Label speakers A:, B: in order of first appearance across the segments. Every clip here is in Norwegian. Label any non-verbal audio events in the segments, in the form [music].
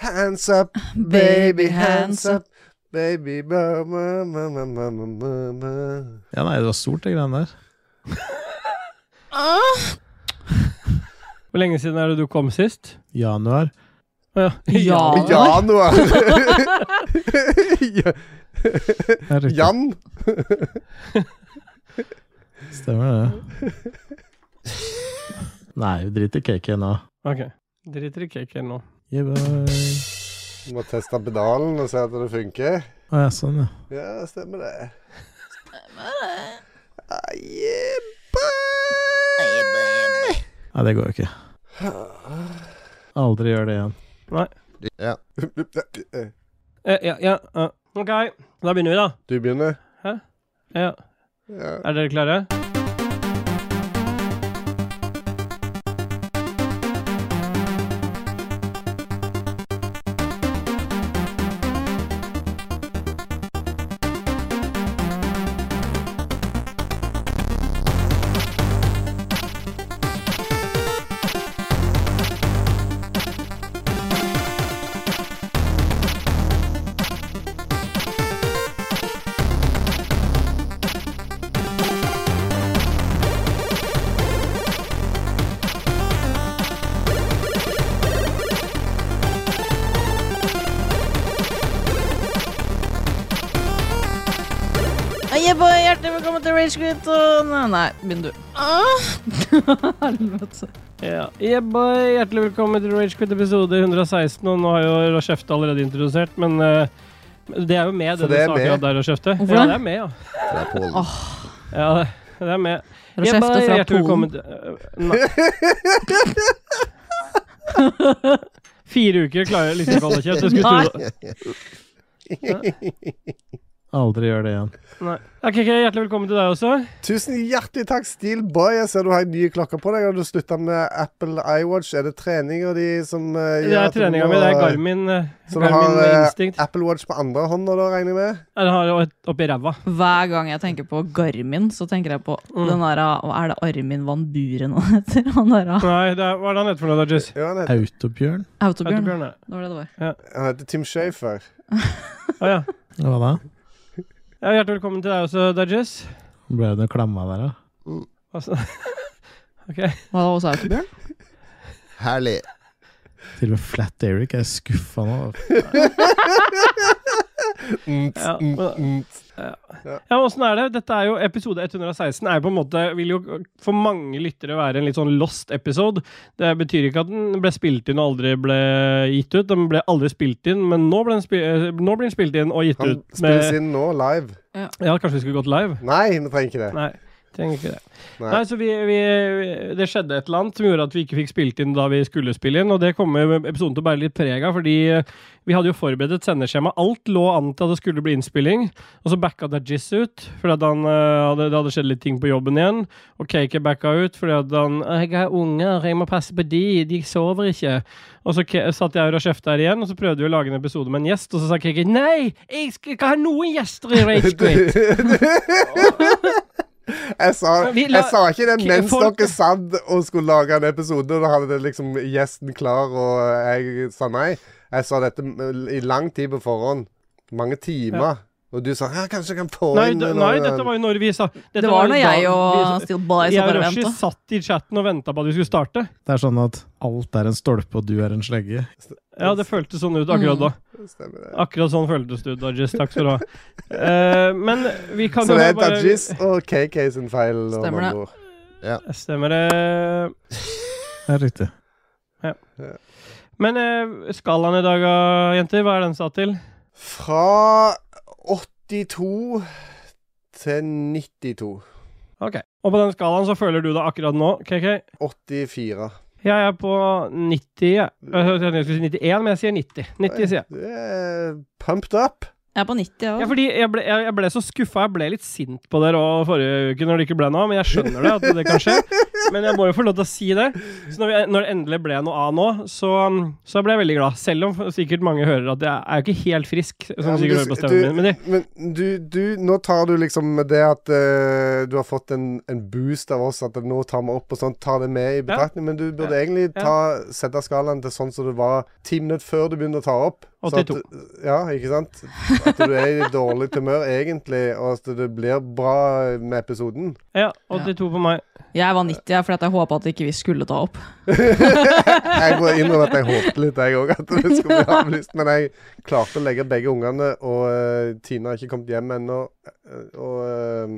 A: Hands up,
B: Baby, hands up.
A: Baby ba, ba, ba, ba, ba, ba, ba, ba.
C: Ja, nei, det var stort, de greiene der.
D: Hvor lenge siden er det du kom sist?
C: Januar.
D: Å
B: Ja.
D: Ja.
A: Januar! [laughs] Ja,
C: Det er riktig.
A: Jan?
C: Stemmer det. [laughs] Nei, vi driter i cake nå.
D: Ok. Driter i cake nå.
C: Yeah, boy.
A: Du må teste pedalen og se at det funker.
C: Å ja, sånn, ja.
A: Ja, stemmer det. Ah, yeah, boy.
C: Nei, det går jo ikke. Aldri gjør det igjen.
A: Ja.
D: Eh, ja, ja, ja. Ok, da begynner vi, da.
A: Du begynner.
D: Ja.
A: Ja.
D: Er dere klare?
B: Hei, boy, hjertelig velkommen til Rage Quit og Nei, Nei, begynn du. Ah. [laughs] Helvete.
D: Ja. Yeah, boy. Hjertelig velkommen til Ragequit episode 116. Og nå har jo Rashefte allerede introdusert, men eh, det er jo med,
A: Så
D: det,
A: det er
D: du sa akkurat
A: med?
D: der, Rashefte.
B: Hvorfor
D: Ja,
B: det?
D: det er med, ja.
A: Det er Pål.
D: ja det, det er med. Yeah,
B: Resepter
D: boy,
B: fra
D: hjertelig velkommen
B: Polen.
D: til eh,
A: [laughs]
D: Nei. Fire uker klarer jeg liksom ikke å holde kjeft. Jeg skulle tro det.
C: Aldri gjør det igjen.
D: Nei. Ja, KK, hjertelig velkommen til deg også.
A: Tusen hjertelig takk, Steelboy. Jeg ser du har en ny klokke på deg. Har du slutta med Apple iWatch? Er det treninga di som eh,
D: Det er
A: at du
D: treninga
A: må-
D: mi. Det er Garmin, eh,
A: Så du har
D: Garmin
A: eh,
D: Instinct.
A: Apple Watch på andre hånda, da, regner jeg med?
D: Nei, Den har jeg opp- oppi
A: [laughs]
D: ræva.
B: Hver gang jeg tenker på Garmin, så tenker jeg på
D: Mm.
B: den der Hva er det Armin van Buren han [laughs] heter? Han der
D: Nei, det er, hva er det han heter for noe, da, Jess?
A: Ja, han heter,
C: Autobjørn?
B: Autobjørn.
D: Autobjørn, nei.
B: Det var det det var.
A: han heter Tim Shafer.
D: Å ja.
C: Hva da?
D: ja. Hjertelig velkommen til deg også, da, Jess.
C: Ble det noe klamma der, da?
D: Altså,
B: Hva var det også Autobjørn?
E: Herlig.
C: Til og med Flat Eric er skuffa nå.
A: Mm,
D: Ja,
A: mm,
D: og-
A: mm.
D: [laughs] ja, men åssen er det? Dette er jo episode 116. Er jo på en måte, vil jo for mange lyttere være en litt sånn lost episode. Det betyr ikke at den ble spilt inn og aldri ble gitt ut. Den ble aldri spilt inn, men nå ble den, spi eh, nå ble den spilt inn og gitt
A: Han
D: ut.
A: spilles inn nå, live.
D: Ja, kanskje vi skulle gått live?
A: Nei, vi trenger ikke det.
D: Nei, trenger ikke det.
A: Nei.
D: Nei, så vi, vi, Det skjedde et eller annet som gjorde at vi ikke fikk spilt inn da vi skulle spille inn, og det kommer episoden til å bære litt preg av, fordi eh, vi hadde jo forberedt et sendeskjema. Alt lå an til at det skulle bli innspilling, og så backa Dajis ut, fordi at han, eh, hadde, det hadde skjedd litt ting på jobben igjen. Og Cake backa ut fordi at han 'Jeg har unger, jeg må passe på de, de sover ikke'. Og så ke- satt jeg og Rashef der igjen, og så prøvde vi å lage en episode med en gjest, og så sa Cake 'Nei, jeg skal ikke ha noen gjester i
A: [laughs]
D: Rage Quit'.
A: Jeg sa,
D: Vi la-
A: jeg sa ikke det
D: K-
A: mens
D: folk-
A: dere satt og skulle lage en episode. og Da hadde det liksom gjesten klar, og jeg sa nei. Jeg sa dette m- i lang tid på forhånd. Mange timer. Og du sa ja, kanskje jeg kan få
D: Nei,
A: inn
D: d-
A: noe-
D: nei, dette var jo når vi sa dette
B: Det var
D: jo
B: når
D: da
B: jeg og
D: vi-
B: Steel Boy
D: Jeg
B: som
D: og
B: bare
D: Rashi
B: venta.
D: satt i chatten og venta på at vi skulle starte.
C: Det er sånn at alt er en stolpe, og du er en slegge.
D: Ja, det føltes sånn ut akkurat
B: Mm.
D: da.
A: Stemmer det.
D: Akkurat sånn føltes det ut, Dajis. Takk skal du ha. Eh, men vi kan
A: Så
D: jo
A: det er
D: bare-
A: Dajis og KK sin feil. og
B: Stemmer det.
A: noen ord.
D: Stemmer det.
C: Det er riktig.
D: Men eh, skalaen i dag, ah, jenter, hva er den satt til?
A: Fra 82 til 92.
D: Ok. Og på den skalaen så føler du det akkurat nå, KK?
A: 84.
D: Jeg er på 90, jeg. Jeg tenkte jeg skulle si 91, men jeg sier 90. 90 sier jeg.
A: Du er pumped up.
B: Jeg er på 90, jeg
D: Ja,
B: òg.
D: fordi jeg ble, jeg, jeg ble så skuffa. Jeg ble litt sint på dere også forrige uke når det ikke ble noe, men jeg skjønner det, at det kan skje. Men jeg må jo få lov til å si det. Så når, vi, når det endelig ble noe av nå, så, så ble jeg veldig glad. Selv om sikkert mange hører at jeg er jo ikke helt frisk, som
A: Ja,
D: de
A: men
D: sikkert
A: du-
D: hører på stemmen min. Men de,
A: du, men du, du, nå tar du liksom med det at eh, du har fått en, en boost av oss, at nå tar vi opp og sånn, tar det med i betraktning, men du burde egentlig
D: Ja.
A: ta, sette skalaen til sånn som det var ti minutter før du begynte å ta opp. Så at-
D: 82.
A: ja, ikke sant? At du er i dårlig humør egentlig, og at det blir bra med episoden.
D: ja, 82 på meg.
B: Jeg var 90 jeg, fordi at jeg håpa at ikke vi skulle ta opp.
A: Jeg må innrømme at jeg håpte litt, jeg òg, at det skulle bli avlyst. Men jeg klarte å legge begge ungene, og eh, Tina har ikke kommet hjem ennå. eh, Og eh,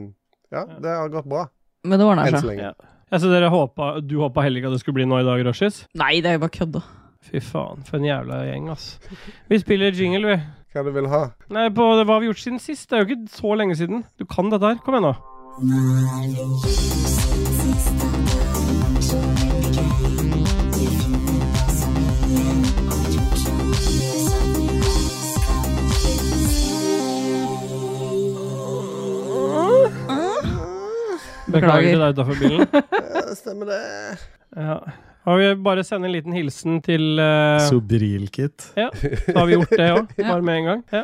A: ja, det har gått bra
B: Men det altså. ordna
A: enn så
B: seg.
A: lenge.
D: Ja. Ja, så dere håpa, du håpa heller ikke at det skulle bli nå i dag, Roshis?
B: Nei, det er jo bare kødd. da.
D: Fy faen, for en jævla gjeng, ass. Vi spiller jingle, vi.
A: Hva du vil ha?
D: Nei, på hva har vi gjort siden sist? Det er jo ikke så lenge siden. Du kan dette her. Kom igjen, nå. Beklager til deg utafor bilen.
A: Ja, Stemmer det.
D: Ja. Og vi bare sende en liten hilsen til eh,
C: Sobrilkit.
D: Så har vi gjort det òg,
B: Ja.
D: bare med en gang. Ja.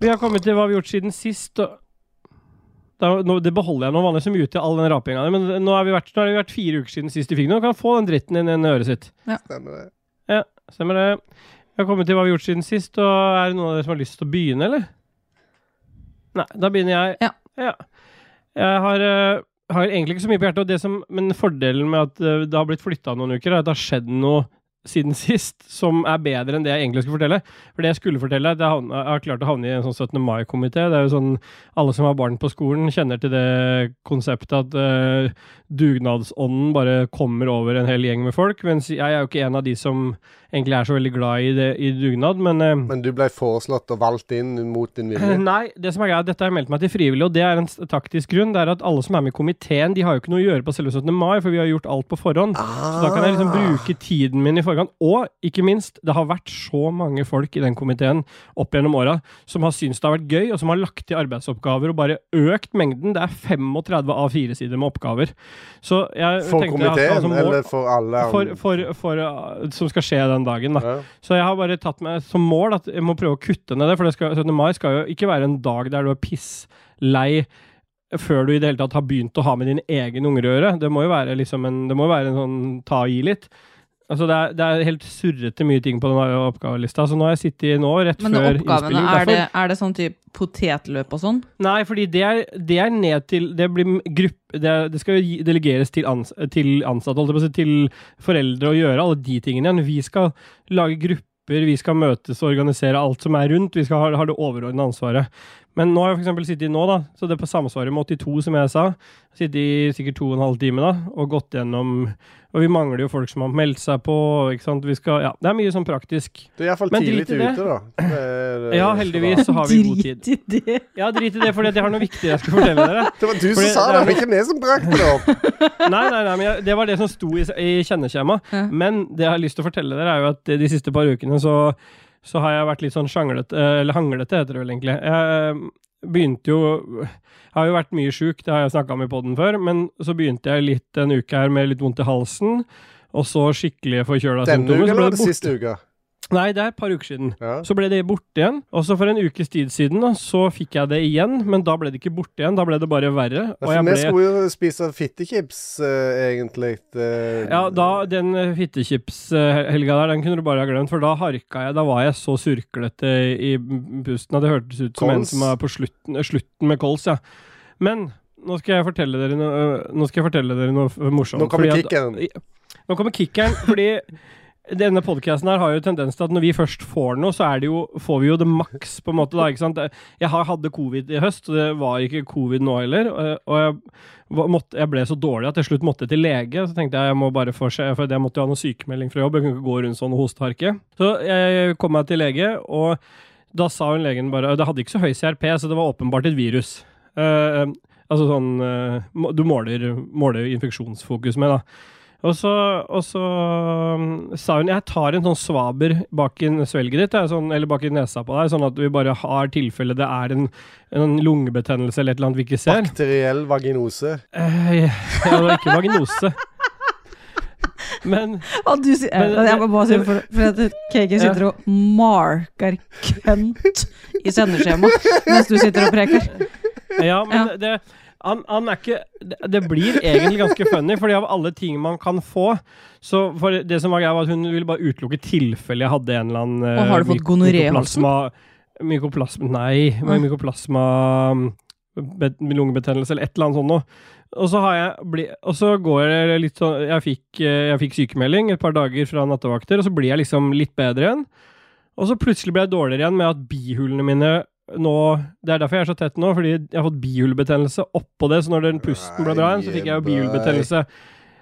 D: Vi har kommet til hva vi har gjort siden sist. Og da, nå, det beholder jeg nå vanligvis som ute i all den rapinga di, men nå har vi vært, nå har det vært fire uker siden sist du fikk noe. Kan få den dritten inn i øret sitt.
A: Stemmer det.
D: Stemmer det. Vi har kommet til hva vi har gjort siden sist, og er det noen av dere som har lyst til å begynne, eller? Nei, da begynner jeg.
B: Ja.
D: Jeg har, eh, har egentlig ikke så mye på hjertet, og det som, men fordelen med at eh, det har blitt flytta noen uker, er at det har skjedd noe siden [laughs] sist som er bedre enn det jeg egentlig skulle fortelle. For det jeg skulle fortelle, det havn- jeg har klart å havne i en sånn 17. mai-komité. Det er jo sånn alle som har barn på skolen, kjenner til det konseptet at eh, dugnadsånden bare kommer over en hel gjeng med folk. Mens jeg er jo ikke en av de som egentlig er så veldig glad i, det, i dugnad, men eh,
A: Men du ble foreslått og valgt inn mot din vilje.
D: Nei, det som er greit, dette har jeg meldt meg til frivillig, og det er en s- taktisk grunn. Det er at alle som er med i komiteen, de har jo ikke noe å gjøre på selve 17. mai, for vi har gjort alt på forhånd. Så da kan jeg
A: Ah.
D: liksom bruke tiden min i forkant. Og ikke minst, det har vært så mange folk i den komiteen opp gjennom åra som har syntes det har vært gøy, og som har lagt til arbeidsoppgaver og bare økt mengden. Det er 35 A4-sider med oppgaver. Så jeg
A: For
D: tenkte jeg hadde
A: komiteen,
D: som mål-
A: eller for alle?
D: for, for, for, uh, som skal skje den dagen, da.
A: ja.
D: Så jeg har bare tatt meg som mål at jeg må prøve å kutte ned det, for det skal, 17. mai skal jo ikke være en dag der du er pisslei før du i det hele tatt har begynt å ha med din egen unger å gjøre. Det må jo være liksom en, det må jo være en sånn ta i litt. Altså det er, det er helt surrete mye ting på den her oppgavelista, så nå har jeg sittet i nå, rett
B: Men
D: før
B: oppgavene,
D: innspilling.
B: er det,
D: derfor-
B: er det sånn type potetløp og sånn?
D: Nei, fordi det er, det er ned til Det blir m- gruppe Det, er- det skal jo gi- delegeres til, ans, til ansatte, holdt jeg på å si, til foreldre å gjøre alle de tingene igjen. Vi skal lage grupper, vi skal møtes og organisere alt som er rundt. Vi skal ha, ha det overordnede ansvaret. Men nå har jeg for eksempel sittet i nå, da, så det er på samsvaret med 82, som jeg sa. Sittet i sikkert to og en halv time da, og gått gjennom Og vi mangler jo folk som har meldt seg på, ikke sant. Vi skal Ja, det er mye sånn praktisk.
A: Du er iallfall
D: Men
A: tidlig
D: drit i det.
A: ute, da. Det er-
D: [laughs]
A: eh,
D: Ja, heldigvis så har vi god tid.
B: Drit i det!
D: Ja, drit i det, for jeg har noe viktig jeg skal fortelle dere.
A: Det var du som
D: Fordi
A: sa det,
D: det er
A: det var ikke vi som brakte det
D: [laughs]
A: opp.
D: Nei, nei, nei, men jeg, det var det som sto i, i kjenneskjema.
B: Ja.
D: Men det jeg har lyst til å fortelle dere, er jo at de siste par ukene så, så har jeg vært litt sånn sjanglete, eller hanglete heter det vel egentlig. Jeg eh, begynte jo Jeg har jo vært mye sjuk, det har jeg snakka om i poden før, men så begynte jeg litt en uke her med litt vondt i halsen, og så skikkelig forkjøla
A: Denne
D: symptomer.
A: uka
D: så Altså, ble
A: eller
D: det
A: den
D: borte.
A: siste uka?
D: Nei, det er et par uker siden.
A: Ja.
D: Så ble det borte igjen. Og så for en ukes tid siden da, så fikk jeg det igjen, men da ble det ikke borte igjen, da ble det bare verre.
A: Ja,
D: Og
A: for Altså,
D: jeg
A: vi
D: ble
A: skulle jo spise fittechips, eh, egentlig. eh,
D: Ja, da, den eh, fittechips-helga der, den kunne du bare ha glemt, for da harka jeg. Da var jeg så surklete i i pusten at det hørtes ut som en
A: Kols?
D: som er på slutten, eh, slutten med kols, ja. Men nå skal jeg fortelle dere noe, eh, nå skal jeg fortelle dere noe f- morsomt.
A: Nå kommer
D: fordi at-
A: kicken.
D: nå kommer kickeren, fordi denne podkasten her har jo tendens til at når vi først får noe, så er det jo, får vi jo det maks, på en måte. da, ikke sant? Det- Jeg har hadde covid i høst, og det var ikke covid nå heller. og- Og jeg, var- måtte, jeg ble så dårlig at jeg til slutt måtte til lege. Så tenkte jeg jeg må bare få se, for jeg måtte jo ha noe sykemelding fra jobb. Jeg kunne ikke gå rundt sånn og hosteharke. Så jeg kom meg til lege, og da sa hun legen bare Det hadde ikke så høy CRP, så det var åpenbart et virus. Eh, altså sånn eh, må- Du måler, måler infeksjonsfokus med, da. Og så, og så mm, sa hun jeg tar en sånn svaber bak i svelget ditt, jeg, sånn, eller bak i nesa på deg, sånn at vi bare har tilfelle det er en, en lungebetennelse eller et eller annet vi ikke ser.
A: Bakteriell vaginose.
D: Eh, [laughs] ja, det var ikke vaginose. Men
B: Og du sier
D: Men-
B: Jeg må bare si det, for, for at KK sitter og marker kønt i sendeskjema mens du sitter og preker.
D: Ja, men det han, han er ikke det- Det blir egentlig ganske funny, fordi av alle ting man kan få Så for det som var greia, var at hun ville bare utelukke tilfelle jeg hadde en eller annen eh,
B: Og har du fått
D: myko-
B: gonoré i halsen?
D: mykoplasma, mykoplasma Nei, men
B: Nei.
D: mykoplasma mm, bet- Lungebetennelse eller et eller annet sånt noe. Og så har jeg bli, Og så går det litt sånn Jeg fikk, eh, jeg fikk sykemelding et par dager fra nattevakter, og så blir jeg liksom litt bedre igjen. Og så plutselig ble jeg dårligere igjen med at bihulene mine nå Det er derfor jeg er så tett nå, fordi jeg har fått bihulebetennelse oppå det. Så når den pusten ble bra igjen, så fikk jeg jo bihulebetennelse.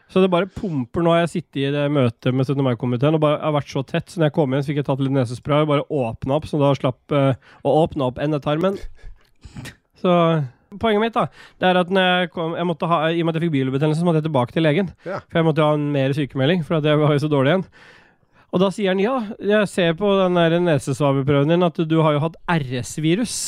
D: Så det bare pumper nå. har Jeg sittet i det møtet med 17. mai-komiteen og bare jeg har vært så tett. Så når jeg kom igjen, så fikk jeg tatt litt nesespray og bare åpna opp, så da slapp eh, å åpne opp endetarmen. Så poenget mitt, da, det er at når jeg kom, jeg måtte ha, i og med at jeg fikk bihulebetennelse, så måtte jeg tilbake til legen.
A: Ja.
D: For jeg måtte ha en mer sykemelding, for at jeg var jo så dårlig igjen. Og da sier han ja, jeg ser på den der nesesvabeprøven din at du har jo hatt RS-virus.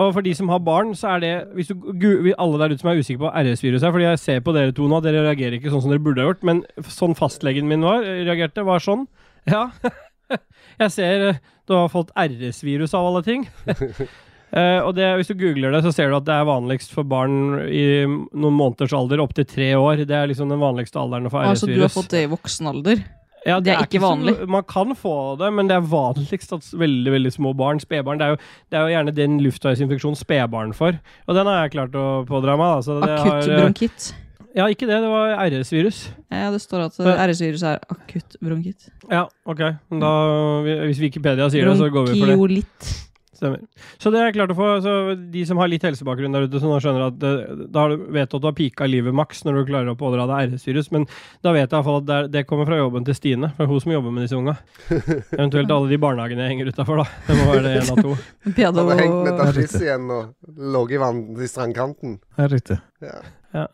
D: Og for de som har barn, så er det hvis du, gu- vi- Alle der ute som er usikre på hva RS-virus er, fordi jeg ser på dere to nå, dere reagerer ikke sånn som dere burde ha gjort, men sånn fastlegen min var, reagerte, var sånn. Ja, [laughs] jeg ser eh, du har fått RS-virus av alle ting. Eh, og det, hvis du googler det, så ser du at det er vanligst for barn i noen måneders alder, opptil tre år. Det er liksom den vanligste alderen for RS-virus.
B: Altså, du har fått det i voksen alder.
D: Ja,
B: Det er ikke
D: så-
B: vanlig.
D: man kan få det, men det er vanligst at s- veldig veldig små barn, spedbarn Det er jo, det er jo gjerne den luftveisinfeksjonen spedbarn får, og den har jeg klart å pådra meg. da, så det
B: Akutt
D: har, eh,
B: bronkitt.
D: Ja, ikke det. Det var RS-virus.
B: Ja, det står at
D: Ja.
B: RS-virus er akutt bronkitt.
D: Ja, OK. Men Da, hvis Wikipedia sier det, så går vi for det.
B: Bronkiolitt.
D: Stemmer. Så det er klart å få så De som har litt helsebakgrunn der ute, som da skjønner at eh, da har du- vet du at du har pika livet maks når du klarer å pådra deg RS-virus, men da vet jeg iallfall at det, er- det kommer fra jobben til Stine, for hun som jobber med
A: [laughs]
D: disse unga. Eventuelt alle de barnehagene jeg henger utafor, da. Det må være det én av to.
B: Pedo...
A: Han har hengt metafis igjen og ligget i vann i strandkanten.
C: Det er riktig.
A: Ja.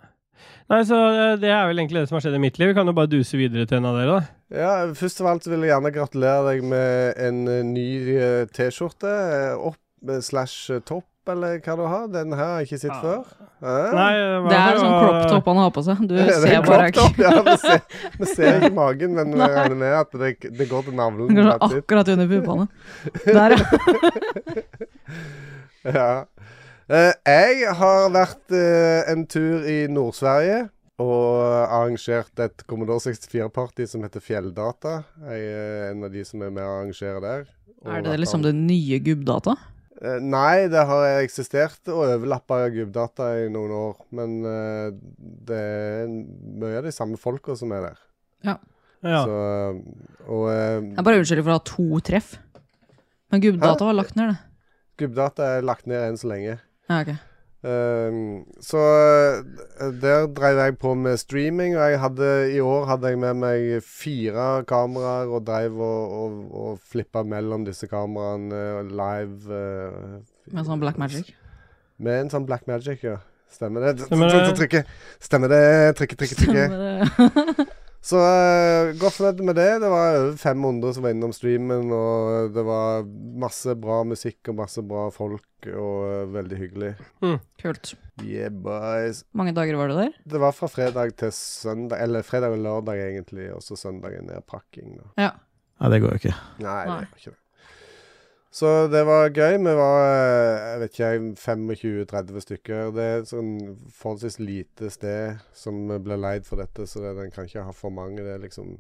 D: Nei, så eh, det er vel egentlig det som har skjedd i mitt liv. Vi kan jo bare duse videre til en av dere, da.
A: Ja, først av alt så vil jeg gjerne gratulere deg med en eh, ny eh, T-skjorte. eh, Opp eh, slash eh, topp, eller hva du har. Den her har jeg ikke sett
D: Ja.
A: før. Eh?
D: Ah. Nei,
B: Det er sånn crop top han har på seg. Du
A: Det er
B: ser
A: en
B: bare
A: crop
B: [laughs] ikke.
A: top, ja, vi, ser, vi ser ikke magen, men vi
B: Nei.
A: regner med at det, det går til navlen.
B: Kanskje
A: rett ut.
B: akkurat under puppene. Der, ja.
A: Ja. Eh, jeg har vært eh, en tur i Nord-Sverige og arrangert et Commodore 64-party som heter Fjelldata. Jeg er en av de som er med og arrangerer der. Og
B: Er
A: vært
B: det liksom det nye gubbdata?
A: Eh, Nei, det har eksistert og overlappa gubbdata i noen år. Men eh, det er mye av de samme folka som er der.
D: Ja.
A: Så, og eh,
B: Jeg bare unnskylder for å ha to treff. Men gubbdata var lagt ned, det.
A: gubbdata er lagt ned enn så lenge.
B: Ja, ok.
A: Ehm, så eh, der drev jeg på med streaming, og jeg hadde, i år hadde jeg med meg fire kameraer og drev og, og, og flippa mellom disse kameraene eh, live. eh,
B: Med sånn black magic.
A: Med en sånn Black Magic, ja. Stemmer det.
D: Stemmer det.
A: Trykke. Stemmer det. Trykke, trykke,
B: [laughs]
A: trykke.
B: Stemmer det.
A: Så eh, godt fornøyd med det. Det var over 500 som var innom streamen, og det var masse bra musikk og masse bra folk, og eh, veldig hyggelig.
B: [laughs] Kult.
A: Yeah, boys.
B: Mange dager var du der?
A: Det var fra fredag til søndag, eller fredag og lørdag egentlig, og så søndagen er pakking. Da.
B: Ja.
C: Nei, det går jo ikke.
A: Nei, det
B: Nei.
A: var ikke det. Så det var gøy. Vi var eh, jeg vet ikke, 25-30 stykker. Det er et sånn forholdsvis lite sted som ble leid for dette, så det, den kan ikke ha for mange. Det er liksom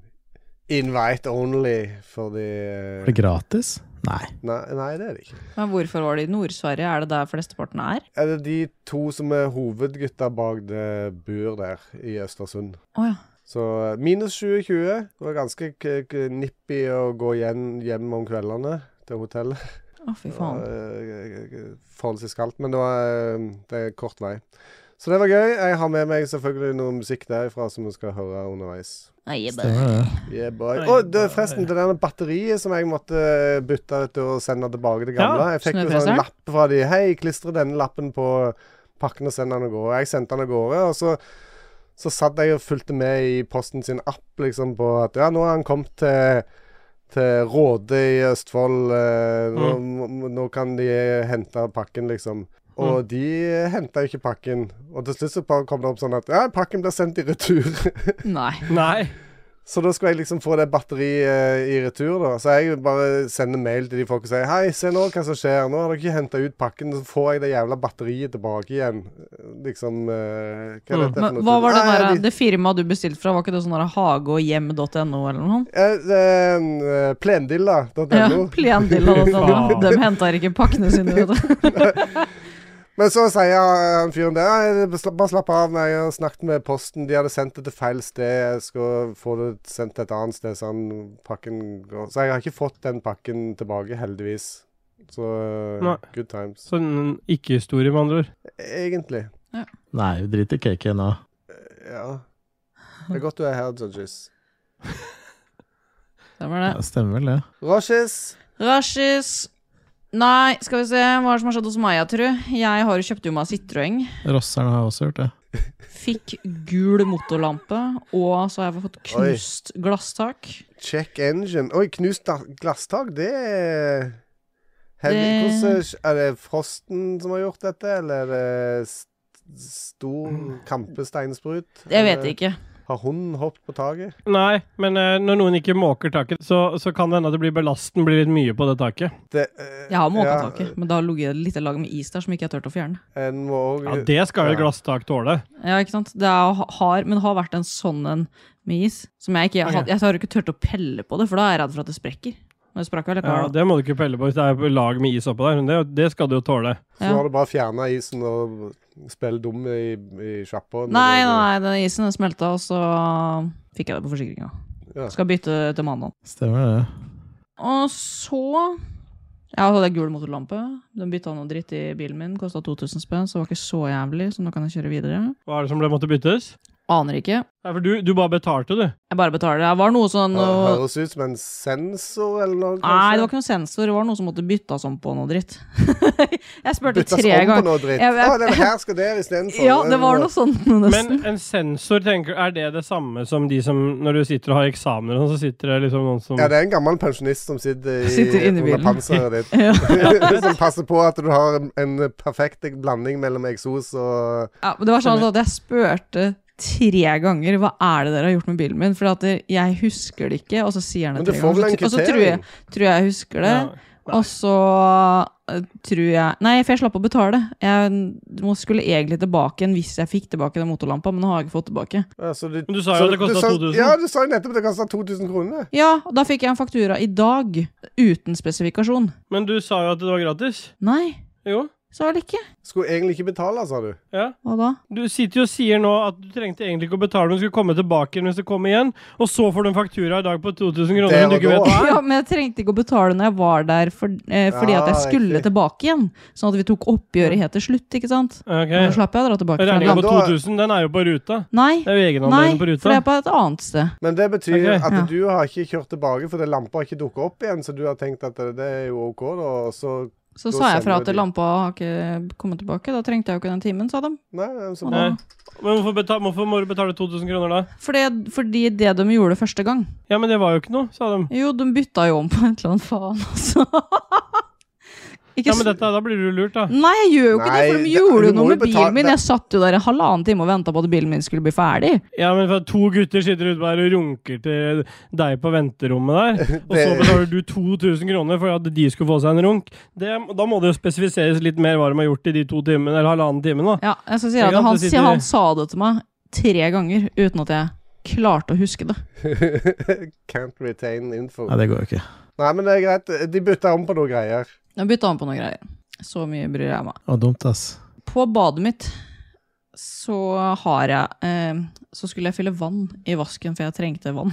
A: invite only for de eh,
C: Er det gratis? Nei.
A: nei, nei, det er det ikke.
B: Men hvorfor var det i Nord-Sverige? Er det der flesteparten er?
A: Er det de to som er hovedgutta bak det bur der i Østersund?
B: Å ja.
A: Så eh, minus 20-20. Det var ganske k k nippy å gå igjen hjem om kveldene til hotellet.
B: Å, fy faen.
A: Det var, eh, Forholdsvis kaldt, men det, var, eh, det er kort vei. Så det var gøy. Jeg har med meg selvfølgelig noe musikk derifra som vi skal høre underveis.
B: Nei, jeg bare-
C: Stemmer det.
A: Yeah, boy.
D: Nei,
A: Å, det,
D: bare-
A: forresten, det der batteriet som jeg måtte eh, bytte ut og sende tilbake til gamle. Jeg fikk en
B: snøfreseren.
A: sånn lapp fra de. Hei, klistre denne lappen på pakken og send den av gårde. Jeg sendte den av gårde, og så Så satt jeg og fulgte med i Posten sin app liksom på at ja, nå har han kommet til, til Råde i Østfold. eh, Nå, må- nå kan de hente pakken, liksom. Og de henta jo ikke pakken. Og til slutt så bare kom det opp sånn at ja, pakken blir sendt i retur.
B: [laughs] Nei.
D: Nei.
A: Så da skulle jeg liksom få det batteriet eh, i retur, da. Så jeg bare sender mail til de folk og sier Hei, se nå hva som skjer. Nå har dere ikke henta ut pakken, så får jeg det jævla batteriet tilbake igjen. Liksom eh, Hva er
D: Mm.
A: dette for
B: Men
A: noe?
B: hva var det
A: Nei,
B: der,
A: de-
B: det firmaet du bestilte fra, var ikke det sånn der hageoghjem.no eller noe?
A: Eh, eh, Plendilla.no.
B: Ja, Plendilla.no.
D: Faen.
B: De henter ikke pakkene sine. vet
A: [laughs]
B: du.
A: Men så sier han fyren der «Nei, det- sla- Bare slapp av, nei, jeg har snakket med Posten. De hadde sendt det til feil sted. Jeg skal få det sendt til et annet sted, så han pakken går Så jeg har ikke fått den pakken tilbake, heldigvis. Så øh,
D: Nei.
A: good times.
D: Sånn ikke-historie, med andre ord.
A: Egentlig.
C: Nei, vi driter i cake nå.
A: Ja. Det er godt du er her, Judges.
B: Det var det.
C: Ja, stemmer vel det.
A: Roshes.
B: Rashis. Nei, skal vi se hva er det som har skjedd hos meg, tru. Jeg har jo kjøpt jo meg Citroën.
C: Rosserne har også gjort det.
B: Fikk gul motorlampe, og så har jeg fått
A: Oi.
B: knust glasstak.
A: Check engine. Oi, knust da- glasstak. Det er Heavy.
B: Det-
A: Hvordan eh, er- er det frosten som har gjort dette, eller er det st
D: Mm.
A: stor kampesteinsprut?
B: Jeg vet
A: Eller
B: ikke.
A: Har hunden hoppet på taket?
D: Nei, men eh, når noen ikke måker taket, så, så kan det hende at det blir belasten blir litt mye på det taket.
A: Det, eh,
B: Jeg har måka
A: ja,
B: taket, men det har ligget et lite lag med is der som ikke jeg har turt å fjerne.
A: En må
D: Ja,
A: òg
D: Det skal jo et
A: Ja.
D: glasstak tåle.
B: Ja, ikke sant? Det er, har, men det har vært en sånn en med is. Som jeg ikke jeg har,
D: Ok.
B: jeg har ikke turt å pelle på det, for da er jeg redd for at det sprekker. Men det sprakk vel
D: Ja,
B: likevel.
D: det må du ikke pelle på hvis det er lag med is oppå der. men Det, det skal du jo tåle.
A: Så
B: Ja.
A: har du bare fjerna isen og spille dum i, i sjappa.
B: Nei, nei, nei, den isen den smelta, og så fikk jeg det på forsikringa.
A: Ja.
B: Skal bytte til mandag.
C: Stemmer det.
B: Og så Jeg hadde gul motorlampe. Den bytta noe dritt i bilen min. Kosta 2000 spenn, så det var ikke så jævlig, så nå kan jeg kjøre videre.
D: Hva er det som ble måtte byttes?
B: Aner ikke.
D: Nei, for du, du bare betalte, du.
B: Jeg bare betaler. Det var noe sånn
A: Det
B: noe...
A: Høres ut som en sensor eller noe.
B: Nei, det var ikke noen sensor. Det var noe som måtte byttes om på noe dritt. [laughs] jeg spurte tre
A: Byttes om på
B: ganger.
A: noe dritt.
B: Jeg- jeg-
A: Å, det her skal der istedenfor.
B: Ja, det var noe sånt noe nesten.
D: Men en sensor, tenker er det det samme som de som Når du sitter og har eksamener og sånn, så sitter det liksom noen som
A: Ja, det er en gammel pensjonist som sitter, i,
B: Sitter inni
A: under
B: bilen.
A: panseret ditt.
B: [laughs] Ja.
A: [laughs] som passer på at du har en, en perfekt blanding mellom eksos og
B: Ja, men det var sånn at jeg spurte tre ganger hva er det dere har gjort med bilen min. For at det- jeg husker det ikke, og så sier han
A: Men
B: det
A: du
B: tre
A: får vel
B: ganger.
A: en
B: Og så- Og så tror jeg,
A: kvittering?
B: tror jeg jeg husker det.
D: Ja.
B: Og så eh, tror jeg Nei, for jeg slapp å betale. Jeg må- skulle egentlig tilbake igjen hvis jeg fikk tilbake den motorlampa, men nå har jeg ikke fått tilbake.
A: Ja, så
D: Men du sa jo
A: så
D: at det kostet
A: sa-
D: 2000.
A: Ja, du sa jo nettopp at det kosta 2000 kroner.
B: Ja, og da fikk jeg en faktura i dag uten spesifikasjon.
D: Men du sa jo at det var gratis.
B: Nei,
D: Jo.
B: så var det ikke.
A: Skulle egentlig ikke betale, sa du.
D: Ja.
B: Hva da?
D: Du sitter jo og sier nå at du trengte egentlig ikke å betale, men skulle komme tilbake igjen hvis det kom igjen, og så får du en faktura i dag på 2000 kroner
A: Der
D: men du
A: og
D: ikke vet
A: da.
D: hva er.
B: Ja, men jeg trengte ikke å betale når jeg var der, for, eh, fordi at jeg
A: Ah,
B: skulle
A: riktig.
B: tilbake igjen. Sånn at vi tok oppgjøret helt til slutt, ikke sant? Men så
D: Ok.
B: slapp jeg å dra tilbake. fra
D: Regninga
B: land.
D: på
A: da-
D: 2000, den er jo på ruta.
B: Nei,
D: Det er jo
B: nei,
D: egenandelen på
B: for det
D: ruta.
B: er på et annet sted.
A: Men det betyr
D: Ok.
A: at
B: Ja.
A: du har ikke kjørt tilbake fordi lampa ikke dukket opp igjen, så du har tenkt at det, det er jo OK, da, og så
B: Så
A: Da
B: sa jeg fra
A: sender
B: at
A: de.
B: lampa har ikke kommet tilbake. Da trengte jeg jo ikke den timen, sa de.
A: Nei, ja, så
B: Og
A: bra.
B: da,
D: Nei. Men hvorfor, beta- hvorfor må du betale 2000 kroner da?
B: fordi, fordi det de gjorde første gang
D: Ja, men det var jo ikke noe, sa de.
B: Jo, de bytta jo om på et eller annet faen, altså. [laughs] Ikke
D: Ja, men dette, da blir du lurt, da.
B: Nei, jeg gjør jo ikke det,
A: Nei,
B: for de
A: det-
B: gjorde
A: du
B: jo
A: må
B: noe
A: jo
B: med
A: betale-
B: bilen min.
A: det-
B: Jeg satt jo der i halvannen time og venta på at bilen min skulle bli ferdig.
D: Ja, men for to gutter sitter ute der og runker til deg på
B: [laughs]
D: venterommet der, og så
A: Det-
D: betaler du 2000 kroner for at de skulle få seg en runk. Det, da må det jo spesifiseres litt mer hva de har gjort i de to timene, eller halvannen timen, da.
B: Ja, jeg skal si at
D: Ikke sant?
B: han,
D: Du sitter-
B: han sa det til meg tre ganger uten at jeg klarte å huske
A: [laughs]
B: det.
A: Can't retain info.
C: Nei, det går jo ikke.
A: Nei, men det er greit. De bytta om på noen greier.
B: Jeg bytta om på noen greier. Så mye bryr jeg meg.
C: Det var dumt, ass.
B: På badet mitt så har jeg eh, Så skulle jeg fylle vann i vasken, for jeg trengte vann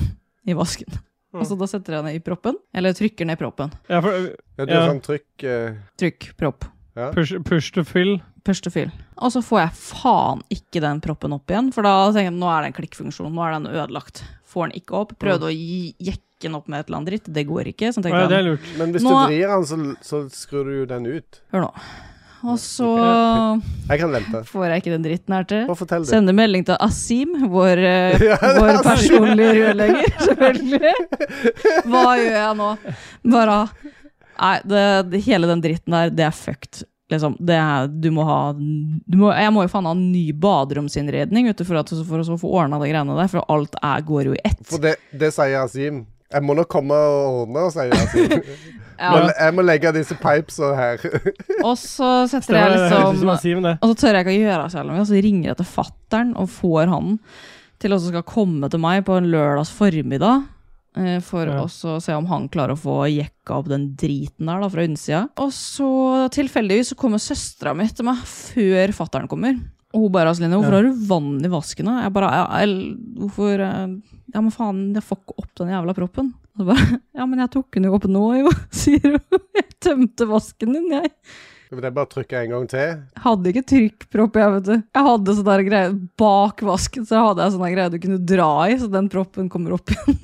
B: i vasken.
D: Mm.
B: Og så da setter jeg ned i proppen, eller trykker ned proppen.
D: Ja, for,
A: Ja, det er
D: Ja.
A: sånn trykk eh,
B: Trykk propp.
D: push, push to fill.
B: Pørstefyll. Og så får jeg faen ikke den proppen opp igjen, for da tenker jeg nå er det en klikkfunksjon, nå er den ødelagt. Får den ikke opp. Prøvde å gi- jekke den opp med et eller annet dritt, det går ikke. Så
D: Ja,
B: tenker
D: det
B: jeg
D: er lurt.
A: Men hvis
B: Nå-
A: du vrir den, så, så skrur du jo den ut.
B: Hør nå. Og så
A: Jeg kan vente.
B: får jeg ikke den dritten her til.
A: Bare fortell det.
B: Sende melding til Asim, vår, eh,
A: [laughs] Ja, det er
B: vår
A: Asim.
B: personlige rørlegger,
A: [laughs]
B: selvfølgelig. Hva gjør jeg nå? Bare Nei, det, det, hele den dritten der, det er fucked. Liksom. Det er, du må ha du må, Jeg må jo faen ha en ny baderomsinnredning vet du, for, at, for å så få ordna de greiene der, for alt er, går jo i ett.
A: For det, det sier Asim. Jeg må nok komme og ordne, sier Asim.
B: [laughs] Ja.
A: Men Jeg må legge disse pipesa her. [laughs]
B: Og så setter
D: Det
B: jeg
D: høres ut som
B: liksom
D: en Siv, det.
B: Og så tør jeg ikke å gjøre det selv om jeg, og så ringer jeg til fatteren og får han til å skal komme til meg på en lørdags formiddag. eh, For
D: Ja.
B: å så se om han klarer å få jekka opp den driten der da, fra innsida. Og så tilfeldigvis så kommer søstera mi til meg før fatteren kommer. Og hun bare Aseline, hvorfor
D: Ja.
B: har du vann i vasken? da?» Jeg bare ja, el- Hvorfor eh, Ja, men faen, jeg får ikke opp den jævla proppen. Og så bare [laughs] Ja, men jeg tok den jo opp nå, jo, [laughs] sier hun. Jeg tømte vasken din, jeg.
A: Det er bare å trykke en gang til.
B: Hadde ikke trykkpropp, jeg, vet du. Jeg hadde sånn der greie bak vasken, så hadde jeg sånn der greie du kunne dra i, så den proppen kommer
A: [laughs]
B: opp igjen.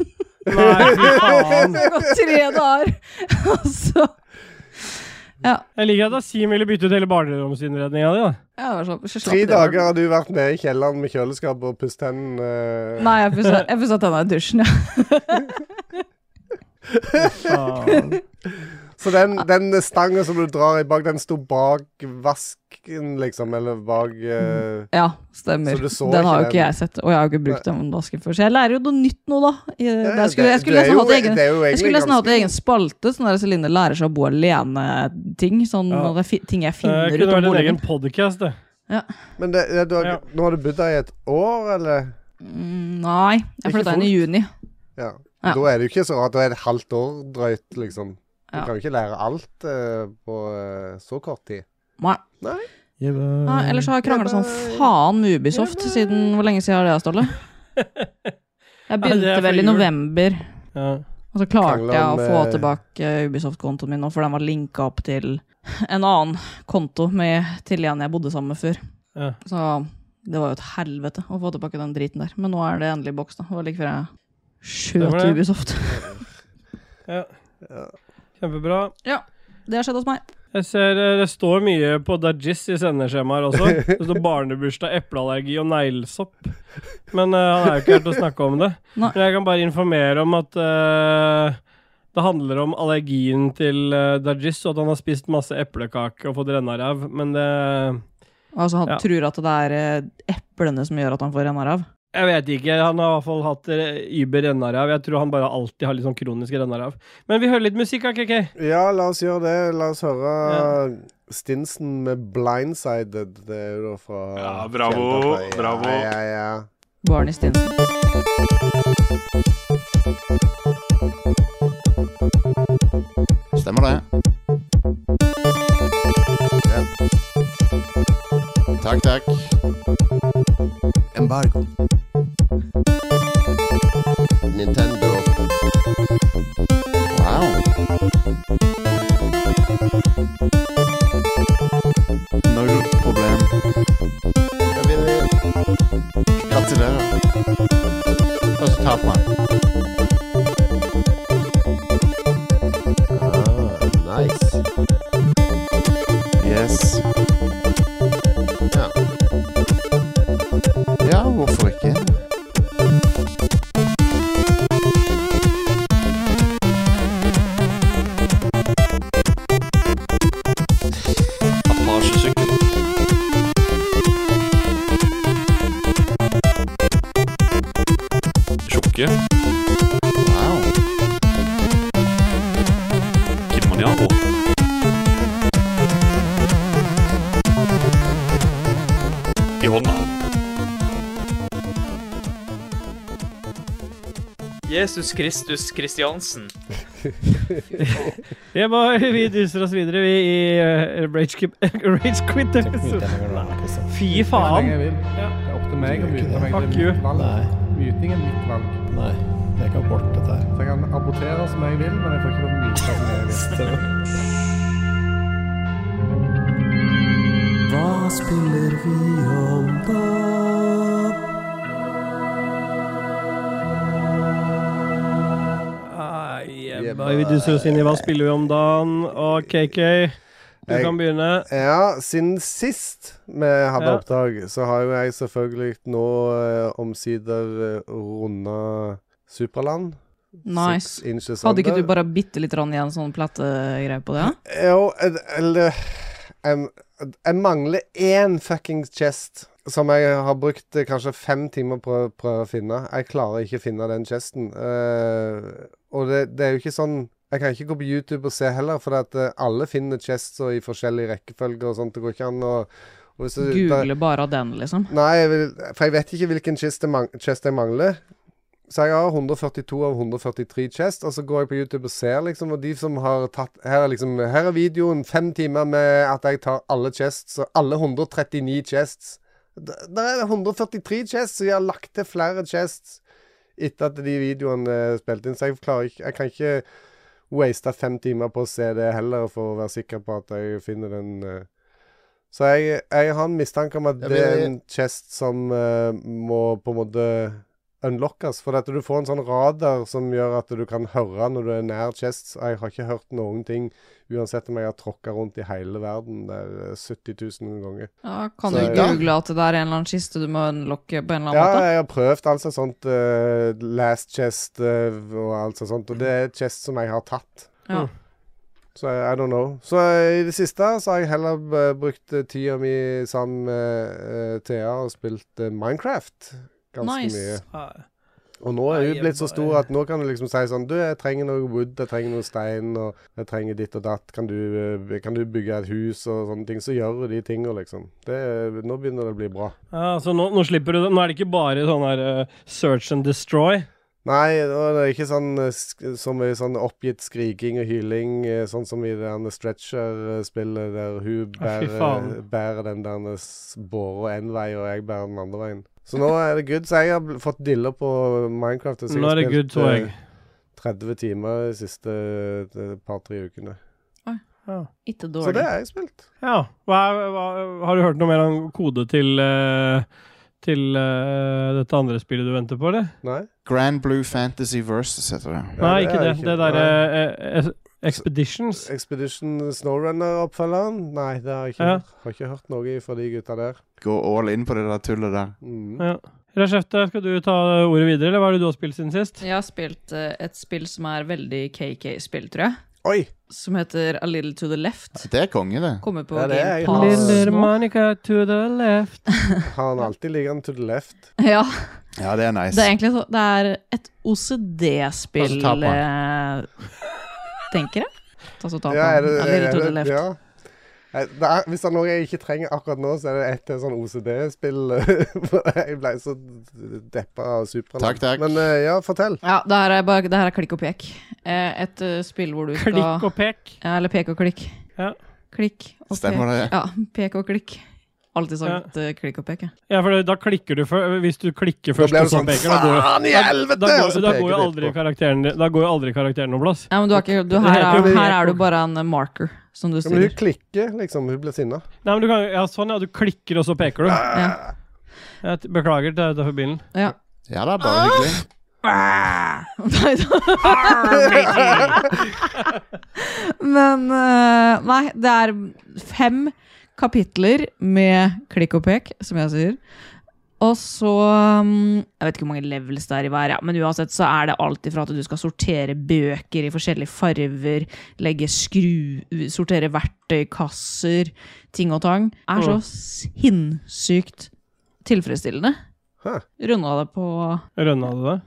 D: Nei, fy faen.
B: Det har gått [laughs] tre dager! Og så
D: Jeg liker at Asim ville bytte ut hele barneromsinnredninga di. da.
B: jeg var sånn, så slapp
A: Tre
B: det.
A: dager har du vært nede i kjelleren med kjøleskap og pusset hendene. eh.
B: Nei, jeg pussa jeg pussa tenna i dusjen, ja.
D: Faen.
A: Så den, den stangen som du drar i bak, den sto bak vasken, liksom, eller bak eh,
B: ja stemmer.
A: Så du så
B: den har jo
A: ikke den?
B: ikke jeg sett, og jeg har jo ikke brukt den vasken før. Så jeg lærer jo noe nytt nå, da. I-
A: ja,
B: Jeg Mm. skulle, jeg
A: det-
B: skulle
A: det er
B: nesten hatt
A: jo- e-
B: egen
A: det er jo
B: jeg skulle
A: egentlig
B: nesten hatt
A: ganske-
B: egen spalte, sånn der Celine lærer seg å bo alene-ting. Sånn,
D: Ja.
B: og det er fi- ting jeg
D: Eh,
B: finner ut
D: kunne
B: om
D: vært en
B: bordene.
D: egen podkast, det.
A: Men det, det, du har,
D: Ja.
A: nå har du bodd der i et år, eller?
B: Mm, Nei, jeg
A: Ikke
B: flytta inn i juni.
A: Ja.
B: Ja.
A: Da er det jo ikke så rart. Da er det et halvt år drøyt, liksom. Du
B: Ja.
A: kan jo ikke lære alt eh, på eh, så kort tid.
B: Nei. Nei,
A: Mm.
B: ellers har jeg krangla som faen med Ubisoft siden Hvor lenge siden har det,
D: [laughs]
B: Ståle? Jeg
D: Nei, det
B: begynte vel
D: er for
B: i
D: jul.
B: november,
D: Ja.
B: og så klarte
A: Krangla
B: jeg å
A: om,
B: få
A: eh,
B: tilbake Ubisoft-kontoen min nå, for den var linka opp til en annen konto med, til en jeg bodde sammen med før.
D: Ja.
B: Så det var jo et helvete å få tilbake den driten der. Men nå er det endelig i boks, da. Det var like før jeg skjøt
D: Stemmer
B: Ubisoft.
D: det.
B: [laughs]
D: Kjempebra.
B: Det har skjedd hos meg.
D: Jeg ser eh, det står mye på Dajis i sendeskjemaer også. Det står barnebursdag, epleallergi og neglesopp. Men eh, han er jo ikke her til å snakke om det.
B: Nei.
D: Men jeg kan bare informere om at eh, det handler om allergien til uh, Dajis, og at han har spist masse eplekake og fått rennaræv. Men det
B: Altså, han
D: Ja.
B: tror at det er eh, eplene som gjør at han får renner av.
D: Jeg vet ikke. Han har i hvert fall hatt eh, über rennaræv. Jeg tror han bare alltid har litt sånn kronisk rennaræv. Men vi hører litt musikk, da, KK.
A: Ja, la oss gjøre det. La oss høre Stinsen med 'Blindsided'. Det er jo da fra
F: Ja, bravo,
A: kjente fra-
F: bravo.
A: Ja, ja, ja.
B: Barney Stinson.
E: Stemmer det. Ja. Takk, takk. Embargo. Nintendo. Wow. Null problem. Jeg vinner. Gratulerer. Og så taper man. Ah, nice. Yes. Ja. Ja, hvorfor ikke?
F: Apache-sykkel. Tjukke.
E: Wow.
F: Kilimanjaro. I hånda.
G: Jesus Kristus Kristiansen.
D: Jeg bare, [laughs] vi duser oss videre, vi, i eh, Rage, Quit- [laughs] Rage Quit. Fy faen!
H: Jeg vil.
D: Ja.
H: Det er opp til meg å
C: Du gjør
H: mute
C: ikke
H: meg. Det
D: det.
H: er
D: Fuck
H: mitt valg.
C: Nei,
H: Mutingen er mitt valg.
C: nei. Det er ikke abort, dette her.
H: Så jeg kan abortere som jeg vil, men jeg får ikke lov til å mute som jeg vil.
D: Ai, jebba, vi duser oss inn i Hva spiller vi om dagen? Og KK Du
A: Jeg-
D: kan begynne.
A: Ja, siden sist vi hadde
D: Ja.
A: opptak, så har jo jeg selvfølgelig nå eh, omsider eh, runda Supraland.
B: Nice.
A: Six inches
B: Hadde ikke
A: under.
B: du bare bitte litt rann igjen sånn plategreie på det? ja?
A: Jo, eh, eller jeg, jeg mangler én fuckings chest som jeg har brukt eh, kanskje fem timer på å prøve å finne. Jeg klarer ikke å finne den chesten. Eh, og det, det er jo ikke sånn Jeg kan ikke gå på YouTube og se heller, for at eh, alle finner chests og i forskjellige rekkefølger og sånt. Det går ikke an å og hvis du- der-
B: Google bare den, liksom.
A: Nei, jeg vil, for jeg vet ikke hvilken chest jeg, mang chest jeg mangler. Så jeg har 142 av 143 chest, og så går jeg på YouTube og ser, liksom, og de som har tatt Her er liksom Her er videoen. Fem timer med at jeg tar alle chests, og alle 139 chests. Det er 143 chests, så jeg har lagt til flere chests etter at de videoene er spilt inn, så jeg klarer ikke Jeg kan ikke waste fem timer på å se det heller, for å være sikker på at jeg finner den eh. Så jeg, jeg har en mistanke om at
E: Ja,
A: det er
E: men-
A: en chest som eh, må på en måte unlockes. For at du får en sånn radar som gjør at du kan høre når du er nær chests. Jeg har ikke hørt noen ting, uansett om jeg har tråkka rundt i hele verden der eh, 70 000 ganger.
B: Ja, kan
A: Så-
B: du
A: Ja.
B: google at det der er en eller annen kiste du må unlocke på en eller
A: Ja,
B: annen måte?
A: jeg har prøvd alt sånt sånt. eh, last chest eh, og alt sånt sånt. Og det er chest som jeg har tatt.
D: Mm.
B: Ja.
A: Så I don't know. Så eh, i det siste så har jeg heller eh, brukt eh, tida mi sammen med eh, Thea og spilt eh, Minecraft ganske
B: Nice.
A: mye.
D: Ah,
A: Og nå er
D: Nei,
A: hun
D: jeg
A: blitt så
D: bare-
A: stor at nå kan du liksom si sånn Du, jeg trenger noe wood, jeg trenger noe stein, og jeg trenger ditt og datt. Kan du, eh, kan du bygge et hus og sånne ting? Så gjør hun de tinga, liksom. Det, er- nå begynner det å bli bra.
D: Ja, så nå, nå slipper du det. Nå er det ikke bare sånn her eh, search and destroy.
A: Nei, og det er ikke sånn, eh, sk- så mye sånn oppgitt skriking og hyling, eh, sånn som i det der stretcher-spillet der hun
D: Å, fy
A: bærer,
D: faen.
A: bærer den der s- båra én vei, og jeg bærer den andre veien. Så nå er det good. Så jeg har bl- fått dilla på Minecraft. Så jeg
D: Nå
A: har
D: er det
A: spilt,
D: good, tror jeg.
A: eh, 30 timer de siste eh, par-tre ukene.
B: Ikke
A: Så det
B: dårlig.
A: har jeg spilt.
D: Ja. Hva, er- hva, har du hørt noe mer om kode til eh, til eh, dette andre spillet du venter på, eller?
A: Nei?
E: Grand Blue Fantasy Versus heter det.
A: Ja,
D: Nei, ikke
A: har
D: det.
A: jeg
D: Det eh, derre
A: Nei.
D: Expeditions.
A: Expedition Snowrunner-oppfølgeren? Nei, det har jeg ikke,
D: Ja.
A: hørt. har ikke hørt noe fra de gutta der.
E: Gå all in på det der tullet der.
A: Mm.
D: Ja. Rashefte, skal du ta ordet videre, eller hva er det du har spilt siden sist?
B: Jeg har spilt eh, et spill som er veldig KK-spill, tror jeg.
A: Oi!
B: Som heter A Little To The Left.
E: Det er konge, det.
B: Kommer på
A: Ja, det er jeg
B: Game Pass
A: har-
D: Little
B: nå.
D: Monica to the left.
A: Har han alltid liggende to the left?
B: [laughs] Ja,
E: Ja, det er nice.
B: det er egentlig så, det er et OCD-spill,
A: Altså,
E: Ta så taper
B: eh, tenker jeg. Altså, Ta så taper
A: Ja, er
B: han.
A: det,
B: A
A: er
B: Little To The
A: det,
B: Left.
A: ja. Nei, Det er, hvis det er noe jeg ikke trenger akkurat nå, så er det et til sånn OCD-spill. [laughs] jeg ble så deppa av Supra.
E: Takk, takk.
A: Men eh, ja, fortell.
B: Ja, det her er, bare, det her er klikk og pek. Eh, Et eh, spill hvor du skal
D: Klikk og pek.
B: Ja, eller pek og klikk.
D: Ja.
B: Klikk og
E: Stemmer
B: pek.
E: det.
B: Ja, pek og klikk. Alltid sagt eh, klikk og pek, jeg.
D: Ja, for da klikker du før. Hvis du klikker
A: Da
D: først,
A: ble
D: og
A: det
D: så
A: sånn
D: peker, da går jo
A: Faen i helvete!
D: da
A: Og
D: går,
A: så
D: da
A: peker
D: går jo
A: du
D: aldri
A: etterpå.
D: karakteren Da går jo aldri karakteren noe plass.
B: Ja, men du har ikke, du,
D: Det
B: her, er,
D: heter jo
B: her er
D: pek
B: du bare en eh, marker, som du
A: Ja, Men hun
B: sier.
A: klikker, liksom. Hun blir sinna.
D: Nei, men du kan, ja, sånn, ja. Du klikker, og så peker du.
B: Ja.
D: Ja, t- beklager, det er utenfor bilen.
B: Ja.
E: Ja, det er
B: Ah!
E: bare hyggelig.
B: Nei da. Men eh, Nei, det er fem kapitler med klikk og pek, som jeg sier. Og så mm, Jeg vet ikke hvor mange levels det er i hver, ja, men uansett så er det alt ifra at du skal sortere bøker i forskjellige farver, legge skru... Sortere verktøykasser, ting og tang. Er så sinnssykt tilfredsstillende.
A: Hæ.
B: Runda det på et
D: Rønna du det?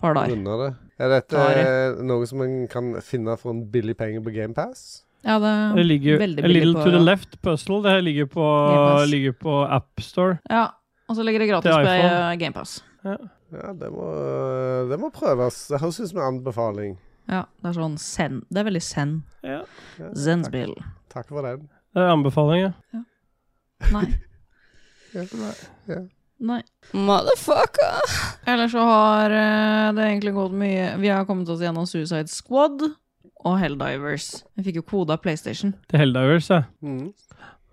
B: par dager.
A: Runder det. Er dette
B: Tar det.
A: eh, noe som en kan finne for en billig penge på GamePass?
B: Ja, det er
D: Det ligger
B: veldig
D: A
B: billig
D: Little
B: på-
D: to the Left Puzzle. Det her ligger på,
B: Gamepass.
D: ligger på AppStore.
B: Ja, og så ligger det gratis
D: Til
B: på eh,
D: iPhone.
B: GamePass.
A: Ja, det må, det må prøves. Det høres ut som en anbefaling.
B: Ja, det er sånn zen. Det er veldig zen.
D: Ja.
A: Ja,
B: Zen-spill.
A: Takk for den.
D: Det er anbefaling, ja.
B: Nei.
A: Ja, nei, ja.
B: Nei. Motherfucker! Ellers så har eh, det egentlig gått mye Vi har kommet oss gjennom Suicide Squad og Helldivers. Vi fikk jo kode av PlayStation. [laughs]
D: Til Helldivers, ja.
A: Mm.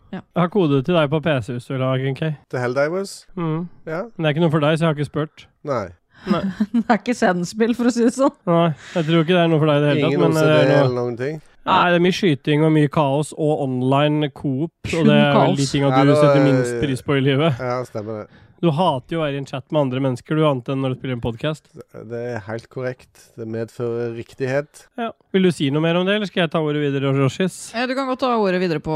D: Jeg har kode til deg på PC hvis du vil ha, Kinkai.
A: The Helldivers?
D: Mm.
A: Ja?
D: Men det er ikke noe for deg, så jeg har ikke spurt.
A: Nei.
B: Det er ikke Zen-spill, for å si det sånn.
D: Nei, jeg tror ikke det er noe for deg i det hele
A: Ingen
D: tatt, men eh,
A: OCD
D: det er
A: eller
D: noe.
A: noen ting?
D: Nei, det er mye skyting og mye kaos, og online coop, og det er vel de
B: Kaos.
D: tinga
A: Ja,
D: du
A: det var-
D: setter minst pris på i livet.
A: Ja, stemmer det.
D: Du hater jo å være i en chat med andre mennesker, du, annet enn når du spiller en podkast.
A: Det er helt korrekt. Det medfører riktighet.
D: Ja. Vil du si noe mer om det, eller skal jeg ta ordet videre, Roshis?
B: Eh, Du kan godt ta ordet videre på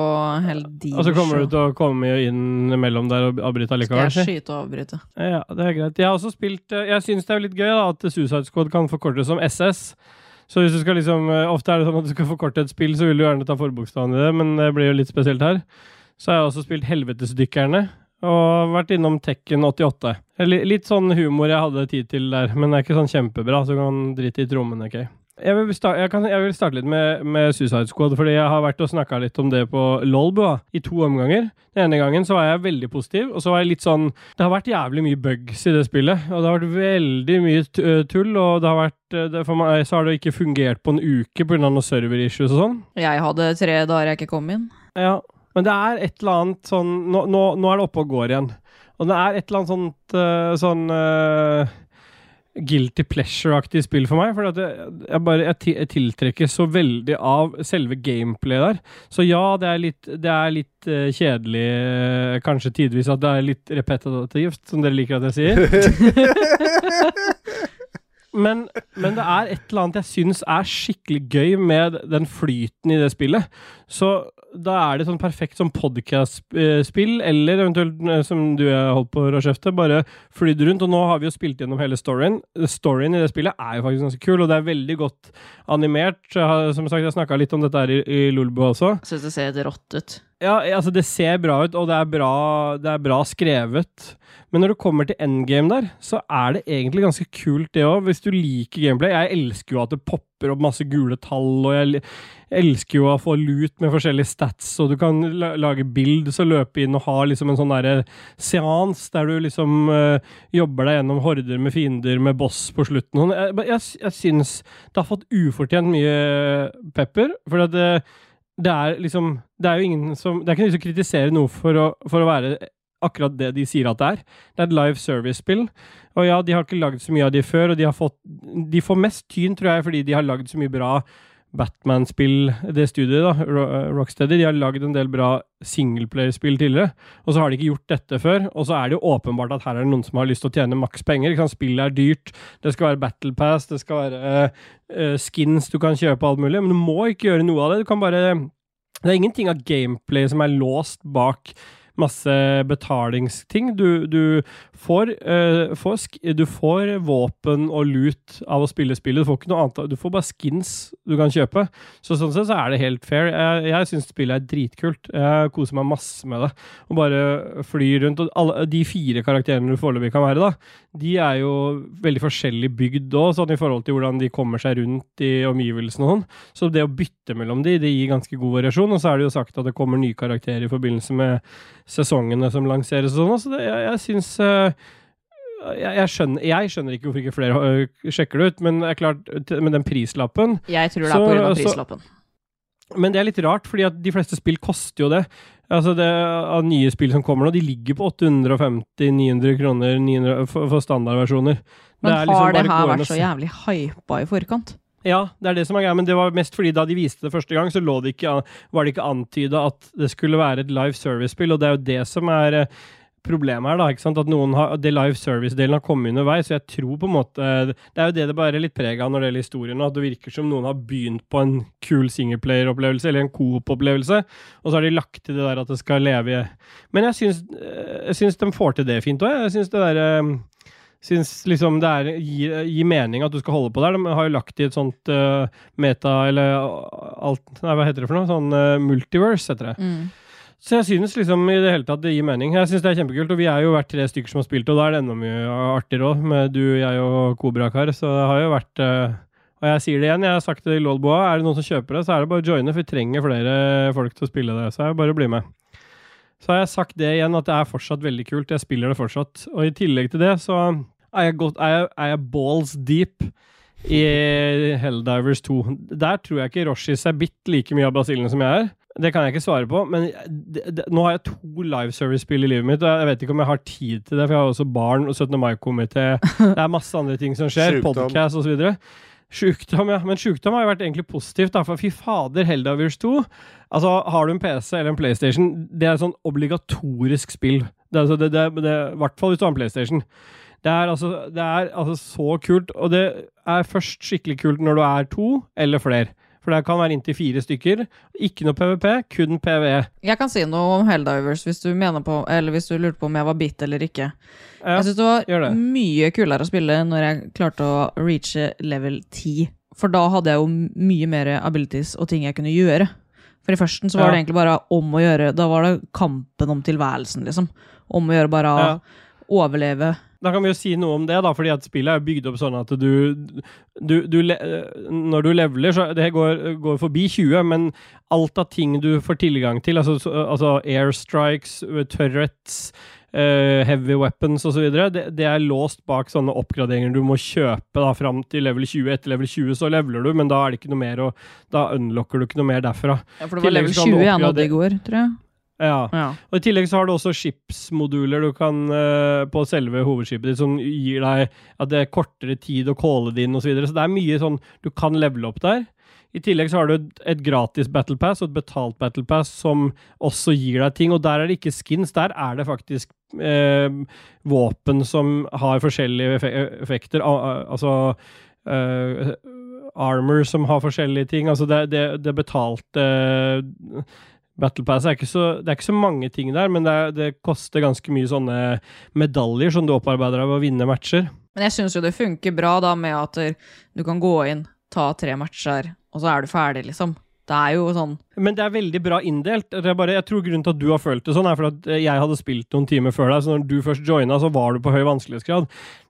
B: hele din
D: Og så
B: show.
D: kommer du til å komme inn mellom der og avbryte
B: Skal
D: allikevel.
B: jeg skyte og avbryte?
D: Ja, det er greit. Jeg har også spilt eh, Jeg syns det er litt gøy da, at Suicide Squad kan forkortes som SS. Så hvis du skal liksom eh, Ofte er det sånn at du skal forkorte et spill, så vil du gjerne ta forbokstaven i det, men det blir jo litt spesielt her. Så har jeg også spilt Helvetesdykkerne, og vært innom Tekken 88. Eller Litt sånn humor jeg hadde tid til der, men det er ikke sånn kjempebra, så kan drite i trommene, OK? Jeg vil, sta- jeg, kan, jeg vil starte litt med, med Suicide Squad, fordi jeg har vært og snakka litt om det på Lolbua i to omganger. Den ene gangen så var jeg veldig positiv, og så var jeg litt sånn Det har vært jævlig mye bugs i det spillet, og det har vært veldig mye t- øh, tull, og det har vært øh, det, For meg så har det ikke fungert på en uke pga. noen server-issues og sånn.
B: Jeg hadde tre dager jeg ikke kom inn.
D: Ja, men det er et eller annet sånn Nå, nå, nå er det oppe og går igjen. Og det er et eller annet sånt eh, sånn eh, guilty pleasure-aktig spill for meg. For at jeg, jeg bare jeg, ti- jeg tiltrekkes så veldig av selve gameplayet der. Så ja, det er litt, det er litt eh, kjedelig, eh, kanskje tidvis, at det er litt repetitivt, som dere liker at jeg sier. Men, men det er et eller annet jeg syns er skikkelig gøy med den flyten i det spillet. Så da er det sånn perfekt som podkast-spill, eller eventuelt eh, som du har holdt på å kjefte, bare flydd rundt. Og nå har vi jo spilt gjennom hele storyen. Storyen i det spillet er jo faktisk ganske kul, og det er veldig godt animert. Jeg har, som sagt, jeg snakka litt om dette her i, i Lolbua også.
B: Jeg Syns det ser helt rått ut.
D: Ja, altså det ser bra ut, og det er bra, det er bra skrevet. Men når du kommer til endgame der, så er det egentlig ganske kult det òg, hvis du liker gameplay. Jeg elsker jo at det popper opp masse gule tall, og jeg li- elsker jo å få lut med forskjellige stats, og du kan la- lage bilds og løpe inn og ha liksom en sånn derre seans der du liksom eh, jobber deg gjennom horder med fiender med boss på slutten. og sånn. Jeg, jeg, jeg syns det har fått ufortjent mye pepper, for at eh, det det er liksom Det er jo ingen som Det er ikke noen som kritiserer noe for å, for å være akkurat det de sier at det er. Det er et live service-spill. Og ja, de har ikke lagd så mye av de før, og de har fått De får mest tyn, tror jeg, fordi de har lagd så mye bra Batman-spill, det studiet, da, Ro- eh, Rocksteady. De har lagd en del bra singleplayer-spill tidligere, og så har de ikke gjort dette før. Og så er det jo åpenbart at her er det noen som har lyst til å tjene maks penger. Ikke sant? Spillet er dyrt, det skal være Battle Pass, det skal være eh, eh, skins du kan kjøpe, alt mulig. Men du må ikke gjøre noe av det. Du kan bare Det er ingenting av gameplay som er låst bak masse betalingsting. Du, du, får, eh, får sk du får våpen og lut av å spille spillet. Du får ikke noe annet. av- Du får bare skins du kan kjøpe. Så sånn sett så er det helt fair. Jeg, jeg syns spillet er dritkult. Jeg koser meg masse med det. Og bare flyr rundt. Og alle de fire karakterene du foreløpig kan være, da, de er jo veldig forskjellig bygd òg, sånn i forhold til hvordan de kommer seg rundt i omgivelsene og sånn. Så det å bytte mellom de, det gir ganske god variasjon. Og så er det jo sagt at det kommer nye karakterer i forbindelse med sesongene som lanseres og sånn. Så det, jeg, jeg syns eh, jeg, jeg, skjønner, jeg skjønner ikke hvorfor ikke flere eh, sjekker det ut, men det er klart, til- med den prislappen
B: Jeg tror det
D: Så-
B: er pga.
D: så-
B: prislappen.
D: men det er litt rart, fordi at de fleste spill koster jo det. Altså det av Nye spill som kommer nå, de ligger på 850-900 kroner 900, for, for standardversjoner.
B: Men
D: er
B: har
D: liksom
B: det
D: bare
B: her
D: gående
B: vært så jævlig hypa i forkant?
D: ja, det er det som er greia, men det var mest fordi da de viste det første gang, så lå det ikke, an- var det ikke antyda at det skulle være et live service-spill, og det er jo det som er eh, problemet her, da. ikke sant? At noen har, at det live service-delen har kommet underveis, så jeg tror på en måte Det er jo det det bare er litt preg av når det gjelder historien, at det virker som noen har begynt på en kul singleplayer-opplevelse, eller en coop-opplevelse, og så har de lagt til det der at det skal leve i Men jeg syns, eh, jeg syns de får til det fint òg, jeg. syns det derre syns liksom det er, gir, gir mening at du skal holde på der. De har jo lagt i et sånt eh, meta, eller eh, alt, nei, hva heter det for noe? Sånn eh, multiverse, heter det.
B: Mm.
D: Så jeg synes liksom i det hele tatt det gir mening. Jeg synes det er kjempekult, og vi er jo vært tre stykker som har spilt, og da er det enda mye artigere òg, med du, jeg og Kobrakar. Så det har jo vært eh, Og jeg sier det igjen, jeg har sagt det i Lolboa, er det noen som kjøper det, så er det bare å joine, for vi trenger flere folk til å spille det. Så jeg bare blir med. Så har jeg sagt det igjen, at det er fortsatt veldig kult. Jeg spiller det fortsatt. Og i tillegg til det, så er jeg, godt, er jeg, er jeg balls deep i Helldivers 2. Der tror jeg ikke Roshis er bitt like mye av basillen som jeg er. Det kan jeg ikke svare på, men det, det, nå har jeg to live service-spill i livet mitt, og jeg vet ikke om jeg har tid til det, for jeg har også barn og 17. mai-komité. Det er masse andre ting som skjer,
A: Sjukdom.
D: podkast osv. Så, videre. Sjukdom, ja. Men sjukdom har jo vært egentlig positivt, da, for fy fader, Helldivers 2. Altså, har du en PC eller en PlayStation, det er et sånn obligatorisk spill. Det er altså, det, det, det, I hvert fall hvis du har en PlayStation. Det er, altså, det er altså så kult, og det er først skikkelig kult når du er to eller flere. For det kan være inntil fire stykker. Ikke noe PVP, kun E. PVE.
B: Jeg kan si noe om Helldivers hvis du, mener på, eller hvis du lurte på om jeg var bitt eller ikke.
D: Ja,
B: Jeg syns det var
D: gjør det.
B: mye kulere å spille når jeg klarte å reache level 10. For da hadde jeg jo mye mer abilities og ting jeg kunne gjøre. For i førsten så var
D: Ja.
B: det egentlig bare om å gjøre Da var det kampen om tilværelsen, liksom. Om å gjøre bare å
D: Ja.
B: overleve.
D: Da kan vi jo si noe om det, da, fordi at spillet er jo bygd opp sånn at du, du, du le- eh, Når du leveler, så det går, går forbi 20, men alt av ting du får tilgang til, altså, så- altså airstrikes, eh, turrets, eh, heavy weapons osv., det, det er låst bak sånne oppgraderinger du må kjøpe da, fram til level 20. Etter level 20 så leveler du, men da er det ikke noe mer, og da unlocker du ikke noe mer derfra.
B: Ja, for det
D: Tillegg
B: var level
D: skal du
B: 20 jeg nådde
D: oppgradere-
B: i går, tror jeg.
D: Ja.
B: Ja.
D: Og I tillegg så har du også skipsmoduler du kan eh, på selve hovedskipet ditt, som gir deg at det er kortere tid å calle det inn osv. Så, videre. så det er mye sånn du kan levele opp der. I tillegg så har du et- et gratis battle pass og et betalt battle pass som også gir deg ting, og der er det ikke skins, der er det faktisk eh, våpen som har forskjellige effe- effekter, al- altså eh, armor som har forskjellige ting, altså det, det, det betalte Battle Pass er ikke så, det er ikke så mange ting der, men det, er, det koster ganske mye sånne medaljer som du opparbeider av å vinne matcher.
B: Men jeg syns jo det funker bra da med at du kan gå inn, ta tre matcher, og så er du ferdig, liksom. Det er jo sånn
D: Men det er veldig bra inndelt. Det er bare, jeg tror grunnen til at du har følt det sånn, er for at eh, jeg hadde spilt noen timer før deg, så når du først joina, så var du på høy vanskelighetsgrad.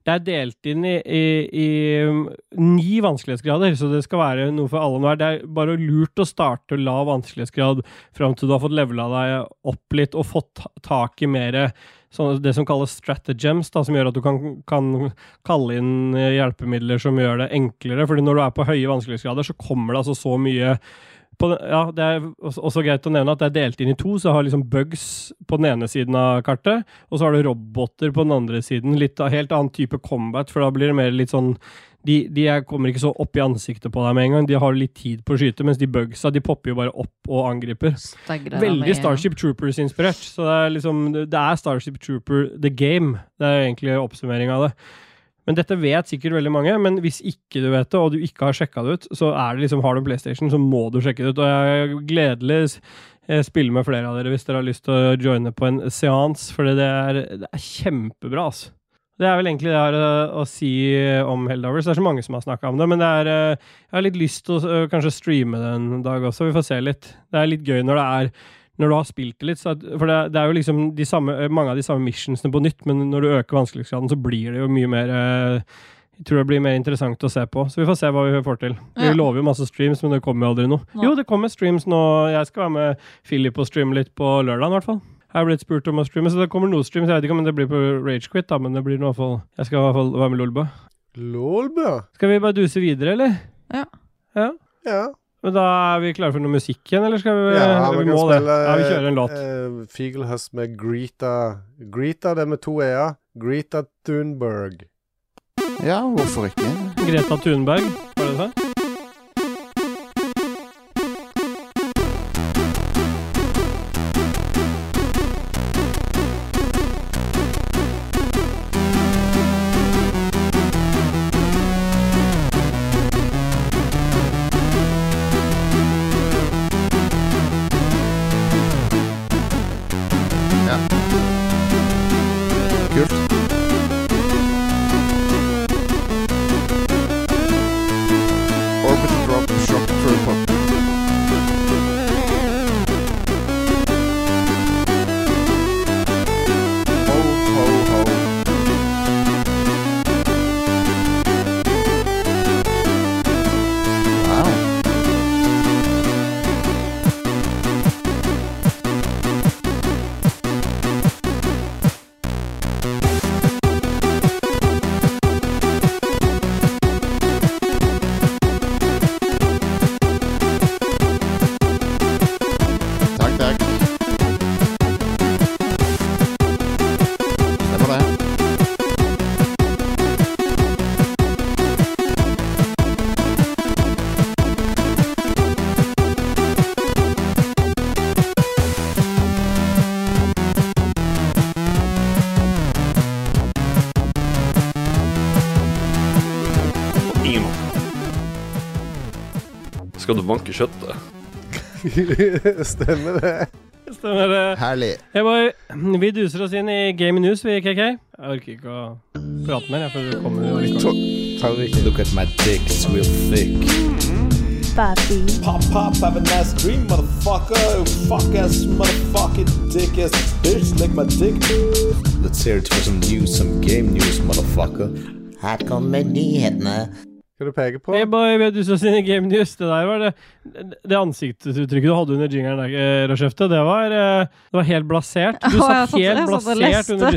D: Det er delt inn i, i, i um, ni vanskelighetsgrader, så det skal være noe for alle og enhver. Det er bare lurt å starte lav vanskelighetsgrad fram til du har fått levela deg opp litt og fått ta- tak i mer det som kalles stratagems, da, som gjør at du kan, kan kalle inn eh, hjelpemidler som gjør det enklere. fordi når du er på høye vanskelighetsgrader, så kommer det altså så mye på, den- ja, det er også også greit å nevne at det er delt inn i to, så jeg har liksom bugs på den ene siden av kartet, og så har du roboter på den andre siden. Litt av helt annen type combat, for da blir det mer litt sånn de, de er- kommer ikke så opp i ansiktet på deg med en gang. De har litt tid på å skyte, mens de bugsa de popper jo bare opp og angriper.
B: stagre deg med en
D: Veldig
B: gang.
D: Starship Troopers-inspirert. Så det er liksom Det er Starship Trooper the game. Det er egentlig oppsummering av det. Men dette vet sikkert veldig mange, men hvis ikke du vet det, og du ikke har sjekka det ut, så er det liksom, har du en PlayStation, så må du sjekke det ut. Og jeg gledelig s- eh, spiller med flere av dere hvis dere har lyst til å joine på en seans, for det er, det er kjempebra, altså. Det er vel egentlig det jeg har eh, å si om Helldivers. Det er så mange som har snakka om det, men det er, eh, jeg har litt lyst til å eh, kanskje streame det en dag også. Vi får se litt. Det er litt gøy når det er når du har spilt det litt. Så at, for det, det er jo liksom de samme, mange av de samme missionsene på nytt, men når du øker vanskelighetsgraden, så blir det jo mye mer eh, Jeg tror det blir mer interessant å se på. Så vi får se hva vi får til. Vi
B: Ja.
D: lover jo masse streams, men det kommer jo aldri noe.
B: Nei.
D: Jo, det kommer streams nå. Jeg skal være med Philip og streame litt på lørdag, i hvert fall. Jeg har blitt spurt om å streame, så det kommer noe streams. Jeg vet ikke om det blir på Ragequit, da, men det blir i hvert fall Jeg skal i hvert fall være med Lolba.
A: Lolbø?
D: Skal vi bare duse videre, eller?
B: Ja.
D: ja.
A: Ja.
D: Men da er vi klare for noe musikk igjen, eller skal vi Eh, Vi må det. Ja, vi kjører en låt.
A: eh, Figelhøst med Greta Greta, det er med to e-er. Greta Thunberg.
E: Ja, hvorfor ikke?
D: Greta Thunberg, var det det?
F: skal du vanke kjøttet.
A: Stemmer det.
D: Stemmer det.
E: Herlig.
D: Jeg bare, vi duser oss inn i Game News, vi, KK. Jeg orker ikke å prate mer. Jeg får komme med det.
A: Ta- Tar vi ikke.
E: Look at my dicks real thick.
C: Pop, pop, have a nice dream, motherfucker. Fuck ass, motherfucking dick ass bitch, lick my dick.
E: Let's hear it for some news, some game news, motherfucker.
I: Her kommer nyhetene.
A: Skal du peke på?
D: Hey boy, vi duser oss inn i Game News. Det der var det, det ansiktsuttrykket du hadde under jingeren der, eh, Rashefte, det var, eh, det var helt blasert. Du
B: Å, jeg
D: satt
B: satt-
D: helt
B: jeg satt og
D: blasert under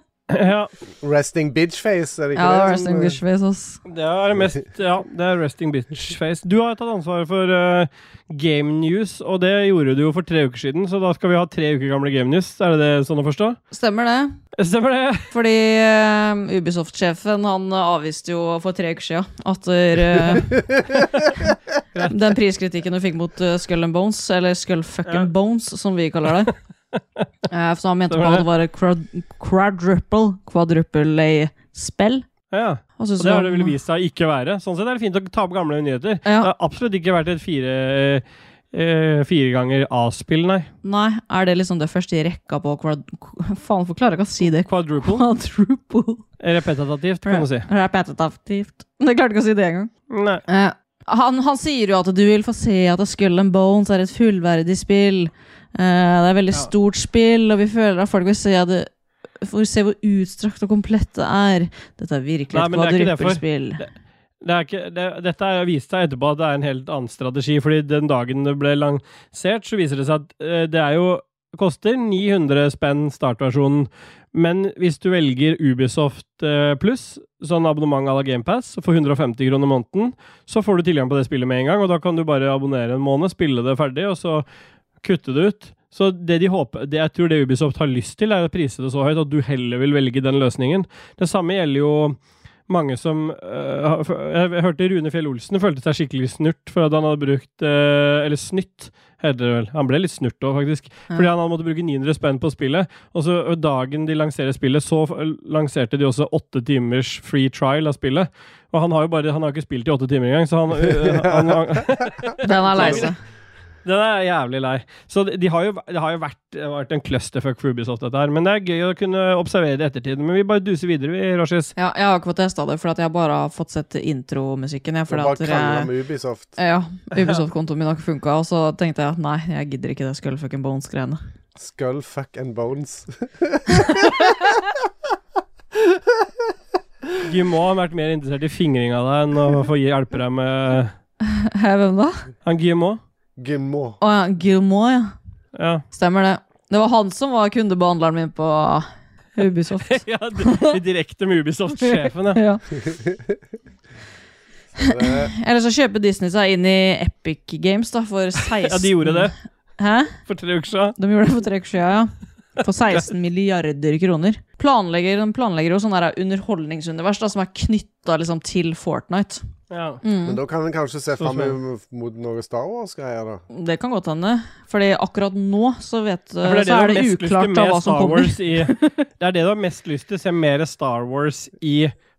B: [laughs]
D: Ja,
A: Resting bitchface, er det eh, ikke
B: Ja,
D: sånn,
A: det?
B: resting
D: eh,
B: bitch face, ass.
D: det er mest Ja, det er resting bitch face. Du har tatt ansvaret for eh, Game News, og det gjorde du jo for tre uker siden, så da skal vi ha tre uker gamle Game News. Er det det sånn å forstå? [laughs]
B: Stemmer det.
D: Stemmer det?
B: Fordi eh, Ubisoft-sjefen han eh, avviste jo for tre uker siden at
D: [laughs]
B: eh, den priskritikken du fikk mot eh, Skull and Bones, eller Skull
D: Ja.
B: Fucking Bones, som vi kaller
D: [laughs]
B: det. Eh, for han mente
D: Stemmer
B: på at
D: det.
B: det var et quad quadruple, quadruple A-spill.
D: Ja.
B: Og synes
D: Og det har
B: han-
D: det vel vist seg ikke å være. Sånn sett er det fint å ta opp gamle nyheter.
B: Ja.
D: Det har absolutt ikke vært et fire, eh, fire ganger A-spill, nei.
B: Nei, er det liksom det første i rekka på quad... [laughs] Faen, hvorfor klarer jeg ikke å si det? [laughs]
D: Quadruple.
B: Quadruple.
D: Repetitivt, kan du si.
B: Repetitivt. Jeg klarte ikke å si det engang.
D: Nei.
B: Eh, han, han sier jo at du vil få se at Skull and Bones er et fullverdig spill. Eh, det er et veldig
D: Ja.
B: stort spill, og vi føler at folk vil se at det Får se hvor utstrakt og komplett det er. Dette er virkelig
D: Nei,
B: et
D: men det er ikke det for-
B: kvadruppelspill.
D: Det er ikke, det, dette er- viste seg etterpå at det er en helt annen strategi, fordi den dagen det ble lansert, så viser det seg at eh, det er jo koster 900 spenn startversjonen, men hvis du velger Ubisoft eh, pluss, sånn abonnement à la GamePass, for 150 kroner måneden, så får du tilgang på det spillet med en gang, og da kan du bare abonnere en måned, spille det ferdig, og så kutte det ut. Så det de håper, det jeg tror det Ubisoft har lyst til, er å prise det så høyt at du heller vil velge den løsningen. Det samme gjelder jo mange som øh, har- Jeg hørte Rune Fjell Olsen følte seg skikkelig snurt for at han hadde brukt øh, Eller snytt, heter det vel. Han ble litt snurt òg, faktisk. [laughs] Fordi han hadde måttet bruke 900 spenn på spillet. Og så øh, dagen de lanserer spillet, så f- lanserte de også åtte timers free trial av spillet. Og han har jo bare Han har ikke spilt i åtte timer engang, så han, øh, han, han [laughs]
B: Den er lei seg.
D: den er jeg jævlig lei. Så de, de har jo, det har jo vært, det har vært en clusterfuck for Ubisoft, dette her. Men det er gøy å kunne observere det i ettertid. Men vi bare duser videre, vi, Rashis.
B: Ja, jeg har ikke fått testa det, for at jeg bare har fått sett intromusikken. Jeg,
A: Du
B: fordi
A: bare
B: at jeg-
A: krangler med Ubisoft.
B: ja,
D: [laughs]
B: Ubisoft-kontoen min har ikke funka, og så tenkte jeg at nei, jeg gidder ikke det Skull fucking Bones-greiene. [laughs]
A: Skull, fuck and
D: [laughs]
A: bones.
D: Du må ha vært mer interessert i fingringa av deg enn å få hjelpe deg med
B: Hæ, Hvem da?
D: Han Guillemot.
B: [laughs]
A: Gimmo.
B: Å ja, Gilmore, ja.
D: Ja.
B: Stemmer det. Det var han som var kundebehandleren min på Ubisoft.
D: [laughs] ja, d- direkte med Ubisoft-sjefen, [laughs]
B: ja.
D: ja.
A: Det-
B: Eller så kjøper Disney seg inn i Epic Games da, for 16
D: [laughs] Ja, de gjorde det
B: Hæ?
D: for tre uker siden.
B: De gjorde det for tre uker siden, ja. For 16 milliarder kroner. Planlegger, de planlegger jo sånn der underholdningsunivers da, som er knytta liksom, til Fortnite. Mm.
D: Ja.
A: Men da kan vi kanskje se fram
D: smart.
A: mot noe Star Wars-greier, da.
B: Det kan godt hende. Fordi akkurat nå så, vet,
D: Ja, for det er det
B: så
D: du
B: er
D: har
B: det
D: mest lyst til
B: uklart da,
D: med
B: hva som
D: Star
B: kommer. [laughs]
D: Wars i Det er det du har mest lyst til, se mer Star Wars i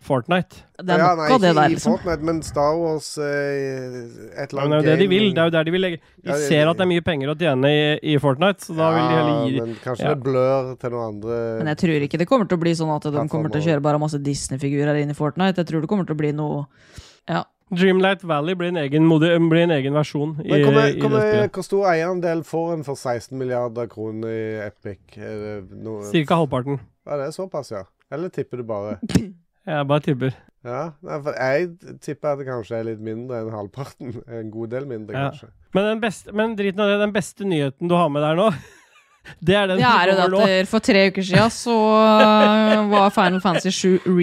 D: Fortnite.
B: Det er nok av det
A: ikke
B: der,
A: i
B: liksom.
A: Fortnite, men Star Wars eh, Et eller
D: Men det
A: annet
D: er jo det de
A: game.
D: vil. Det er jo der de vil legge
A: Ja,
D: De
A: det-
D: ser at det er mye penger å tjene i, i Fortnite, så da vil de heller gi
A: Ja, men kanskje
D: ja.
A: det blør til noen andre
B: Men jeg tror ikke det kommer til å bli sånn at de
A: Plattformer.
B: kommer til å kjøre bare masse Disney-figurer inn i Fortnite. Jeg tror det kommer til å bli noe Ja.
D: Dreamlight Valley blir en egen, modi, blir en egen versjon i,
A: Men kommer,
D: i det
A: kommer,
D: spillet.
A: Hvor stor eierandel får en for 16 milliarder kroner i Epic? Er det noe
D: Cirka halvparten.
A: Ja, det er såpass, ja. Eller tipper du
D: [laughs]
A: bare?
D: Jeg bare tipper.
A: Ja, nei, for Jeg tipper at det kanskje er litt mindre enn halvparten. [laughs] En god del mindre,
D: Ja.
A: kanskje.
D: Men, den beste, men driten av det, den beste nyheten du har med der nå, [laughs] det er den
B: Det er jo det
D: som kommer nå.
B: at der for tre uker siden så øh, var Final Fantasy 7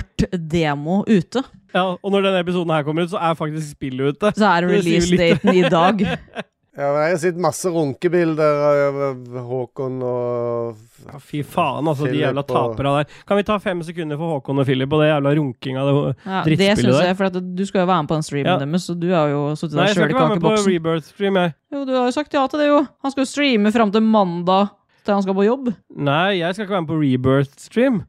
B: Rebirth-demo ute.
D: Ja, og når denne episoden her kommer ut, så er faktisk spillet ute.
B: Så er
D: Det sier jo
B: release-daten i
D: [laughs]
B: dag.
A: Ja, men Jeg har sett masse runkebilder av av Håkon og
D: Ja, fy faen, altså, de
A: Philip
D: jævla
A: og-
D: tapere der. Kan vi ta fem sekunder for Håkon og Philip og det jævla runkinga? Det...
B: Ja, det
D: Drittspillet
B: syns
D: der.
B: jeg, for at du skal jo være med på den streamen
D: Ja.
B: deres, så du har jo sittet
D: Nei,
B: der
D: jeg skal
B: sjøl i
D: ikke være med på
B: kakeboksen.
D: Rebirth-stream, jeg.
B: Jo, du har jo sagt ja til det, jo. Han skal jo streame fram til mandag til han skal på jobb.
D: Nei, jeg skal ikke være med på Rebirth-stream.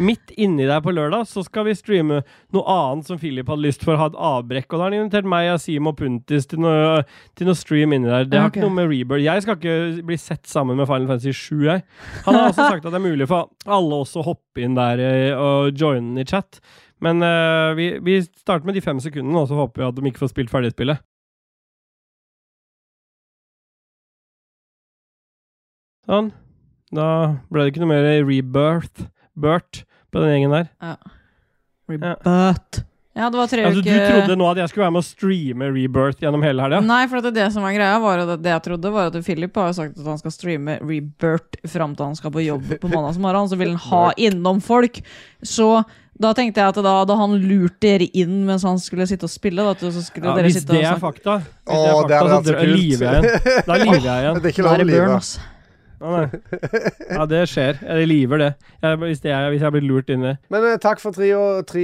D: Midt inni der på lørdag så skal vi streame noe annet som Philip hadde lyst for å ha et avbrekk. Og da har han invitert meg, Asim og Puntis til noe, til noe stream inni der. Det har
B: Ok.
D: ikke noe med Rebirth Jeg skal ikke bli sett sammen med Final Fantasy 7, jeg. Han har også sagt at det er mulig for alle oss å hoppe inn der eh, og joine den i chat. Men eh, vi, vi starter med de fem sekundene, og så håper vi at de ikke får spilt ferdig spillet. Sånn. Da ble det ikke noe mer rebirth Bert på den gjengen der.
B: But. Ja, det var tre
D: Altså, du
B: uker
D: trodde nå at jeg skulle være med å streame Rebirth gjennom hele helga?
B: Nei, for at det, det som var greia, var at det jeg trodde, var at Philip har jo sagt at han skal streame Rebirth fram til han skal på jobb på mandagsmorgen. Så vil han ha innom folk. Så da tenkte jeg at da hadde han lurt dere inn mens han skulle sitte og spille. Da, at så skulle
D: Ja,
B: dere
D: hvis
B: sitte
D: det
B: og
D: er
B: snakke.
D: fakta, hvis
A: Åh,
D: det
A: det altså
D: er
A: hadde vært så
D: fakta så dr- lyver jeg igjen.
A: [laughs]
D: Da lyver jeg igjen.
A: Det er ikke
B: Da
A: lov
B: er
A: å
B: det burn,
A: lyve.
B: ass.
D: Ja, nei. ja, det skjer. Jeg lyver, det. Jeg, hvis, det er, hvis jeg blir lurt inn i det.
A: Men eh, takk for tre, og, tre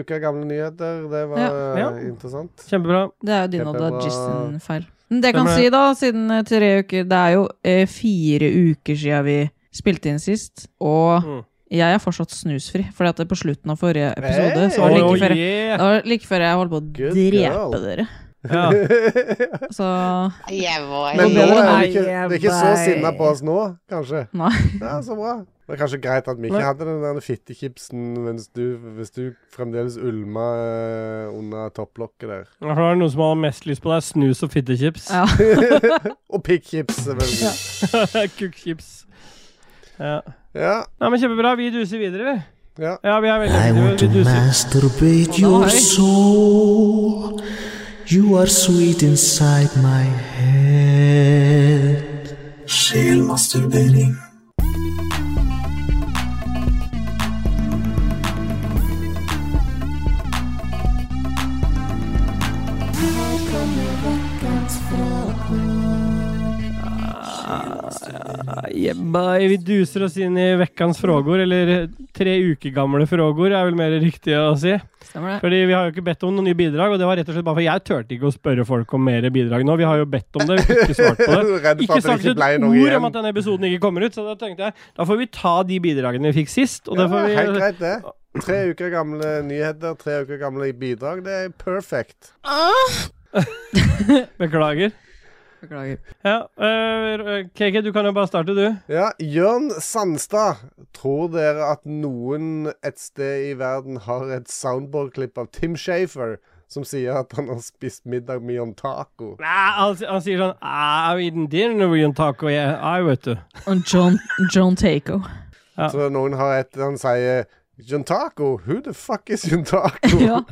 A: uker gamle nyheter. Det var
B: Ja.
A: eh,
D: Ja.
A: interessant.
D: [laughs] Kjempebra.
B: Det er jo din og
A: Pepe var-
B: Dajis-feil. Men det jeg kan
D: Stemmer det.
B: si, da, siden eh, tre uker Det er jo eh, fire uker siden vi spilte inn sist, og
D: Mm.
B: jeg er fortsatt snusfri. Fordi at det på slutten av forrige episode så var det
D: Oh,
B: like før, det
D: yeah.
B: var like før jeg holdt på å
A: Good
B: drepe
A: girl.
B: dere.
D: ja.
B: Så
I: Jeg var
A: Men nå er
B: bedre enn
A: det ikke, det
B: meg.
A: er ikke så sinna på oss nå, kanskje.
B: Nei.
A: Ja, så bra. Det er kanskje greit at vi ikke
D: Nei.
A: hadde den der fittekipsen mens du, hvis du fremdeles ulma eh, under topplokket der.
D: Ja, for det er noen som har mest lyst på deg. Snus og fittechips. [laughs]
B: Ja.
A: Og pikkchips, selvfølgelig.
D: Kukkchips. Ja.
A: Ja.
D: Nei, men kjempebra. Vi duser videre, vi.
A: Ja.
D: Ja, vi er veldig
I: I want to
D: vi duser.
I: masturbate
B: da
I: your
B: har jeg-
I: soul. You are sweet inside my head. Sjelmasturbering.
D: Yeah, bye. vi duser oss inn i vekkans frågor, eller tre uker gamle frågor, er vel mer riktig å si.
B: stemmer det.
D: Fordi vi har jo ikke bedt om noen nye bidrag, og det var rett og slett bare for jeg turte ikke å spørre folk om mer bidrag nå. Vi har jo bedt om det, vi har ikke svart på
A: [laughs] Du
D: det.
A: er Redd for
D: Ikke
A: at det
D: sagt
A: ikke
D: et
A: ble noe
D: ord
A: igjen.
D: om at denne episoden ikke kommer ut, så da tenkte jeg da får vi ta de bidragene vi fikk sist. Og
A: Ja,
D: da får
A: Helt
D: vi
A: greit, det. Tre uker gamle nyheter, tre uker gamle bidrag. Det er perfect.
D: Beklager.
B: Beklager.
D: Ja, øh, KK, du kan jo bare starte, du.
A: Ja, Jørn Sandstad. Tror dere at noen et sted i verden har et soundboard-klipp av Tim Shafer som sier at han har spist middag med John Taco?
D: Nei, han, s- han sier sånn I'm eating dinner with you taco, yeah. I, vet du.
B: Og John, John
D: [laughs]
B: Taco.
A: Så noen har et Han sier John Taco? Who the fuck is John Taco?
B: ja.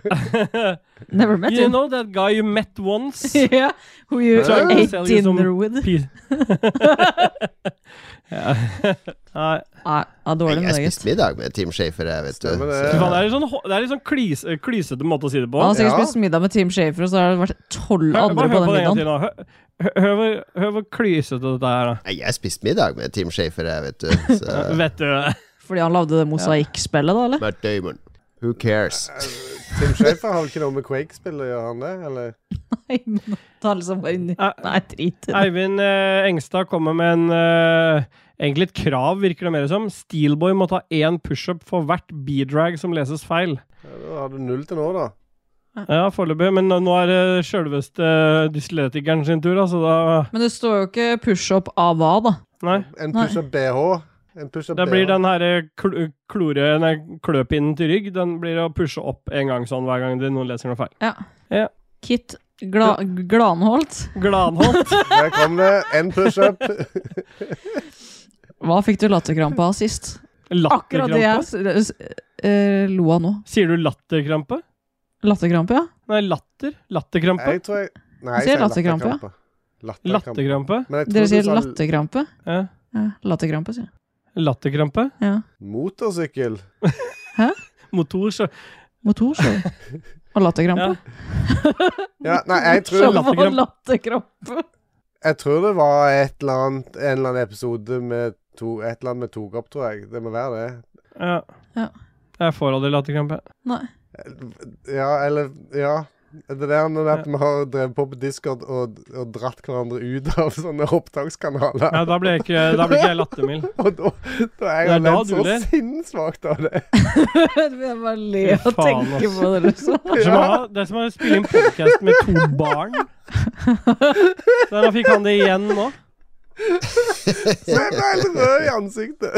B: Never met
D: You
B: him.
D: know that guy you met
B: [laughs]
D: once?
B: yeah. Who you
D: Trying to
B: ate
D: sell you some
B: dinner with?
D: Pi- ja. Nei.
B: Nei, ja, dårlig med
J: Jeg
B: det, gutt.
J: spiste middag med Tim Schafer, jeg, vet
A: Stemmer
J: du.
A: det.
D: Fy faen, Det er litt sånn, ho- det er litt sånn klys, klysete måte å si det på.
B: Han har sikkert
A: Ja.
B: spist middag med Team Shafer, og så har det vært tolv
D: Hør-
B: andre
D: bare
B: på
D: hør
B: den
D: det en
B: middagen.
D: gang til nå. Hør- hør- Hør hvor- hør hvor klysete dette er, da.
J: Nei, Jeg spiste middag med Tim Schafer, jeg, vet du. Så,
D: Vet du
B: Fordi han lagde det mosaikkspillet, da, eller?
J: Matt Damon. Who cares?
A: Eh, Tim Shafer har vel ikke noe med Quake-spill å gjøre, han det? Eller?
B: [laughs] Nei, men ta liksom bare inn i
D: Ja.
B: Nei, drit i det.
D: Eivind eh, Engstad kommer med en eh, Egentlig et krav, virker det mer som. Steelboy må ta én pushup for hvert b-drag som leses feil.
A: Ja, da har du null til nå, da.
D: Ja, foreløpig. Men nå, nå er det sjølveste eh, dyslektikeren sin tur, altså. Da
B: Men det står jo ikke push-up av hva, da.
D: Nei.
A: En
B: Nei.
A: push-up BH. En push-up
D: Det
A: BH.
D: blir den herre kl eh, klore, nei, kløpinnen til rygg. Den blir å pushe opp en gang sånn hver gang det- noen leser noe feil.
B: Kit Gla Glanholt.
D: Glanholt.
A: Der kom det. En
D: [laughs]
A: pushup.
B: Hva fikk du latterkrampe av sist? Akkurat det jeg
D: Latterkrampe.
B: s- s- eh, lo av nå.
D: Sier du latterkrampe?
B: Latterkrampe, ja.
D: Nei, latter. Latterkrampe.
A: Jeg tror jeg Nei,
B: Han
A: jeg
B: sier
A: sier
B: latterkrampe, ja.
A: latterkrampe. Latterkrampe.
D: Latterkrampe.
A: Men jeg tror
B: Dere
A: du
B: sier
A: sa
B: latterkrampe.
D: Ja.
B: Ja, latterkrampe, sier jeg.
D: Latterkrampe.
B: Ja.
A: Motorsykkel.
D: Motor, så
B: Motor, så.
D: [laughs]
B: Og
D: ja.
B: latterkrampe.
A: Ja, nei, jeg
B: Så
A: tror,
D: Latterkrampe.
B: var latterkrampe. [laughs]
A: jeg tror det var et eller annet, en eller annen episode med to, et eller annet vi tok opp, tror jeg. Det må være det.
D: Ja.
B: Ja.
D: Jeg får aldri latterkrampe.
B: Nei.
A: Ja, eller Ja. Det der når det er at vi har drevet på på Discord og, og dratt hverandre ut av sånne opptakskanaler.
D: Ja, da ble jeg ikke- da ble ikke jeg
B: [laughs]
D: lattermild.
A: og da, da er jeg
D: Det er
A: jo
D: da
A: ledd
D: du
A: så
D: ler.
A: sinnssvakt av det.
B: Jeg bare ler og
D: Fy faen,
B: tenker
D: ass.
B: på det. Liksom.
D: Det er som å ha- det er som å spille inn podkast med to barn. Så Da fikk han det igjen nå.
A: Så jeg ble helt rød i ansiktet.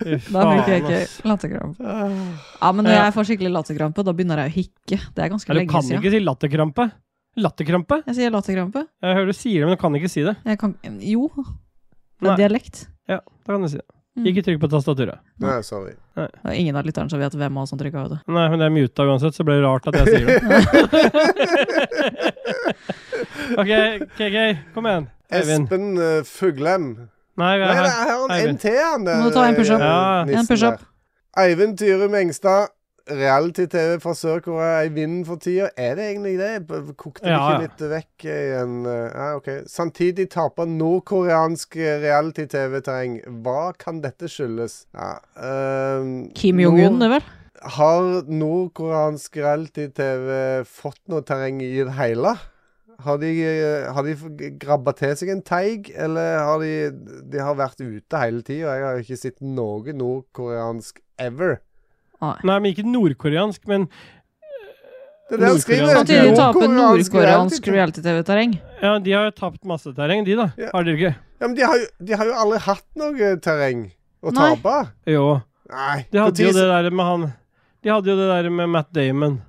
D: Fy
B: Da fikk jeg
D: faen, altså. ass.
B: ikke
D: Ah.
B: latterkrampe. Ja, men når
D: Ja.
B: jeg får skikkelig latterkrampe, da begynner jeg å hikke. Det er
D: Ja,
B: ganske
D: du
B: lenge
D: kan
B: siden.
D: ikke si latterkrampe. Latterkrampe?
B: Jeg sier latterkrampe.
D: Jeg hører du sier det, men du kan ikke si det.
B: Jeg kan Jo, det
D: Nei.
B: er dialekt.
D: Ja, da kan du si det.
B: Mm.
D: Ikke trykk på tastaturet.
A: Nei, sorry.
B: Det er ingen av lytterne som vet hvem av oss som trykka hodet.
D: Nei, men det er muta uansett, så blir det rart at jeg sier
B: [laughs]
D: det. ok, KK, kom igjen. Øyvind.
A: Espen uh, Fuglem.
D: Nei, vi
A: Nei,
D: er
A: det
D: her.
A: er han en
D: Eivind.
A: til, han der.
B: Må ta en push-up.
A: eh,
D: Ja.
A: nissen
B: En push-up.
A: der. Eivind Tyrum Engstad. Reality-TV fra Sør-Korea er i vinden for tida. Er det egentlig det? B- Kokte det
D: Ja, ja.
A: ikke litt vekk igjen? Eh, Ja, ok. Samtidig taper nordkoreansk eh, reality-TV-terreng. Hva kan dette skyldes? Ja, ehm,
B: Kim Jong-un, det, vel?
A: nord- Har nordkoreansk reality-TV fått noe terreng i det hele? Har de, eh, har de f- grabba til seg en teig, eller har de De har vært ute hele tida. Jeg har ikke sett noe nordkoreansk ever.
D: Nei, men ikke nordkoreansk, men
A: Det er det han skriver.
D: Nordkoreansk.
B: Samtidig taper
A: Nordkoreansk
B: nordkoreansk
A: reality.
B: reality-tv-terreng.
D: ja, de har jo tapt masse terreng, de da.
A: Ja.
D: Har dere ikke?
A: Ja, men de har, jo, de har jo aldri hatt noe terreng å
B: Nei.
A: tape.
D: Jo.
A: Nei.
D: De
A: på
D: hadde jo
A: tis-
D: det der med han De hadde jo det der med Matt Damon.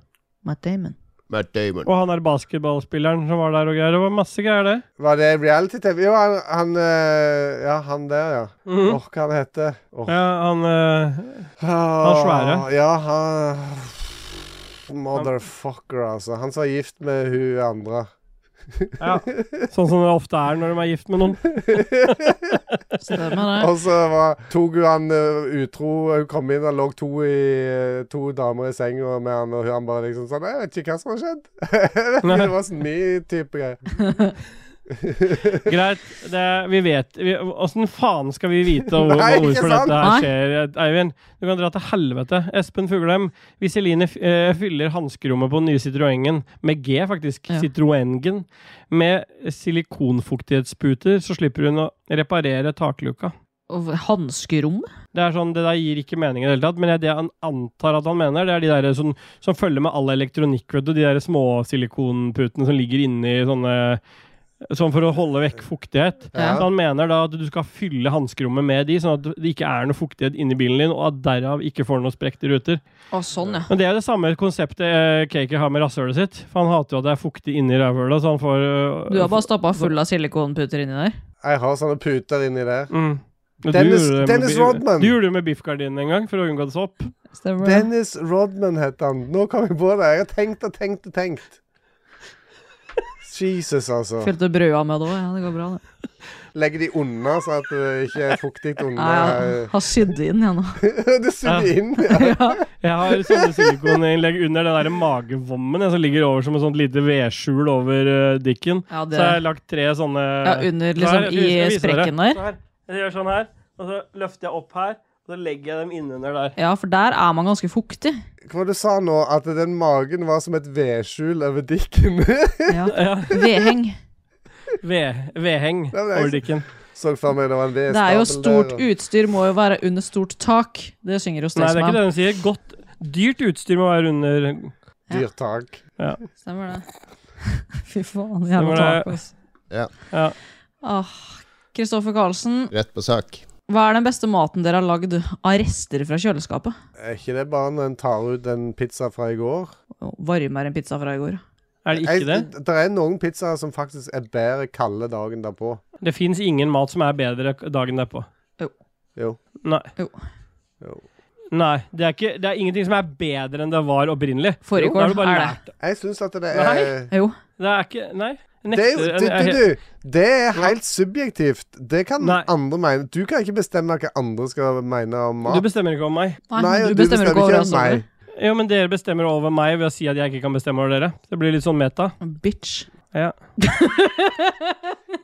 B: Matt Damon.
J: Matt Damon.
D: Og han der basketballspilleren som var der og greier. Det var masse greier, det.
A: Var det reality-TV? Jo, han, han eh, Ja, han der, ja. Åh,
D: Mhm.
A: hva han heter Åh.
D: Ja, han eh,
A: Ah,
D: svære.
A: Ja, han Motherfucker, altså. Han som var gift med hun andre.
D: Ja. Sånn som det ofte er når de er gift med noen.
B: Stemmer det.
A: Og så var- tok hun han eh, utro. Hun kom inn, og lå to, i, to damer i senga med han, og han bare liksom sånn Jeg vet ikke hva som har skjedd. [laughs] Jeg vet ikke, det var sånn ny type greier.
D: Greit, det, vi vet vi- Åssen faen skal vi vite hvor,
A: Nei, ikke
D: hvorfor
A: sant?
D: dette
B: Nei.
D: her skjer, Eivind? Du kan dra til helvete. Espen Fuglheim, Viseline uh, fyller hanskerommet på den nye Citroengen, med G faktisk,
B: Ja.
D: Citroengen, med silikonfuktighetsputer, så slipper hun å reparere takluka.
B: Og Hanskerom?
D: Det er sånn, det der gir ikke mening i det hele tatt, men jeg- det han antar at han mener, det er de der som, som følger med all elektronikk, vet du, de der små silikonputene som ligger inni sånne Sånn for å holde vekk fuktighet.
A: Ja.
D: Så han mener da at du skal fylle hanskerommet med de, sånn at det ikke er noe fuktighet inni bilen din, og at derav ikke får noe sprekt i ruter.
B: Å, sånn, ja.
D: Men det er det samme konseptet eh, Cakey har med rasshølet sitt. For han hater jo at det er fuktig inni rævhølet, så han får eh,
B: Du har bare stappa full av silikonputer inni der.
A: Jeg har sånne puter inni der.
D: mm. Men du
A: Dennis-
D: gjorde det med
A: Dennis
D: bi-
A: Rodman.
D: Du gjorde det med biffgardinen en gang, for å unngå sopp.
B: Stemmer det.
A: Dennis Rodman het han. Nå kom jeg på det. Jeg har tenkt og tenkt og tenkt. Jesus, altså.
B: Fylte brøda med det òg, ja. Det går bra, det.
A: Legger de unna, så at det ikke er fuktig
B: Nei, jeg
A: under.
B: har sydd inn, jeg nå.
A: [laughs] det sugde inn. Ja.
D: Jeg har sånne silikoninnlegg under den der magevommen jeg, som ligger over som et sånt lite vedskjul over eh, dikken.
B: Ja,
D: Så har jeg
B: det,
D: lagt tre sånne
B: ja, under,
D: Så her,
B: liksom,
D: jeg skal
B: i
D: vise dere.
B: sprekken der.
D: Så her. Jeg gjør sånn her, og så løfter jeg opp her, og så legger jeg dem innunder der.
B: Ja, for der er man ganske fuktig.
A: Hva var det du sa nå? At den magen var som et vedskjul over dikken?
B: [laughs]
A: [laughs]
B: Ja.
D: Ja,
B: Vedheng.
D: ved, Vedheng
A: men det er-
D: over dikken.
A: så for meg det var en vedstabel
B: Det er jo stort
A: der, og-
B: utstyr, må jo være under stort tak. Det synger jo
D: Nei, det er ikke
B: Staysman.
D: det de sier. Godt, dyrt utstyr må være under
B: Ja.
A: Dyrt tak.
B: Stemmer det. [laughs] Fy faen, jævla
D: Stemmer det.
B: tak, ass.
J: Ja.
D: Ja.
B: Åh, Kristoffer Karlsen,
J: Rett på sak.
B: hva er den beste maten dere har lagd av rester fra kjøleskapet?
A: Er ikke det bare når en tar ut en pizza fra i går?
B: Å, Varmere enn pizza fra i går.
D: Er det ikke det?
A: Jeg, det er noen pizzaer som faktisk er bedre kalde dagen derpå.
D: Det fins ingen mat som er bedre dagen derpå.
A: Jo.
D: Nei.
B: Jo.
A: Jo.
D: Nei, det er, ikke, det er ingenting som er bedre enn det var opprinnelig.
B: Foregården
D: Da har du bare
B: er det.
D: lært
A: Jeg syns at det er
D: Nei.
B: Jo.
D: Det er ikke Nei.
A: Det er, jo,
D: Nekter-
A: du,
D: jeg-
A: du, du, det er helt subjektivt. Det kan
D: Nei.
A: andre mene. Du kan ikke bestemme hva andre skal mene om
D: du
A: mat.
D: bestemmer ikke over meg.
B: Nei, du bestemmer ikke over oss.
A: meg.
B: Oliver.
D: Jo, men dere bestemmer over meg ved å si at jeg ikke kan bestemme over dere. Det blir litt sånn meta.
B: Bitch.
D: Ja.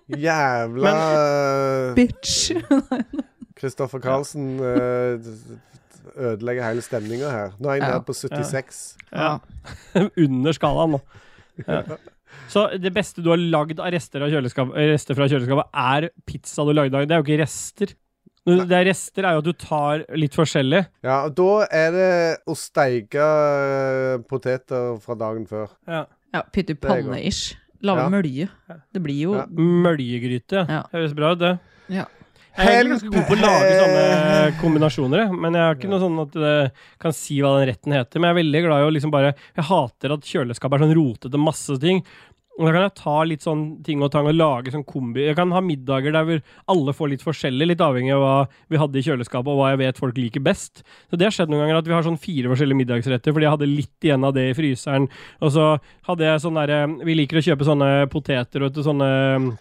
A: Jævla
B: Bitch.
A: Kristoffer Karlsen eh, d- d- ødelegger hele stemninga her. Nå er jeg
B: Ja.
A: nede på 76.
D: ja. [laughs] Under skalaen nå. Så det beste du har lagd av rester, av kjøleskap, rester fra kjøleskapet, er pizza du lagde av Det er jo ikke rester. Når Det er rester er jo at du tar litt forskjellig.
A: Ja, og da er det å steike eh, poteter fra dagen før.
B: Ja, Pytte i
A: Det er godt.
B: panne-ish. Lage
A: Ja.
B: mølje. Det blir jo
A: Ja.
D: Møljegryte.
B: Ja.
D: Det høres bra ut, det.
B: Ja.
D: Jeg er egentlig ganske god på å lage sånne eh, kombinasjoner, jeg, men jeg har ikke noe sånn at det kan si hva den retten heter. Men jeg er veldig glad i å liksom bare Jeg hater at kjøleskapet er sånn rotete, masse ting. Og da kan jeg ta litt sånn ting og tang og lage sånn kombi. Jeg kan ha middager der hvor alle får litt forskjellig, litt avhengig av hva vi hadde i kjøleskapet, og hva jeg vet folk liker best. Så det har skjedd noen ganger at vi har sånn fire forskjellige middagsretter, fordi jeg hadde litt igjen av det i fryseren. Og så hadde jeg sånn derre Vi liker å kjøpe sånne poteter og sånne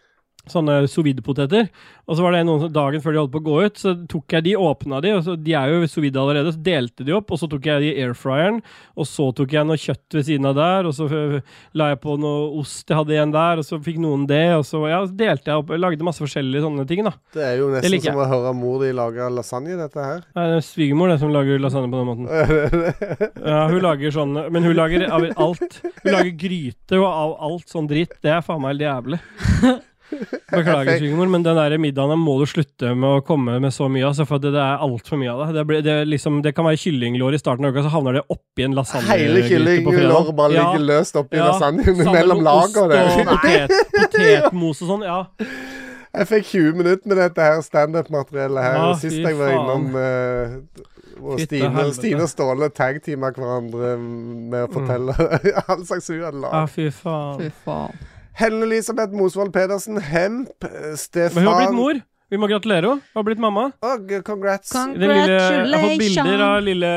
D: Sånne sous vide-poteter. Og så var det noen som dagen før de holdt på å gå ut, så tok jeg de, åpna de, og så, de er jo sous vide allerede, så delte de opp, og så tok jeg de i airfryeren, og så tok jeg noe kjøtt ved siden av der, og så øh, la jeg på noe ost jeg hadde igjen der, og så fikk noen det, og så ja, så delte jeg opp, lagde masse forskjellige sånne ting, da.
A: Det er jo
D: Det
A: nesten
D: liker
A: som å høre mor di lage lasagne, dette her.
D: Nei, Det er svigermor, det, som lager lasagne på den måten. Ja, hun lager sånn Men hun lager av alt. Hun lager gryte og av alt sånn dritt. Det er faen meg helt jævlig. Beklager, svigermor, men den der middagen må du slutte med å komme med så mye av. Altså, for det, det er altfor mye av det. Det, blir- det, er liksom, det kan være kyllinglår i starten av uka, så havner det oppi
A: [laughs]
D: en
A: Hele
D: lasagnegryte på
A: kyllinglår
D: fredag.
A: bare
D: Ja,
A: ligger løst oppi
D: ja,
A: lasagnen
D: sammen
A: mellom
D: med
A: lagene.
D: Ost og
A: Nei,
D: potet, potetmos og sånn. Ja.
A: Jeg fikk 20 minutter med dette her standup-materiellet her
D: Ja,
A: sist
D: fy
A: jeg var
D: faen.
A: innom. eh, og
D: Fytte
A: Stine,
D: helvete. Mm.
A: Stine og Ståle tagteama hverandre med å fortelle [laughs] all slags hun hadde
D: ja,
A: lagd.
D: fy faen.
B: Fy faen.
A: Helle Elisabeth Mosvold Pedersen, Hemp, eh, Stefan
D: Men hun har blitt mor. Vi må gratulere henne. Hun har blitt mamma.
A: Og congrats,
B: Kan-
D: Den lille, jeg har fått bilder av lille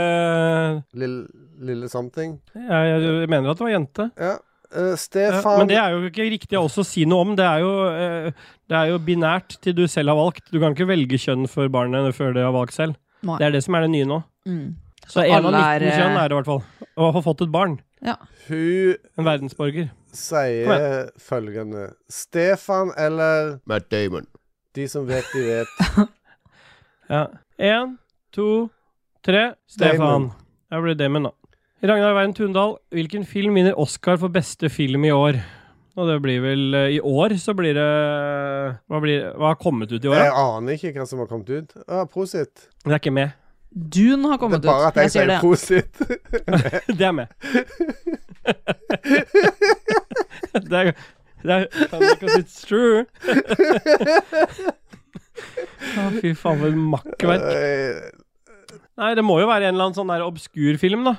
A: lille, lille something.
D: jeg, jeg mener at det var jente.
A: Ja. eh,
D: Ja,
A: Stefan
D: Men det er jo ikke riktig å også si noe om. Det er, jo, eh, det er jo binært til du selv har valgt. Du kan ikke velge kjønn for barnet før det har valgt selv.
B: Nei.
D: Det er det som er det nye nå.
B: Mm.
D: Så en av
B: alle
D: 19
B: er, eh,
D: kjønn er det i hvert fall. Å ha fått et barn.
A: Hun
D: En verdensborger. Kom
A: sier følgende Stefan eller
J: Matt Damon.
A: de som vet, de vet.
D: Ja. En, to, tre. Stefan.
A: Damon.
D: Jeg blir Damon, da. Ragnar Weien Tundal, hvilken film vinner Oscar for beste film i år? Og det blir vel eh, I år så blir det Hva, blir, hva har kommet ut i år?
A: Jeg
D: da?
A: aner ikke hva som har kommet ut. Ah, prosit.
D: Det er ikke med.
B: Dune har
A: Det
B: kommet
A: er bare
B: ut.
A: at jeg
B: Jeg sier
A: sier
B: det.
A: prosit.
D: [laughs] Det er med. det er, det er because it's true. [laughs] Å, fy faen, for et makkverk.
A: Eh,
D: Nei, det må jo være en eller annen sånn der obskur film, da.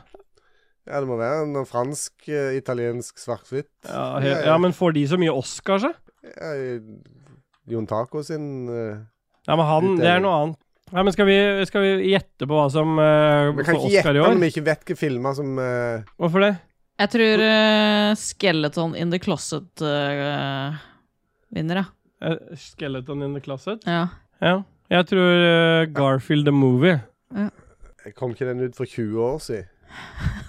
A: Ja, det må være noe fransk, eh, italiensk, svart-hvitt.
D: Ja, he, ja, men får de så mye Oscar, så?
A: Ja, eh, Jon Taco sin eh,
D: Ja, men han, det er noe annet. Nei, men skal vi, skal vi gjette på hva som eh,
A: Vi kan
D: får
A: ikke gjette
D: Oscar i
A: om
D: år?
A: vi ikke vet hvilke filmer som eh,
D: Hvorfor det?
B: Jeg tror eh, Skeleton in the Closet eh, vinner, ja.
D: Eh, Skeleton in the Closet?
B: ja.
D: Ja. Jeg tror eh, Garfield the Movie.
A: Kom ikke den ut for 20 år siden?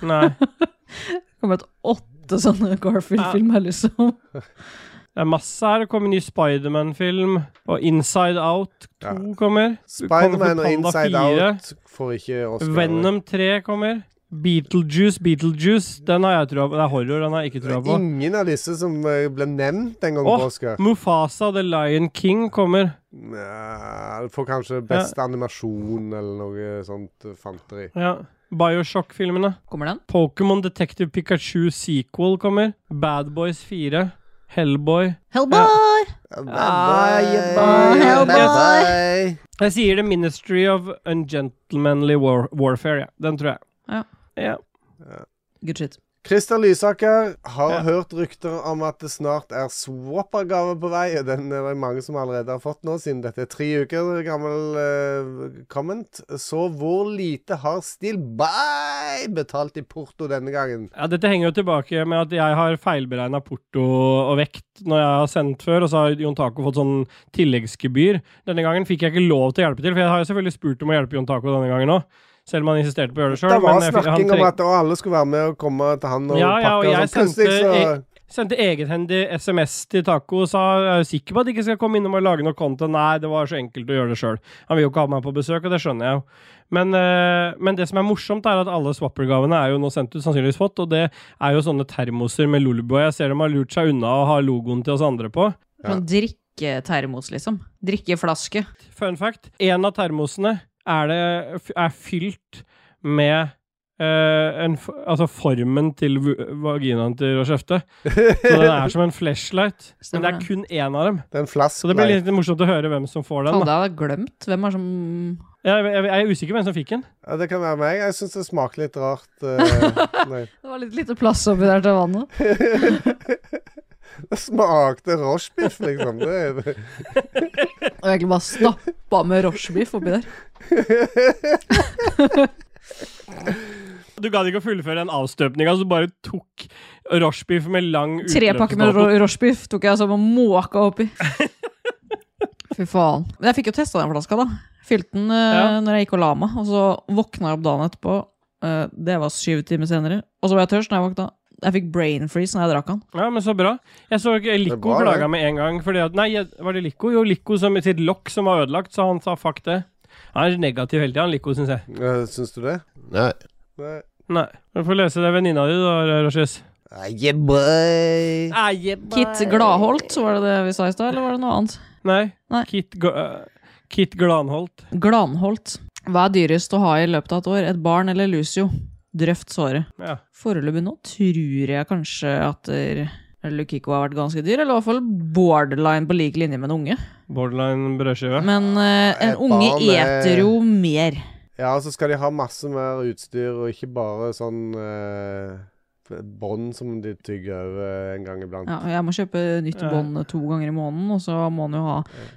D: Nei.
B: Det kommer et åtte sånne Garfield-filmer, liksom.
D: Det er masse her. Det kommer ny Spiderman-film. Og Inside Out 2
A: Ja.
D: kommer.
A: Spiderman og
D: Panda
A: Inside
D: 4.
A: Out får ikke Oscar.
D: Venom 3 kommer. Beetlejuice, Beetlejuice. Den har jeg trua på. Det er horror, den har jeg ikke
A: Det
D: trua
A: er
D: på.
A: ingen av disse som eh, ble nevnt en gang
D: Åh,
A: på Oscar.
D: Mufasa The Lion King kommer.
A: Nja, Du får kanskje beste animasjon eller noe sånt eh, fanteri.
D: Ja. Bioshock-filmene.
B: Kommer den?
D: Pokémon Detective Pikachu sequel kommer. Bad Boys 4. Hellboy.
B: Hellboy!
A: Bye-bye,
B: Hellboy.
A: bye-bye.
D: Jeg sier The Ministry of Ungentlemanly War Warfare, ja. Den tror jeg.
B: Ja.
D: ja.
B: Good shit.
A: Christer Lysaker har
D: Ja.
A: hørt rykter om at det snart er swappergave på vei. og Den er det mange som allerede har fått nå, siden dette er tre uker gammel eh, comment. Så hvor lite har Steel Bye betalt i porto denne gangen?
D: Ja, dette henger jo tilbake med at jeg har feilberegna porto og vekt når jeg har sendt før, og så har Jon Taco fått sånn tilleggsgebyr. Denne gangen fikk jeg ikke lov til å hjelpe til, for jeg har jo selvfølgelig spurt om å hjelpe Jon Taco denne gangen òg. Selv om han insisterte på å gjøre det sjøl.
A: Det var snakking om at å, alle skulle være med og komme til han og
D: Ja, ja, og
A: pakke.
D: jeg
A: og sånn. Plutselig [laughs]
D: sendte-
A: så
D: jeg- Sendte egenhendig SMS til Taco og sa er du sikker på at de ikke skal komme innom og lage noe content. Nei, det var så enkelt å gjøre det sjøl. Han vil jo ikke ha meg på besøk, og det skjønner jeg jo. Men, eh, men det som er morsomt, er at alle Swapper-gavene er jo nå sendt ut, sannsynligvis fått, og det er jo sånne termoser med Luleboy. Jeg ser de har lurt seg unna å ha logoen til oss andre på.
B: Sånn drikketermos, liksom. Drikkeflaske.
D: Fun fact, en av termosene er, det, er fylt med eh, en, f- altså formen til v- vaginaen til Rochefte. Så den er som en flashlight. Men det er kun én av dem.
A: Det er en flask.
D: Så det blir litt morsomt å høre hvem som får den.
B: Hadde
D: Da.
B: jeg glemt hvem er som
D: Jeg, jeg, jeg er usikker hvem som fikk den.
A: Ja, det kan være meg. Jeg syns det smaker litt rart.
D: [laughs]
A: eh, nei. [laughs]
B: Det var litt lite plass oppi der til vannet.
A: det smakte rochebiff, liksom. Det, er det.
B: Og egentlig bare stappa med rochebiff oppi der.
D: Du gadd ikke å fullføre den avstøpninga, så du bare tok rochebiff med lang
B: Tre pakker med ro
D: utløpsdato.
B: rochebiff tok jeg som og måka oppi. [laughs] Fy faen. Men jeg fikk jo testa den flaska, da. Fylte den eh,
D: Ja.
B: når jeg gikk og la meg, og så våkna jeg opp dagen etterpå. Eh, det var syv timer senere. Og så var jeg tørst når jeg våkna. Jeg fikk brain freeze når jeg drakk den.
D: Ja, men så bra. Jeg så ikke
A: Det er
D: Lico
A: bra, det.
D: klaga med en gang. Fordi at, nei, jeg- var det Lico? Jo, Lico som, sitt lokk som var ødelagt, så han sa fuck det. Han er negativ hele tida, han Lico, syns jeg.
A: [laughs] Eh, syns du det?
J: Nei.
A: Nei.
D: Nei. Du får lese det venninna di, da, Rashis.
J: Ah, yeah, boy.
B: Kit Gladholt, så var det det vi sa i stad, eller var det noe annet?
D: Nei.
B: Nei.
D: Kit, Ga- øh, Kit Glanholt.
B: Glanholt. Hva er dyrest å ha i løpet av et år? Et barn eller Lucio? Drøft såret.
D: Ja.
B: Foreløpig nå tror jeg kanskje at eh, Lukiko har vært ganske dyr, eller i hvert fall borderline på lik linje med en unge.
D: Borderline brødskive.
B: Men eh,
A: Et
B: en unge
A: barn er-
B: eter jo mer.
A: Ja, og så skal de ha masse mer utstyr, og ikke bare sånn eh, bånd som de tygger over en gang iblant.
B: Ja, og jeg må kjøpe nytt
D: Ja.
B: bånd to ganger i måneden, og så må han jo ha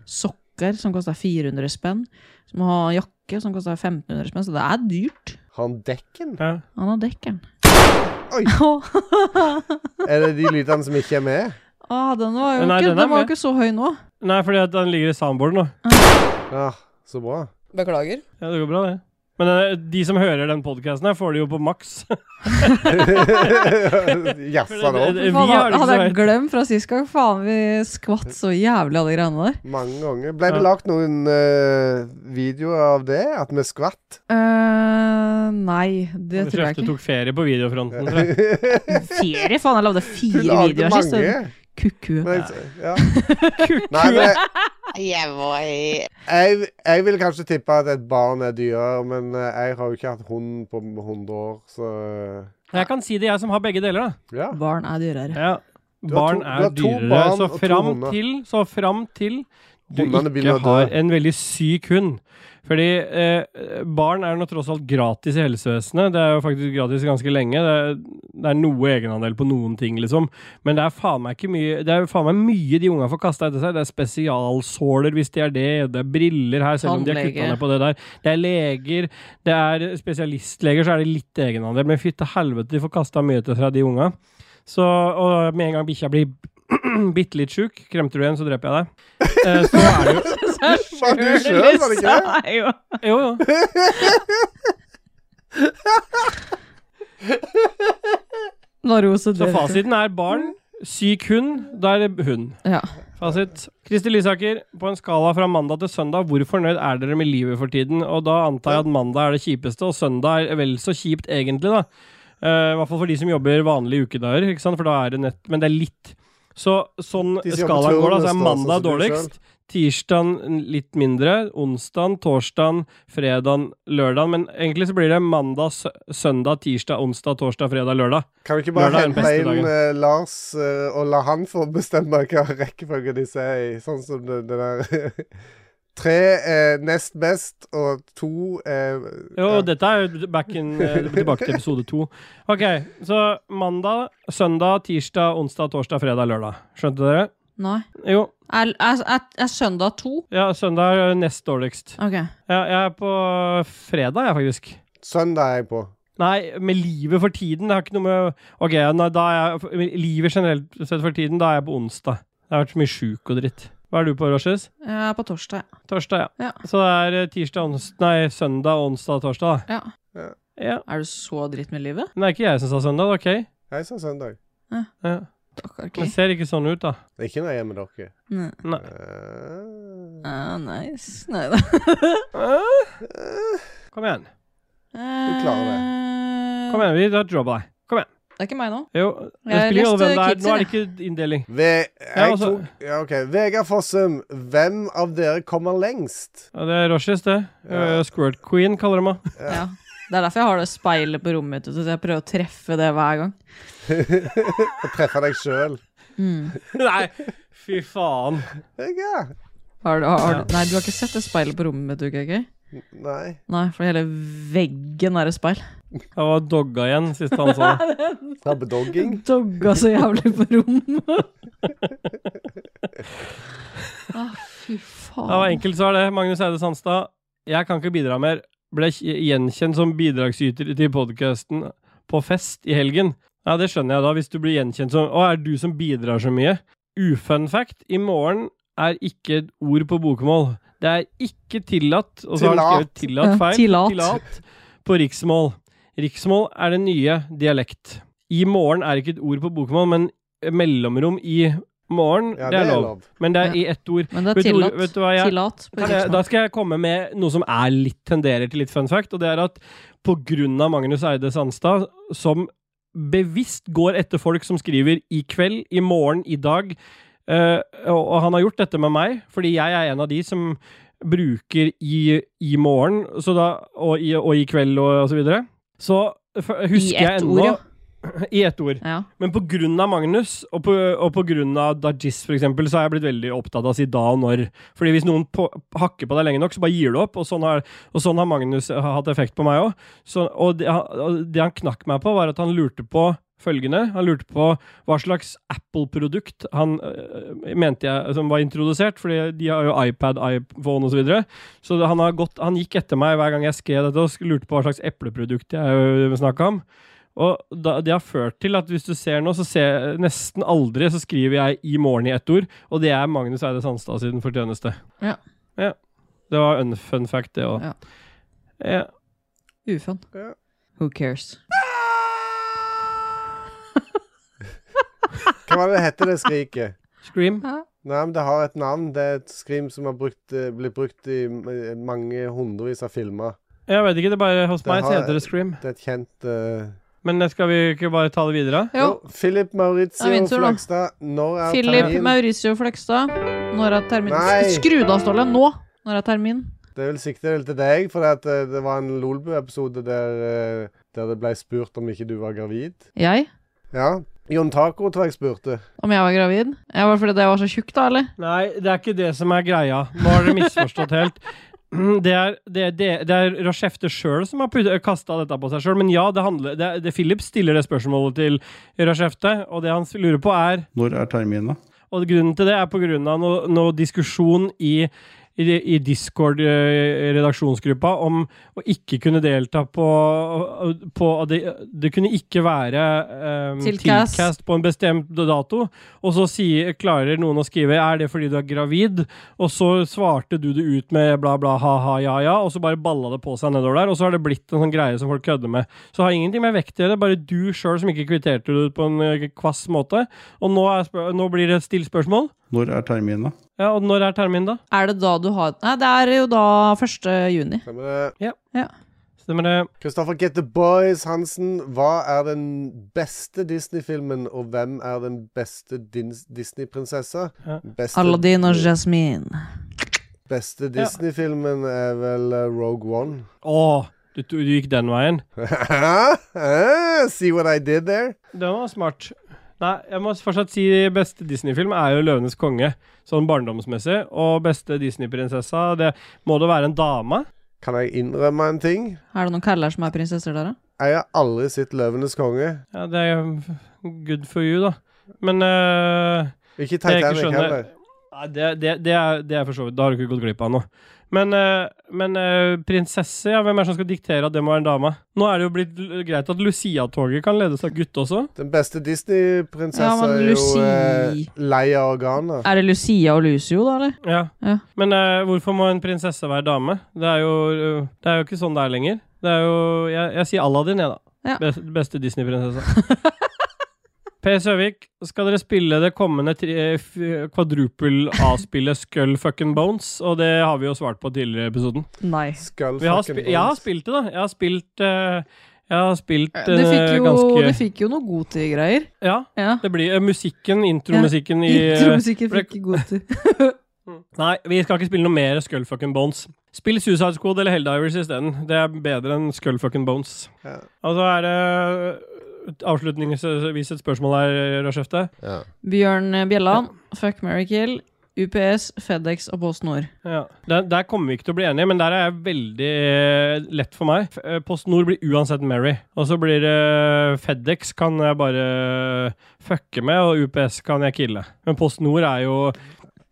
B: sokker som koster 400 spenn. Så må han ha jakke som koster 1500 spenn, så det er dyrt.
A: Har han dekken?
D: Ja.
B: Han har dekkeren. [laughs]
A: Oi. Er det de lydene som ikke er med?
B: Ah, den var jo
D: Nei,
B: ikke,
D: den
B: den
D: er
B: var jo
D: med.
B: ikke så høy nå.
D: Nei, fordi at den ligger i soundboarden nå.
A: Ja, så
B: [laughs]
A: bra.
B: Beklager.
D: Ja, det går bra, det. Men øh, de som hører den podkasten her, får det jo på maks. [laughs]
A: Jafsa det opp.
D: Vi har det ikke
B: hadde
D: så
B: jeg
D: høyt.
B: glemt fra sist gang. Faen, vi skvatt så jævlig av de greiene der.
A: Mange ganger. Ble det
D: Ja.
A: lagt noen eh, videoer av det? At vi skvatt?
B: Eh, nei, det tror jeg
D: Kjefte
B: ikke.
D: tok ferie på videofronten.
A: [laughs]
D: tror jeg.
B: Ferie? Faen, jeg lagde
A: Du
B: fire
A: lagde
B: videoer sist.
A: mange.
B: og Kukku.
A: Men, jeg- ja. [laughs] Nei, men jeg,
I: Yeah, boy.
A: jeg, jeg vil kanskje tippe at et barn er dyrere, men eh, jeg har jo ikke hatt hund på 100 år, så eh,
D: Jeg kan si det, jeg som har begge deler, da.
A: ja.
B: Barn er dyrere.
D: Ja.
A: Du har
D: Barn
A: to-
D: er
A: du har to
D: dyrere,
A: barn
D: så
A: og to
D: fram
A: hunder.
D: til, så fram til du
A: Hundene
D: ikke
A: begynner å dø.
D: har en veldig syk hund. Fordi eh, barn er nå tross alt gratis i helsevesenet. Det er jo faktisk gratis ganske lenge. Det er, det er noe egenandel på noen ting, liksom. Men det er faen meg ikke mye Det er faen meg mye de unga får kasta etter seg. Det er spesialsåler hvis de er det, det er briller her, selv om de har
B: Tannlege.
D: kutta ned på det der. Det er leger, det er spesialistleger, så er det litt egenandel. Men fytte helvete, de får kasta mye etter seg, de unga. Så, og med en gang bikkja blir [clears throat] bitte litt sjuk, kremter du igjen, så dreper jeg deg. Eh, så er det jo
A: Var du sjøl, var det ikke det?
B: det?
D: Jo, jo.
B: Narose
D: Så
B: det.
D: fasiten er barn, syk hund, da er det hund.
B: Ja.
D: Fasit. Kristi Lysaker, på en skala fra mandag til søndag, hvor fornøyd er dere med livet for tiden? Og da antar jeg at mandag er det kjipeste, og søndag er vel så kjipt egentlig, da. Eh, I hvert fall for de som jobber vanlige ukedager, ikke sant? for da er det nett Men det er litt. Så sånn
A: De som jobber
D: skalaen går, da,
A: turnus,
D: så er
A: da, sånn som
D: mandag
A: du
D: dårligst. Tirsdag litt mindre, onsdag, torsdag, fredag, lørdag. Men egentlig så blir det mandag, sø- søndag, tirsdag, onsdag, torsdag, fredag, lørdag.
A: Kan vi ikke bare
D: Lørdag er den
A: hente
D: beste
A: inn
D: dagen.
A: eh, Lars eh, og la han få bestemme hva rekkefølge disse er i? Sånn som det, det der [laughs] Tre er nest best, og to er
D: Jo,
A: ja.
D: dette er jo back in, eh, tilbake til episode to. Ok, så mandag, søndag, tirsdag, onsdag, torsdag, fredag, lørdag. Skjønte dere?
B: Nei.
D: Jo.
B: Er, er, er, er søndag to?
D: Ja, søndag er nest dårligst.
B: Ok.
D: Ja, jeg er på fredag, jeg, faktisk.
A: Søndag er jeg på.
D: Nei, med livet for tiden. Det har ikke noe med Ok, nei, da er jeg med Livet generelt sett for tiden, da er jeg på onsdag. Jeg har vært så mye sjuk og dritt. Hva er du på, Roshes?
B: Jeg er på torsdag.
D: Torsdag, ja.
B: Ja.
D: Så det er eh, tirsdag, ons nei, søndag, onsdag, torsdag.
B: Ja.
A: Ja.
D: Ja.
B: Er du så dritt med livet?
D: Men det er ikke jeg som sa søndag, det er ok.
A: Jeg sa søndag.
D: Ja.
B: Stakkar
D: Det
B: Kli.
D: ser ikke sånn ut, da.
A: Det er ikke når jeg er med dere.
B: Nei.
D: Nei.
A: Eh,
B: Ah, nice. Nei da.
A: eh.
D: Kom igjen.
A: klarer
D: Kom igjen, vi tar jobb av deg. Kom igjen.
B: Eh, Det er ikke meg nå.
D: Jo, det
B: Jeg har
D: spiller ingen rolle
B: lyst
D: hvem
B: til
D: det er. Nå er
B: kidser,
D: det ikke inndeling.
A: Ve jeg
D: altså-
A: tok, ja, ok. Vegard Fossum, hvem av dere kommer lengst? [laughs]
D: Ja, det er Roshes, det.
A: Ja.
D: Eh, Squirt Queen kaller de meg.
B: Ja. Det er derfor jeg har det speilet på rommet mitt, vet du, så jeg prøver å treffe det hver gang.
A: Og treffer deg sjøl.
D: [laughs]
A: Mm.
D: Nei, fy faen.
A: Vegard?
B: Har du, har, har du, nei, du har ikke sett det speilet på rommet mitt, du, KK?
A: Nei.
B: Nei, for hele veggen er et speil.
D: Jeg var dogga igjen sist han sa
B: [laughs]
D: det.
A: [laughs] Rabbedogging?
B: Dogga så jævlig på
A: [laughs]
B: rommet. ah, fy faen.
D: Det var enkelt svar, det. Magnus Eide Sandstad. Jeg kan ikke bidra mer. Ble kj- gjenkjent som bidragsyter til podkasten på fest i helgen. Ja, det skjønner jeg da, hvis du blir gjenkjent som Å, er det du som bidrar så mye? Ufun fact, i morgen er ikke et ord på bokmål. Det er ikke tillatt, og så har han skrevet [laughs] tillatt
B: Ja,
D: feil.
B: tillat.
D: på riksmål. Riksmål er den nye dialekt. I morgen er ikke et ord på bokmål, men mellomrom i morgen,
A: Ja,
D: det er lov. Men det er i ett ord.
B: Men det er
D: Vet du-
B: tillatt.
D: vet du hva jeg-
B: Tillatt. på
D: Kan jeg,
B: riksmål.
D: da skal jeg komme med noe som er litt tenderer til litt fun fact, og det er at på grunn av Magnus Eide Sandstad, som bevisst går etter folk som skriver i kveld, i morgen, i dag, eh, og, og han har gjort dette med meg, fordi jeg er en av de som bruker i, i morgen, så da, og, i, og i kveld og, og så videre. Så f- husker jeg
B: ett
D: ennå
B: ord, ja.
D: [clears throat] I ett ord.
B: Ja.
D: Men på grunn av Magnus, og på, og på grunn av Dajis for eksempel, så har jeg blitt veldig opptatt av å si da og når. Fordi hvis noen på, hakker på deg lenge nok, så bare gir du opp, og sånn har, og sånn har Magnus har hatt effekt på meg òg. Og, det han- og det han knakk meg på, var at han lurte på følgende. Han lurte på hva slags Apple-produkt han øh, mente jeg som var introdusert, fordi de har jo iPad, iPhone osv. Så, videre. så det- han, har gått, han gikk etter meg hver gang jeg skrev dette, og sk- lurte på hva slags epleprodukt jeg snakka om. Og da, det har ført til at hvis du ser nå, så ser nesten aldri så skriver jeg 'i morgen' i ett ord, og det er Magnus Eide Sandstad sin fortjeneste.
B: Ja.
D: Ja. Det var en fun fact, det òg.
B: Ja.
D: Ja.
B: Ufun.
A: Ja.
B: Who
A: [laughs]
B: cares?
A: Hva var det det heter det skriket?
D: Scream.
A: Nei, men det har et navn. Det er et skrim som har brukt, eh, blitt brukt i eh, mange hundrevis av filmer.
D: Jeg vet ikke, det er bare hos
A: Det
D: meg så
A: har-
D: heter det Scream.
A: Det er et kjent eh,
D: Men skal vi ikke bare ta det videre?
B: Jo.
A: Philip Maurizio
B: Det er min tur, da.
A: Flagstad, når er
B: Philip
A: termin?
B: Mauricio Fløgstad. Når er termin?
A: Nei.
B: Skru det av, Ståle. Nå! Når er termin?
A: Det er vel siktet vel til deg, for det, at, eh, det var en Lolbu-episode der, eh, der det ble spurt om ikke du var gravid.
B: Jeg?
A: Ja. Jon Taco tror jeg spurte.
B: Om jeg var gravid? Jeg var fordi jeg var så tjukk, da, eller?
D: Nei, det er ikke det som er greia. Nå har dere misforstått helt. [clears throat] Det er, det, det, det er Rochefte sjøl som har kasta dette på seg sjøl, men ja, det handler det, det, Philip stiller det spørsmålet til Rochefte, og det han lurer på, er
K: Når er terminen, da?
D: Og grunnen til det er på grunn av noe, noe diskusjon i, i, i Discord-redaksjonsgruppa om å ikke kunne delta på, på det, det kunne ikke være um,
B: Tilcast.
D: tilcast på en bestemt dato. Og så sier, klarer noen å skrive 'er det fordi du er gravid?' Og så svarte du det ut med bla, bla, ha-ha, ja-ja, og så bare balla det på seg nedover der. Og så har det blitt en sånn greie som folk kødder med. Så det har ingenting med vekt å gjøre, det er bare du sjøl som ikke kvitterte det ut på en eh, kvass måte. Og nå, er spør nå blir det et stille spørsmål.
K: Når er terminen, da?
D: Ja, og når er terminen, da?
B: Er det da du har Nei, det er jo da 1. juni.
A: Stemmer det?
D: Stemmer det?
A: Kristoffer Get the Boys Hansen, hva er den beste Disney-filmen, og hvem er den beste Dis- Disney-prinsessa?
D: Ja.
A: Beste-
B: Aladdin og Jasmine.
A: Beste Disney-filmen er vel eh, Rogue One. [laughs]
D: Å, du, du gikk den veien.
A: Eh, See what I did there?
D: Den var smart. Nei, jeg må fortsatt si beste Disney-film er jo 'Løvenes konge', sånn barndomsmessig. Og beste Disney-prinsessa, det må det være en dame?
A: Kan jeg innrømme en ting?
B: Er det noen kaller som er prinsesser der, da?
A: Jeg har aldri sett 'Løvenes konge'.
D: Ja, det er jo good for you, da. Men eh,
A: Ikke
D: jeg ikke
A: Titanic
D: skjønner-
A: heller.
D: Nei, det, det, det, er, det er for så vidt Da har du ikke gått glipp av noe. Men, eh, men eh, prinsesse, ja, hvem er det som skal diktere at det må være en dame? Nå er det jo blitt l- greit at Lucia-toget kan ledes av gutt også.
A: Den beste Disney-prinsessa
B: Ja, men
A: er jo eh,
B: Lucy.
A: Leia Organa.
B: Er det Lucia og Lucio, da, eller?
D: Ja.
B: Ja.
D: Men eh, hvorfor må en prinsesse være dame? Det er jo, eh, det er jo ikke sånn det er lenger. Det er jo Jeg, jeg sier Aladdin, jeg, da.
B: Ja.
D: [laughs] Best, beste Disney-prinsessa. Per Søvik, skal dere spille det kommende tri- eh, f- kvadrupel A-spillet Skull Fucking Bones? Og det har vi jo svart på tidligere i episoden.
B: Nei.
A: Skull
D: Vi har
A: fucking
D: spi jeg har
A: bones.
D: spilt det, da. Jeg har spilt eh, Jeg har spilt
B: Det fikk
D: eh,
B: jo,
D: ganske
B: det fikk jo noe godtegreier.
D: Ja.
B: Ja.
D: Det blir eh, musikken, intromusikken i eh,
B: Intromusikken
D: for det-
B: fikk godtid.
D: Nei, vi skal ikke spille noe mer Skull Fucking Bones. Spill Suicide Squad eller Helldivers isteden. Det er bedre enn Skull Fucking Bones.
A: Ja.
D: Og så er det eh, avslutningsvis et spørsmål her, Rashefte.
A: Ja.
B: Bjørn Bjelland, Fuck Mary Kill, UPS, FedEx og PostNord.
D: Ja. Der, der kommer vi ikke til å bli enige, men der er jeg veldig eh, lett for meg. F- eh, Post Nord blir uansett Mary. Og så blir det eh, FedEx kan jeg bare eh, fucke med, og UPS kan jeg kille. Men Post Nord er jo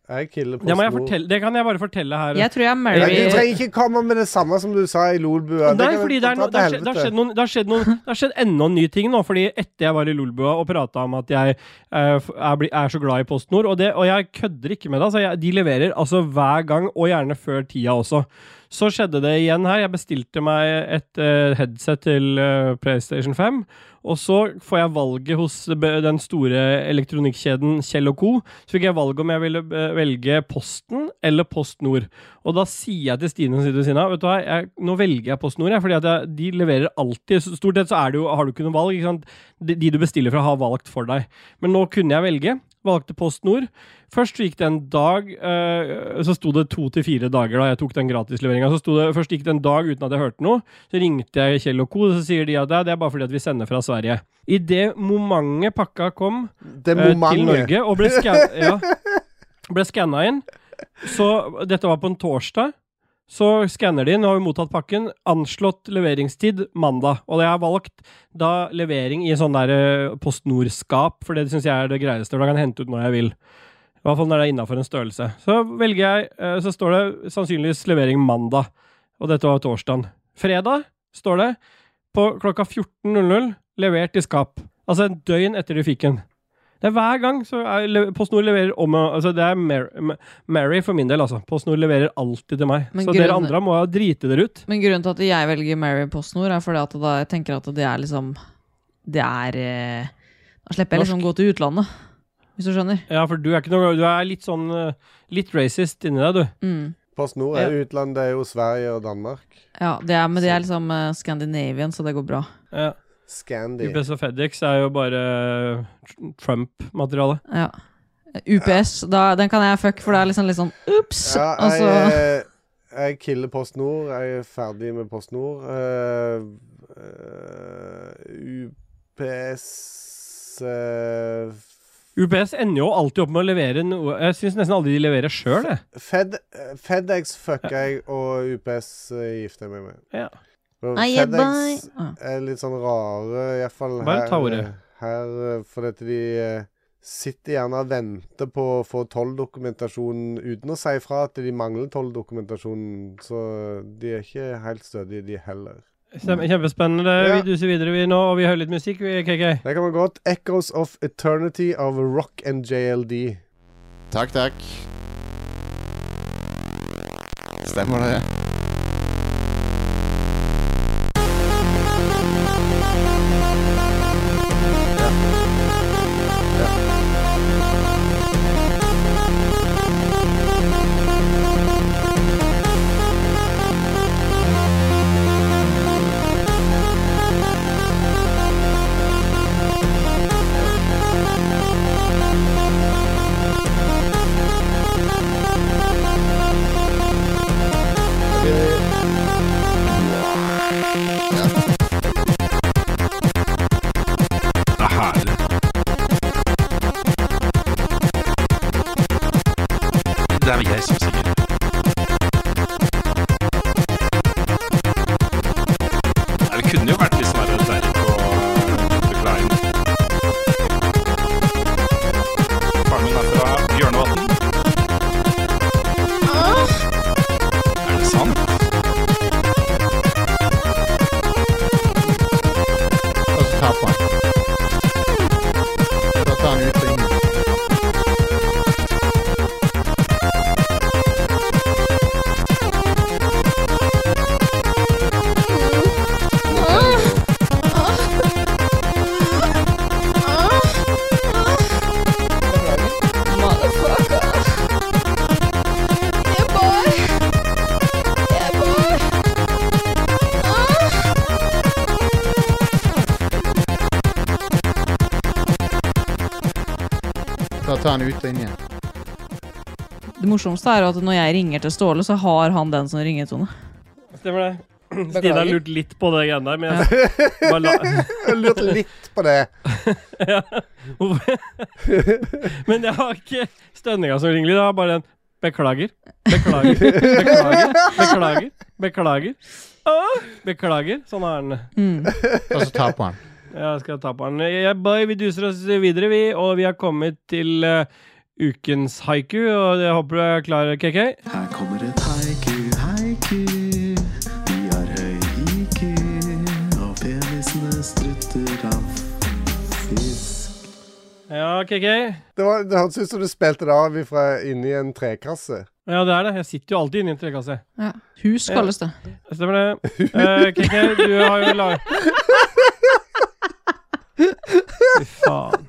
A: Jeg killer på
D: det, må jeg
A: snor.
D: fortelle, det kan jeg bare fortelle her.
B: Jeg tror jeg er
A: Nei, Du
B: Mary.
A: trenger ikke komme med det samme som du sa i Lolbua.
D: Nei,
A: kan
D: fordi
A: vi
D: det, er
A: ta
D: no,
A: til
D: det, har skjedd, det, har
A: helvete.
D: skjedd noen, det, har skjedd noen, det har skjedd enda en ny ting nå. Fordi etter jeg var i Lolbua og prata om at jeg eh, f- er, bli- er så glad i PostNord Og, det, og jeg kødder ikke med det. Altså, jeg, de leverer altså hver gang, og gjerne før tida også. Så skjedde det igjen her. Jeg bestilte meg et eh, headset til eh, PlayStation 5. Og så får jeg valget hos be- den store elektronikkjeden Kjell Co. Så fikk jeg valget om jeg ville eh, velge Posten eller PostNord. Og da sier jeg til Stine som sitter ved siden av Vet du hva, jeg, nå velger jeg PostNord, jeg, fordi at jeg, de leverer alltid. Så Stort sett så er det jo, har du ikke noe valg. Ikke sant? De, de du bestiller fra, har valgt for deg. Men nå kunne jeg velge. Valgte PostNord. Først gikk det en dag eh, Så sto det to til fire dager da jeg tok den gratisleveringa. Så sto det, først gikk det en dag uten at jeg hørte noe. Så ringte jeg Kjell og Co., og så sier de at «Nei, det er bare fordi at vi sender fra Sverige. I det momentet pakka kom,
A: Det
D: eh, til
A: momentet.
D: Norge og ble, skan ja, ble skanna inn. Så dette var på en torsdag. Så skanner de inn, nå har vi mottatt pakken. Anslått leveringstid mandag. Og jeg har valgt da levering i sånn der eh, PostNord-skap, for det syns jeg er det greieste. For da kan jeg hente ut når jeg vil. I hvert fall når det er innafor en størrelse. Så velger jeg, eh, så står det sannsynligvis levering mandag. Og dette var torsdagen. Fredag står det på klokka 14.00 levert i skap. Altså en døgn etter de fikk den. Det er hver gang så er, le- PostNord leverer om altså Det er Mary, M- Mary for min del, altså. PostNord leverer alltid til meg.
B: Men
D: så
B: grunnen-
D: dere andre må jo drite dere ut.
B: Men grunnen til at jeg velger Mary PostNord, er fordi at da jeg tenker at det er liksom Det er eh, Da slipper jeg liksom gå til utlandet, hvis du skjønner.
D: Ja, for du er, ikke noe, du er litt sånn eh, Litt racist inni deg, du.
B: Mm.
A: Post Nord er jo utlandet, det er jo Sverige og Danmark.
B: Ja, det er, men det er liksom eh, Scandinavian, så det går bra.
D: Ja.
A: Scandi.
D: UPS og FedEx er jo bare tr- Trump-materiale.
B: Ja. UPS, da, den kan jeg fuck, for det er liksom litt sånn ups!
A: Ja,
B: og så
A: jeg, eh,
B: Altså-
A: jeg killer Post Nord. Jeg er ferdig med Post Nord. Eh, eh, UPS eh,
D: UPS ender jo alltid opp med å levere noe Jeg syns nesten aldri de leverer sjøl, jeg.
A: Fed, eh, FedEx fucker jeg, og UPS eh, gifter jeg meg med.
D: Ja.
A: Og
B: Nei, jeg
A: FedEx
B: bare-
A: er litt sånn rare, iallfall
D: Bare ta
A: her,
D: ordet.
A: her eh, fordi at de eh, sitter gjerne og venter på å få tolldokumentasjon uten å si fra at de mangler tolldokumentasjon, så de er ikke helt stødige, de heller.
D: Stem- Kjempespennende.
A: Ja.
D: Vi duser videre vi nå, og vi hører litt musikk, vi, KK.
A: Der kan man godt 'Echoes of Eternity' av Rock and JLD.
L: Takk, takk. Stemmer det.
F: Det er herlig. Det er jeg som sier. Nei, Det kunne jo vært litt Sverre Terje og Petter Klein. Faren min er fra Bjørnevatn. Er det sant?
L: Og så tapper han. Da tar han ut ringen.
F: Uh.
L: ta han ut linjen.
B: Det morsomste er jo at når jeg ringer til Ståle, så har han den som ringetone.
D: Stemmer det. Stina har lurt litt på det greiene der, men jeg bare la
A: Lurt litt på det.
D: ja. Hvorfor- Men jeg har ikke stønninga som ringelyd, jeg har bare en beklager. Beklager. Beklager. Beklager. Beklager. Åh, beklager. Sånn er den.
L: Og så ta på han.
D: Ja, jeg skal ta på den. Ja, boy, vi duser oss videre, vi, og vi har kommet til eh, ukens haiku, og jeg håper du er klar, KK.
M: Her kommer et haiku, haiku. Vi har høy IQ, og penisene strutter av fisk.
D: Ja, KK.
A: Det, var, det hørtes ut som du spilte det av fra inni en trekasse.
D: Ja, det er det. Jeg sitter jo alltid inne i en trekasse.
B: Ja. Hus kalles det.
D: Stemmer det. Eh, KK, du har jo lag... Fy faen.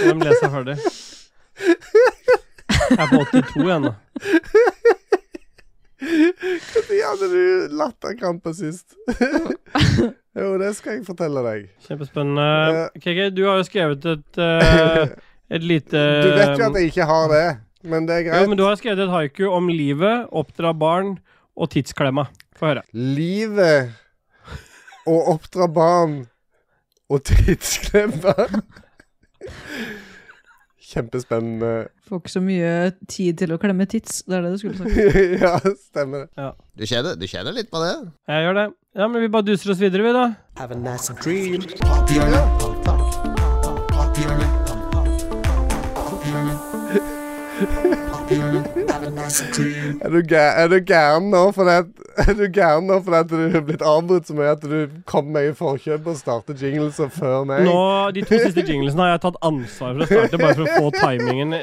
D: Hvem leser ferdig? Jeg er på 82 igjen, da.
A: Når hadde du latterkrampe sist? [laughs] jo, det skal jeg fortelle deg.
D: Kjempespennende. KK, du har jo skrevet et,
A: [laughs]
D: eh, et lite
A: Du vet jo at jeg ikke har det, men det er
D: Eh, Jo,
A: greit.
D: men du har skrevet et haiku om livet, oppdra barn og tidsklemma. Få høre.
A: Livet å oppdra barn og tidsklemma Kjempespennende. [laughs]
B: Får ikke så mye tid til å klemme tits. Det er det du skulle sagt.
A: ja, stemmer det.
L: Du kjenner, du kjenner litt på det?
D: Jeg gjør det. Ja, men vi bare duser oss videre, vi, da.
M: Have a nice dream.
A: Er du gæ- er du gæren nå fordi at, er du gæren nå fordi at du er blitt avbrutt så mye at du kom meg i forkjøpet og startet jingleser før meg?
D: Nå, De to siste jinglesene har jeg tatt ansvar for å starte, bare for å få timingen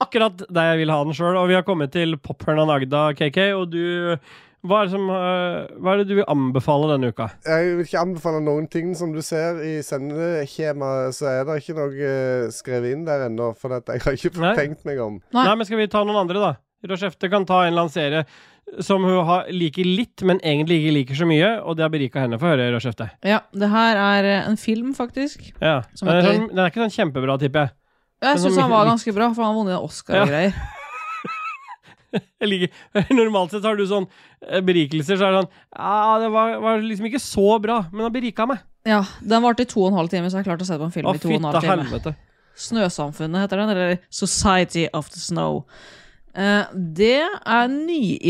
D: akkurat der jeg vil ha den sjøl. Og vi har kommet til Pophørnan Agda, KK, og du hva er, det som, øh, hva er det du vil anbefale denne uka?
A: Jeg vil ikke anbefale noen ting som du ser i sendeskjemaet, så er det ikke noe eh, skrevet inn der ennå, for at jeg har ikke fått tenkt meg om.
D: Nei. men skal vi ta noen andre, da? Rochefte kan ta en eller annen serie som hun har, liker litt, men egentlig ikke liker så mye, og det har berika henne. Få høre, Rochefte.
B: [laughs] Ja, det her er eh, en film, faktisk.
D: Ja.
B: Som
D: Den, er
B: heter-
D: sånn, den er ikke sånn kjempebra, tipper jeg.
B: Jeg
D: Men
B: syns
D: som-
B: han var ganske bra, for han har vunnet en Oscar og
D: Ja.
B: greier.
D: Jeg liker- [laughs] Normalt sett så har du sånn eh, berikelser, så er det sånn Ja, det var, var liksom ikke så bra, men han berika meg.
B: Ja, Den varte i to og en halv time, så jeg klarte å sette på en film
D: Å,
B: i to og en halv
D: fytte
B: time.
D: helvete.
B: Snøsamfunnet heter den, eller Society of the Snow. Eh, det er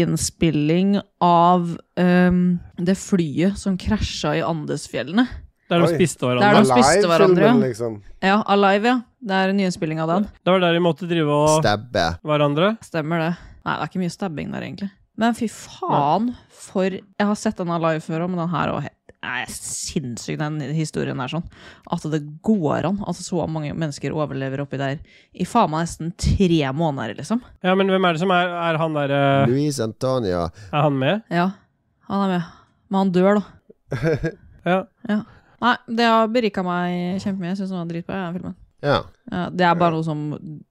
B: nyinnspilling av ehm, det flyet som krasja i Andesfjellene.
D: Der de Oi. spiste hverandre.
B: Der de spiste
A: Alive-filmen,
B: hverandre.
A: liksom.
B: Ja, Alive, ja. Det er en nyinnspilling av den.
D: Det var der de måtte drive og
L: Stabbe.
D: hverandre.
B: Stemmer det. Nei, det er ikke mye stabbing der, egentlig. Men fy faen, for Jeg har sett den Alive før òg, men den her òg er sinnssyk, den historien her. sånn. At det går an at så mange mennesker overlever oppi der i faen meg nesten tre måneder, liksom.
D: Ja, men hvem er det som er, er han derre
L: Luis Antonia.
D: Er han med?
B: Ja, han er med. Men han dør, da.
D: [laughs] ja.
B: Nei, det har berika meg kjempemye. Jeg syns den var dritbra, den filmen.
L: Ja.
B: Ja, det er bare noe som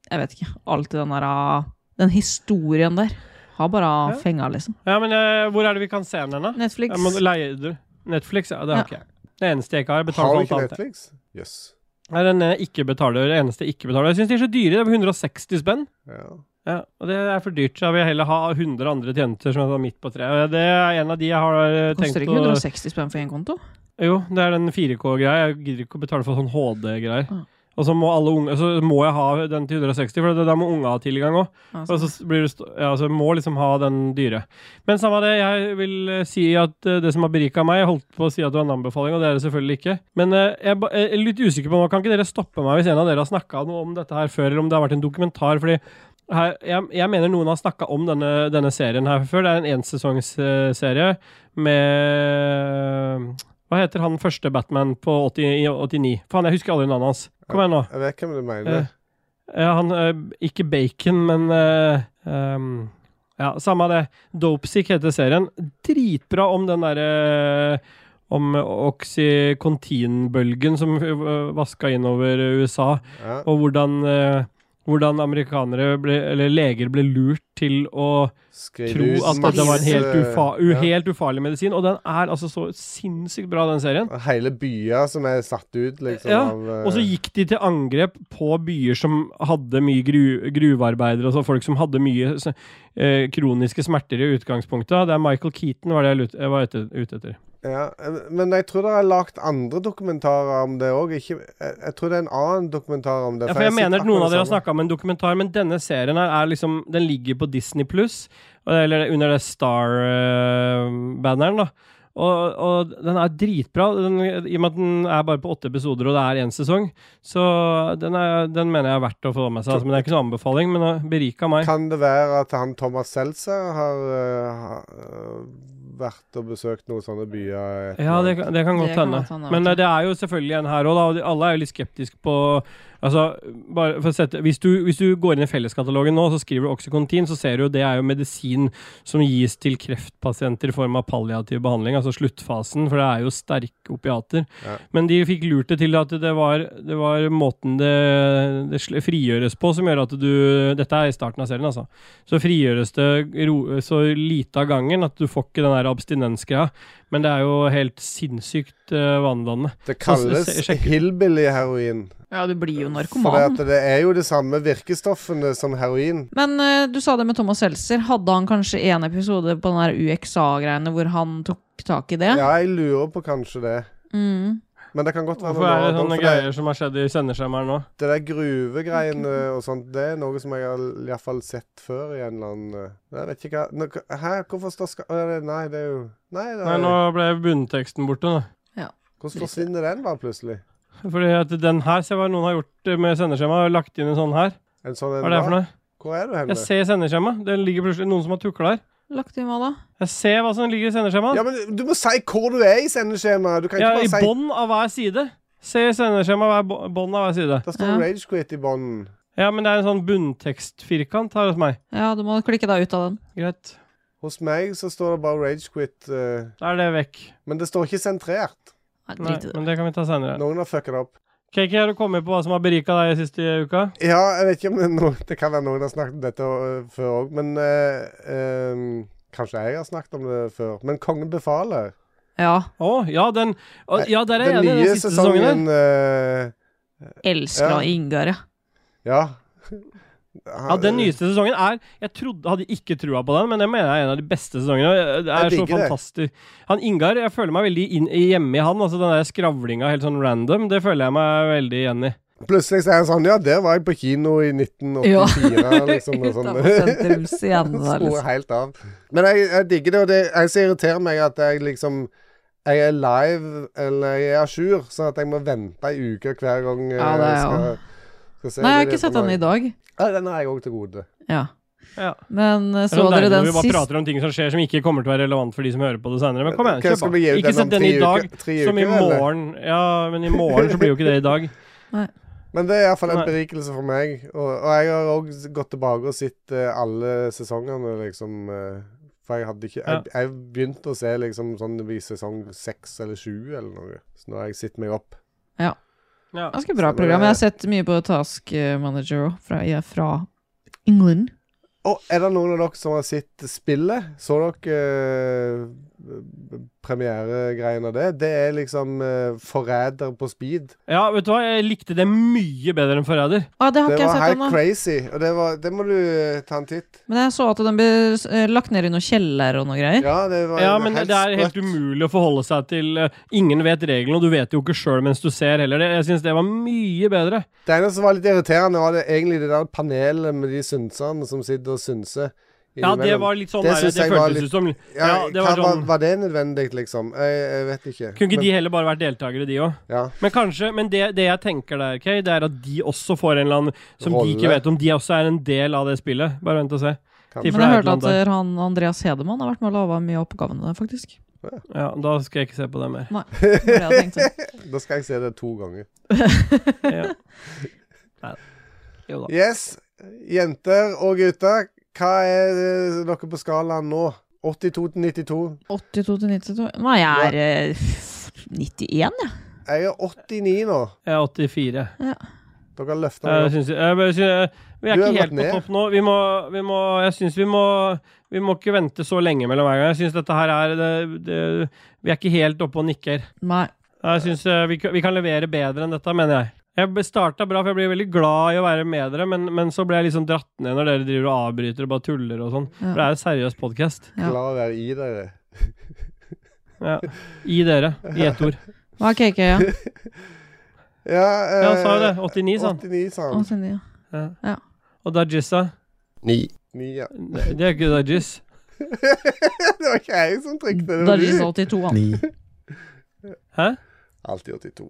B: Jeg vet ikke. Alltid den der ah, Den historien der har bare
D: Ja.
B: fenga, liksom.
D: Ja, men eh, hvor er det vi kan se den, hen, da?
B: Netflix.
D: Jeg må leie du. Netflix, ja. Det har
B: Ja.
D: ikke jeg. Det eneste jeg ikke har, jeg
A: Har
D: betaler for
A: du
D: alt
A: ikke
D: annet. jeg.
A: Netflix? Jøss.
D: Er en eh, ikke-betaler. Det eneste jeg ikke betaler. Jeg syns de er så dyre. Det er 160 spenn.
A: Ja.
D: Ja, og det er for dyrt. Så jeg vil heller ha 100 andre tjenester som er sånn midt på treet. Og Det er en av de jeg har eh, tenkt
B: Koster ikke 160 spenn for én konto?
D: Jo, det er den 4K-greia. Jeg gidder ikke å betale for sånn HD-greier. Og så må, alle unge, så må jeg ha den til 160, for det der må unge ha tilgang òg.
B: Ja,
D: og så blir det st- ja, så jeg må liksom ha den dyre. Men samme av det, jeg vil eh, si at eh, det som har berika meg Jeg holdt på å si at det var en anbefaling, og det er det selvfølgelig ikke. Men eh, jeg, ba- jeg er litt usikker på nå, kan ikke dere stoppe meg hvis en av dere har snakka noe om dette her før, eller om det har vært en dokumentar? Fordi her, jeg, jeg mener noen har snakka om denne, denne serien her før. Det er en ensesongsserie med Hva heter han første Batman på 80, 89? Faen, jeg husker aldri navnet hans. Kom igjen, nå.
A: Jeg vet hvem du mener.
D: Eh, ja, han eh, Ikke Bacon, men eh, ehm, Ja, samme av det. Dopesick heter serien. Dritbra om den derre om oxycontin-bølgen som eh, vaska innover USA,
A: Ja.
D: og hvordan eh, Hvordan amerikanere, ble, eller leger, ble lurt til å
A: Skrive
D: tro
A: ut
D: at det var en helt,
A: masse-
D: ufa, u,
A: ja.
D: helt ufarlig medisin. Og den er altså så sinnssykt bra, den serien.
A: Og hele byer som er satt ut, liksom.
D: Ja,
A: av, eh,
D: og så gikk de til angrep på byer som hadde mye gru, gruvearbeidere, altså folk som hadde mye så, eh, kroniske smerter i utgangspunktet. Det er Michael Keaton var det jeg, lut, jeg var ute, ute etter.
A: ja. Men jeg tror det er lagd andre dokumentarer om det òg. Jeg, jeg tror det er en annen dokumentar om det.
D: Ja, for
A: har
D: jeg
A: sett
D: mener at noen
A: akkurat
D: av dere har
A: samme.
D: snakka om en dokumentar, men denne serien her er liksom Den ligger på Disney pluss, eller under det Star-banneren, da. Og, og den er dritbra, den, i og med at den er bare på åtte episoder og det er én sesong. Så den, er, den mener jeg er verdt å få med seg. Altså, men Det er ikke noen anbefaling, men det berika meg.
A: Kan det være at han Thomas Seltzer har eh, ha- eh, vært og besøkt noen sånne byer?
D: Ja, det, kan- det kan godt hende. Men eh, det er jo selvfølgelig en her òg, da. Og de- alle er jo litt skeptiske på Altså, bare for å sette hvis du, hvis du går inn i felleskatalogen nå, så skriver du Oxycontin, så ser du jo det er jo medisin som gis til kreftpasienter i form av palliativ behandling, altså sluttfasen, for det er jo sterke opiater.
A: Ja.
D: Men de fikk lurt det til at det var, det var måten det, det sl- frigjøres på som gjør at du Dette er i starten av serien, altså. Så frigjøres det ro, så lite av gangen at du får ikke den der abstinensgreia. Men det er jo helt sinnssykt uh, vanedannende.
A: Det kalles
D: Så se- sjekk-
A: hillbilly-heroin.
B: Ja, du blir jo narkoman.
A: For det, at det er jo de samme virkestoffene som heroin.
B: Men eh, du sa det med Thomas Seltzer. Hadde han kanskje en episode på den der UXA-greiene hvor han tok tak i det?
A: Ja, jeg lurer på kanskje det.
B: Mm.
A: Men det kan godt være
D: Hvorfor er
A: noe
D: det
A: annet,
D: sånne
A: for det-
D: greier som har skjedd i sendeskjermen nå?
A: Det der gruvegreiene og sånt, det er noe som jeg har i hvert fall sett før i en eller annen Nei, Jeg vet ikke hva nå, hva- Hæ, hvorfor står ska... Å, det- Nei, det er jo Nei, det
D: Nei,
A: er,
D: nå ble bunnteksten borte, da.
A: hvordan forsvinner den bare plutselig?
D: Fordi at den her, se hva noen har gjort med sendeskjema, lagt inn en sånn her.
A: En sånn en
D: hva er det
A: hva?
D: for noe?
A: Hvor er du hen?
D: Jeg ser sendeskjema. Det ligger plutselig noen som har tukla her.
B: Lagt inn hva da?
D: Jeg ser hva som ligger i sendeskjemaet.
A: Ja, men du må si hvor du er i sendeskjemaet. Du kan ikke
D: Ja,
A: bare
D: i
A: si
D: bånn av hver side. Se i sendeskjemaet hver bo- bånd av hver side.
A: Da står rage quit i bånden.
D: Ja, men det er en sånn bunntekstfirkant her hos meg.
B: Ja, du må klikke deg ut av den.
D: Greit.
A: Hos meg så står det bare rage quit. eh,
D: Da er det vekk.
A: Men det står ikke sentrert.
D: Nei, men det kan vi ta senere.
A: Noen har fucka det opp.
D: KK, har du kommet på hva som har berika deg siste uka?
A: Ja, jeg vet ikke om det, er noen, det kan være noen har snakket om dette øh, før òg, men øh, øhm, Kanskje jeg har snakket om det før. Men Kongen befaler.
B: Ja.
D: Å, ja, den å, Ja, der er jeg
A: Den
D: enig. i
A: nye
D: Den siste sesongen der.
A: sesongen øh,
B: Elsker
A: Ja.
B: av Ingar, ja.
A: Ja.
D: Ja, Den nyeste sesongen er Jeg trodde, hadde ikke trua på den, men jeg mener jeg er en av de beste sesongene. Det
A: Jeg
D: er så
A: digger det.
D: fantastisk. Han Ingar, jeg føler meg veldig inn, hjemme i han. Altså Den der skravlinga helt sånn random, det føler jeg meg veldig igjen i.
A: Plutselig så er han sånn Ja, der var jeg på kino i 1984,
B: [laughs] Ja.
A: liksom. Og sånn.
B: Utenfor
A: [laughs]
B: sentrumsscenen der,
A: Slo
B: liksom.
A: helt av. Men jeg, jeg digger det, og det jeg som irriterer meg, at jeg liksom jeg er live, eller jeg er à jour, sånn at jeg må vente ei uke hver gang øh,
B: Ja, det er
A: jeg skal,
B: jo-
A: skal se
B: Nei, jeg har
A: det
B: ikke
A: på
B: sett den
A: meg.
B: i dag.
A: Ja, den har jeg òg til gode.
B: Ja.
D: Ja.
B: Men eh,
D: Det er
B: så
D: sånn
B: dere
D: deilig
B: den
D: når vi bare
B: sist
D: prater om ting som skjer som ikke kommer til å være relevant for de som hører på det senere. Men kom igjen,
A: Hva
D: kjør
A: skal
D: på.
A: vi gi ut
D: Ikke
A: den om
D: sett den i
A: tre
D: dag,
A: uker- tre
D: som i
A: uker, eller?
D: morgen. Ja, men i morgen så blir jo ikke det i
A: [laughs]
D: dag.
A: Men det er iallfall en
D: Nei.
A: berikelse for meg. Og, og jeg har òg gått tilbake og sett eh, alle sesongene, liksom. eh, For jeg hadde ikke Jeg, jeg begynte å se liksom sånn i sesong seks eller sju eller noe. Så nå har jeg sett meg opp.
B: Ja.
D: Ja.
B: Ganske bra program. Jeg har sett mye på Task eh, Manager òg, fra, ja, fra England.
A: Og er det noen av dere som har sett spillet? Så dere eh, premieregreien av det? Det er liksom eh, forræder på speed.
D: Ja, vet du hva, jeg likte det mye bedre enn Forræder.
B: Ah, det har
A: Det
B: ikke jeg
A: var
B: sett
A: helt
B: ennå.
A: crazy, og det, var, det må du eh, ta en titt.
B: Men jeg så at den ble eh, lagt ned i noen kjeller og noe greier.
A: Ja, det var
D: Ja,
A: en
D: men
A: helt
D: det er helt
A: sprøtt.
D: umulig å forholde seg til eh, Ingen vet reglene, og du vet jo ikke sjøl mens du ser heller. Det- Jeg syns det var mye bedre.
A: Det ene som var litt irriterende, var det egentlig det der panelet med de synserne som sitter og synser.
D: Ja, det
A: innimellom.
D: var litt sånn der,
A: synes
D: det
A: jeg var
D: føltes
A: litt-
D: ut som-
A: Ja,
D: ja, det var
A: hva- var,
D: sånn-
A: var det nødvendig, liksom? Jeg, jeg vet ikke.
D: Kunne ikke
A: Men-
D: de heller bare vært deltakere, de òg?
A: Ja.
D: Men kanskje, men det, det jeg tenker der, Kay, det er at de også får en eller annen som
A: Rolle.
D: de ikke vet om. De også er en del av det spillet. Bare vent og se.
A: Kan-
D: Tipper
B: Men
D: det
B: jeg hørte
D: er et
B: at
D: eller annet der.
B: eh, han Andreas Hedemann har vært med og lava mye av oppgavene der, faktisk.
D: Ja, da skal jeg ikke se på det mer.
A: [laughs]
B: Nei, det var det jeg tenkte.
A: Da skal jeg se det to ganger.
D: Ja. Nei. Jo da.
A: Yes, jenter og gutter. Hva er eh, dere på skalaen nå? 82 til 92?
B: 82 til 92 Nei, jeg er eh, 91, jeg.
A: Jeg er 89 nå.
D: Jeg er 84.
B: Ja.
A: Dere har løfta
D: Jeg Eh, synes, jeg, bare synes- vi er
A: Du er
D: ikke
A: lagt
D: helt på
A: ned.
D: topp nå. Vi må, vi må, jeg syns vi må Vi må ikke vente så lenge mellom hver gang. Jeg syns dette her er det, det, Vi er ikke helt oppe og nikker.
B: Nei.
D: Jeg synes, eh, vi, kan- vi kan levere bedre enn dette, mener jeg. Jeg starta bra, for jeg blir veldig glad i å være med dere, men, men så ble jeg liksom dratt ned når dere driver og avbryter og bare tuller og sånn.
A: Ja.
D: For det er en seriøs podkast.
A: Ja. Glad å være i dere.
D: Ja. I dere, i ett ord.
B: Hva
A: [laughs]
B: er KK, ja?
A: Ja,
D: Ja, han sa jo det. 89, sa han.
A: 89, sa han.
B: 89,
D: Ja.
B: Ja.
D: Og Dajissa?
L: Ni.
A: Ni, ja. [laughs]
D: Det er ikke Dajis.
A: det var ikke jeg som trykte det. var
B: Dajis
A: du.
B: 82, han.
K: Ni.
D: Hæ?
A: Alltid 82.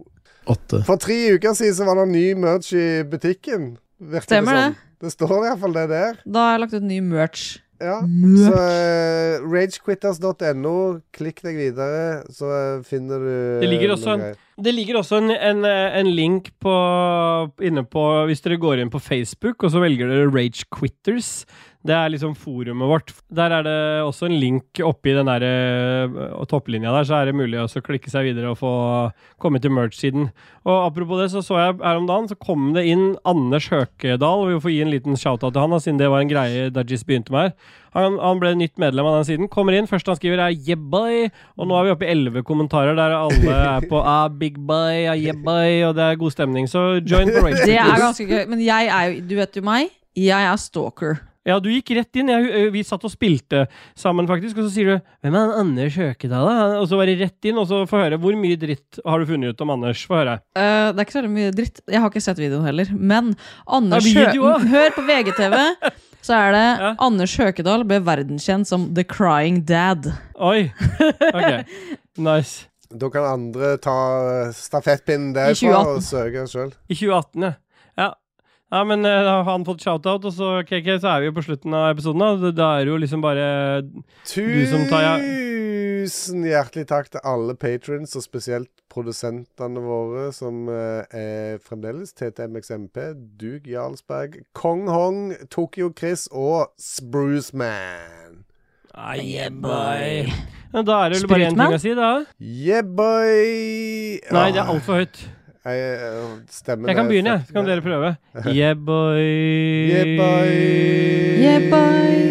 K: Åtte.
A: For tre uker siden så var det ny merch i butikken. Virker
B: Stemmer
A: det.
B: det.
A: Sånn. Det står i hvert fall det der.
B: Da har jeg lagt ut ny merch.
A: Ja.
B: Merch.
A: Så eh, ragequitters.no, klikk deg videre, så eh, finner du
D: Det ligger
A: noe
D: også en,
A: greier.
D: det ligger også en, en, en link på, inne på Hvis dere går inn på Facebook og så velger dere Rage Quitters. Det er liksom forumet vårt. Der er det også en link oppi den der, eh, topplinja der, så er det mulig også å klikke seg videre og få komme til merch-siden. Og apropos det, så så jeg her om dagen, så kom det inn Anders Høkedal. Vi får gi en liten shout-out til han, da, siden det var en greie Dajis begynte med her. Han, han ble nytt medlem av den siden. Kommer inn, første han skriver er 'yeah, boy', og nå er vi oppe i elleve kommentarer der alle er på ah, 'big boy', ah, 'yeah, boy', og det er god stemning. Så join the race.
B: Det er ganske gøy. Men jeg er jo Du vet jo meg. Jeg er stalker.
D: Ja, du gikk rett inn. Jeg, ø, vi satt og spilte sammen, faktisk. Og så sier du 'Hvem er han Anders Høkedal', da? Og så var det rett inn, og så få høre. Hvor mye dritt har du funnet ut om Anders? Få høre.
B: Eh, det er ikke så veldig mye dritt. Jeg har ikke sett videoen heller. Men Anders
D: Det er video
B: Hø
D: også.
B: Hør på VGTV, så er det Anders Høkedal ble verdenskjent som The Crying Dad.
D: Oi. Ok. Nice.
A: Da kan andre ta eh, stafettpinnen derfra
B: 2018.
A: og søke sjøl.
D: I 2018, ja. ja. Ja, men eh, da har han fått shout-out, og så, KK, så er vi jo på slutten av episoden. Da, Det- da er det jo liksom bare du som tar ja.
A: Tusen hjertelig takk til alle patrons, og spesielt produsentene våre, som eh, er fremdeles TTMXMP, Duke Jarlsberg, Kong Hong, Tokyo Chris og Spruce Man.
D: Ah, yeah, boy. Ja, Da er det vel bare én ting
A: Sprutmann?
D: å si, da.
A: Yeah, boy!
D: Nei, det er altfor høyt.
A: Jeg, eh, stemmer
D: Jeg kan
A: det.
D: begynne, jeg. Så kan dere
A: [laughs]
D: prøve. Yeah, boy.
A: Yeah, boy. [laughs]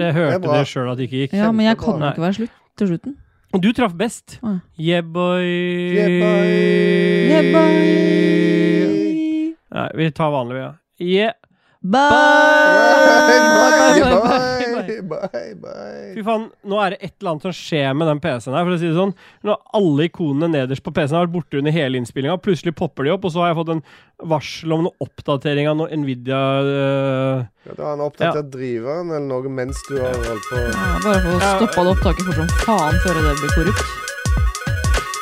D: Jeg hørte
B: bra.
D: dere sjøl at det ikke gikk.
B: Ja, men jeg kan
D: Nei.
B: ikke være slutt til slutten.
D: Og Du traff best.
B: Å.
D: Yeah, boy.
B: Yeah, boy.
D: Nei, vi tar vanlig, vi, ja. Yeah. [laughs]
A: Bye, bye, bye.
D: Fy faen, nå er det et eller annet som skjer med den PC-en her, for å si det sånn. Nå har alle ikonene nederst på PC-en har vært borte under hele innspillinga, og plutselig popper de opp, og så har jeg fått en varsel om noen oppdatering av noe Nvidia øh,
A: Ja, Da har han oppdatert driveren eller noe mens du har holdt på.
B: Ja, bare få stoppa det opptaket fort som faen før det blir korrupt.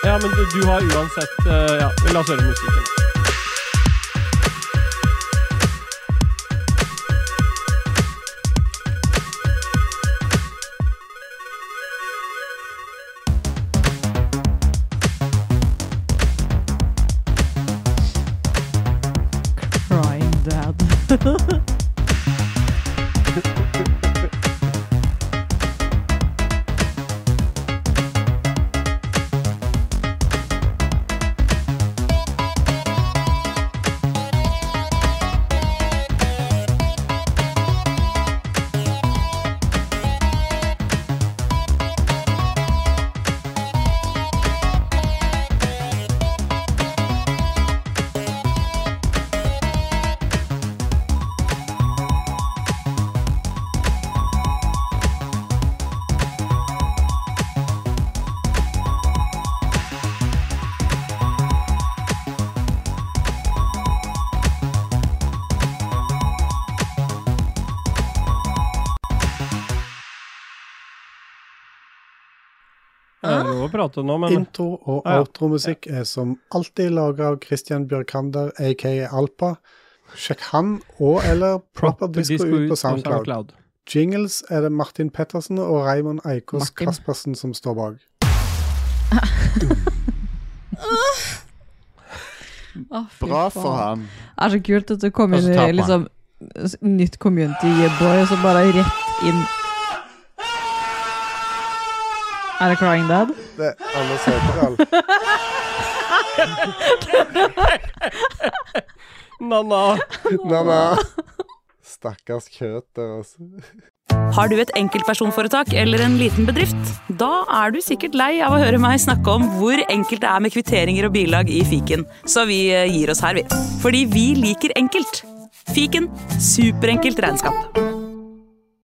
D: Ja, men du, du har uansett øh, Ja, la oss høre musikken.
B: Crying Dad.
D: Det er lov å prate nå, men
N: Intro og
D: Ah, ja.
N: outro-musikk er som alltid laga av Christian Bjørkander, aka Alpa. Sjekk han og eller Proper Disco ut på SoundCloud. Jingles er det Martin Pettersen og Raymond Eikås
B: Martin.
N: Kaspersen som står bak.
B: Å, fy
O: Bra
B: faen.
O: for han.
B: Det er så kult at du kom
O: Og
B: inn
O: så
B: i
O: taper han.
B: liksom, s- nytt community yeah boy, og så bare rett inn. Er det Crying Dad?
A: Det er altså. Anders
N: [laughs]
A: Høgedal.
D: Nanna.
A: Nanna. Stakkars kjøtt der, altså.
O: Har du et enkeltpersonforetak eller en liten bedrift? Da er du sikkert lei av å høre meg snakke om hvor enkelt det er med kvitteringer og bilag i fiken, så vi eh, gir oss her, vi. Fordi vi liker enkelt. Fiken superenkelt regnskap.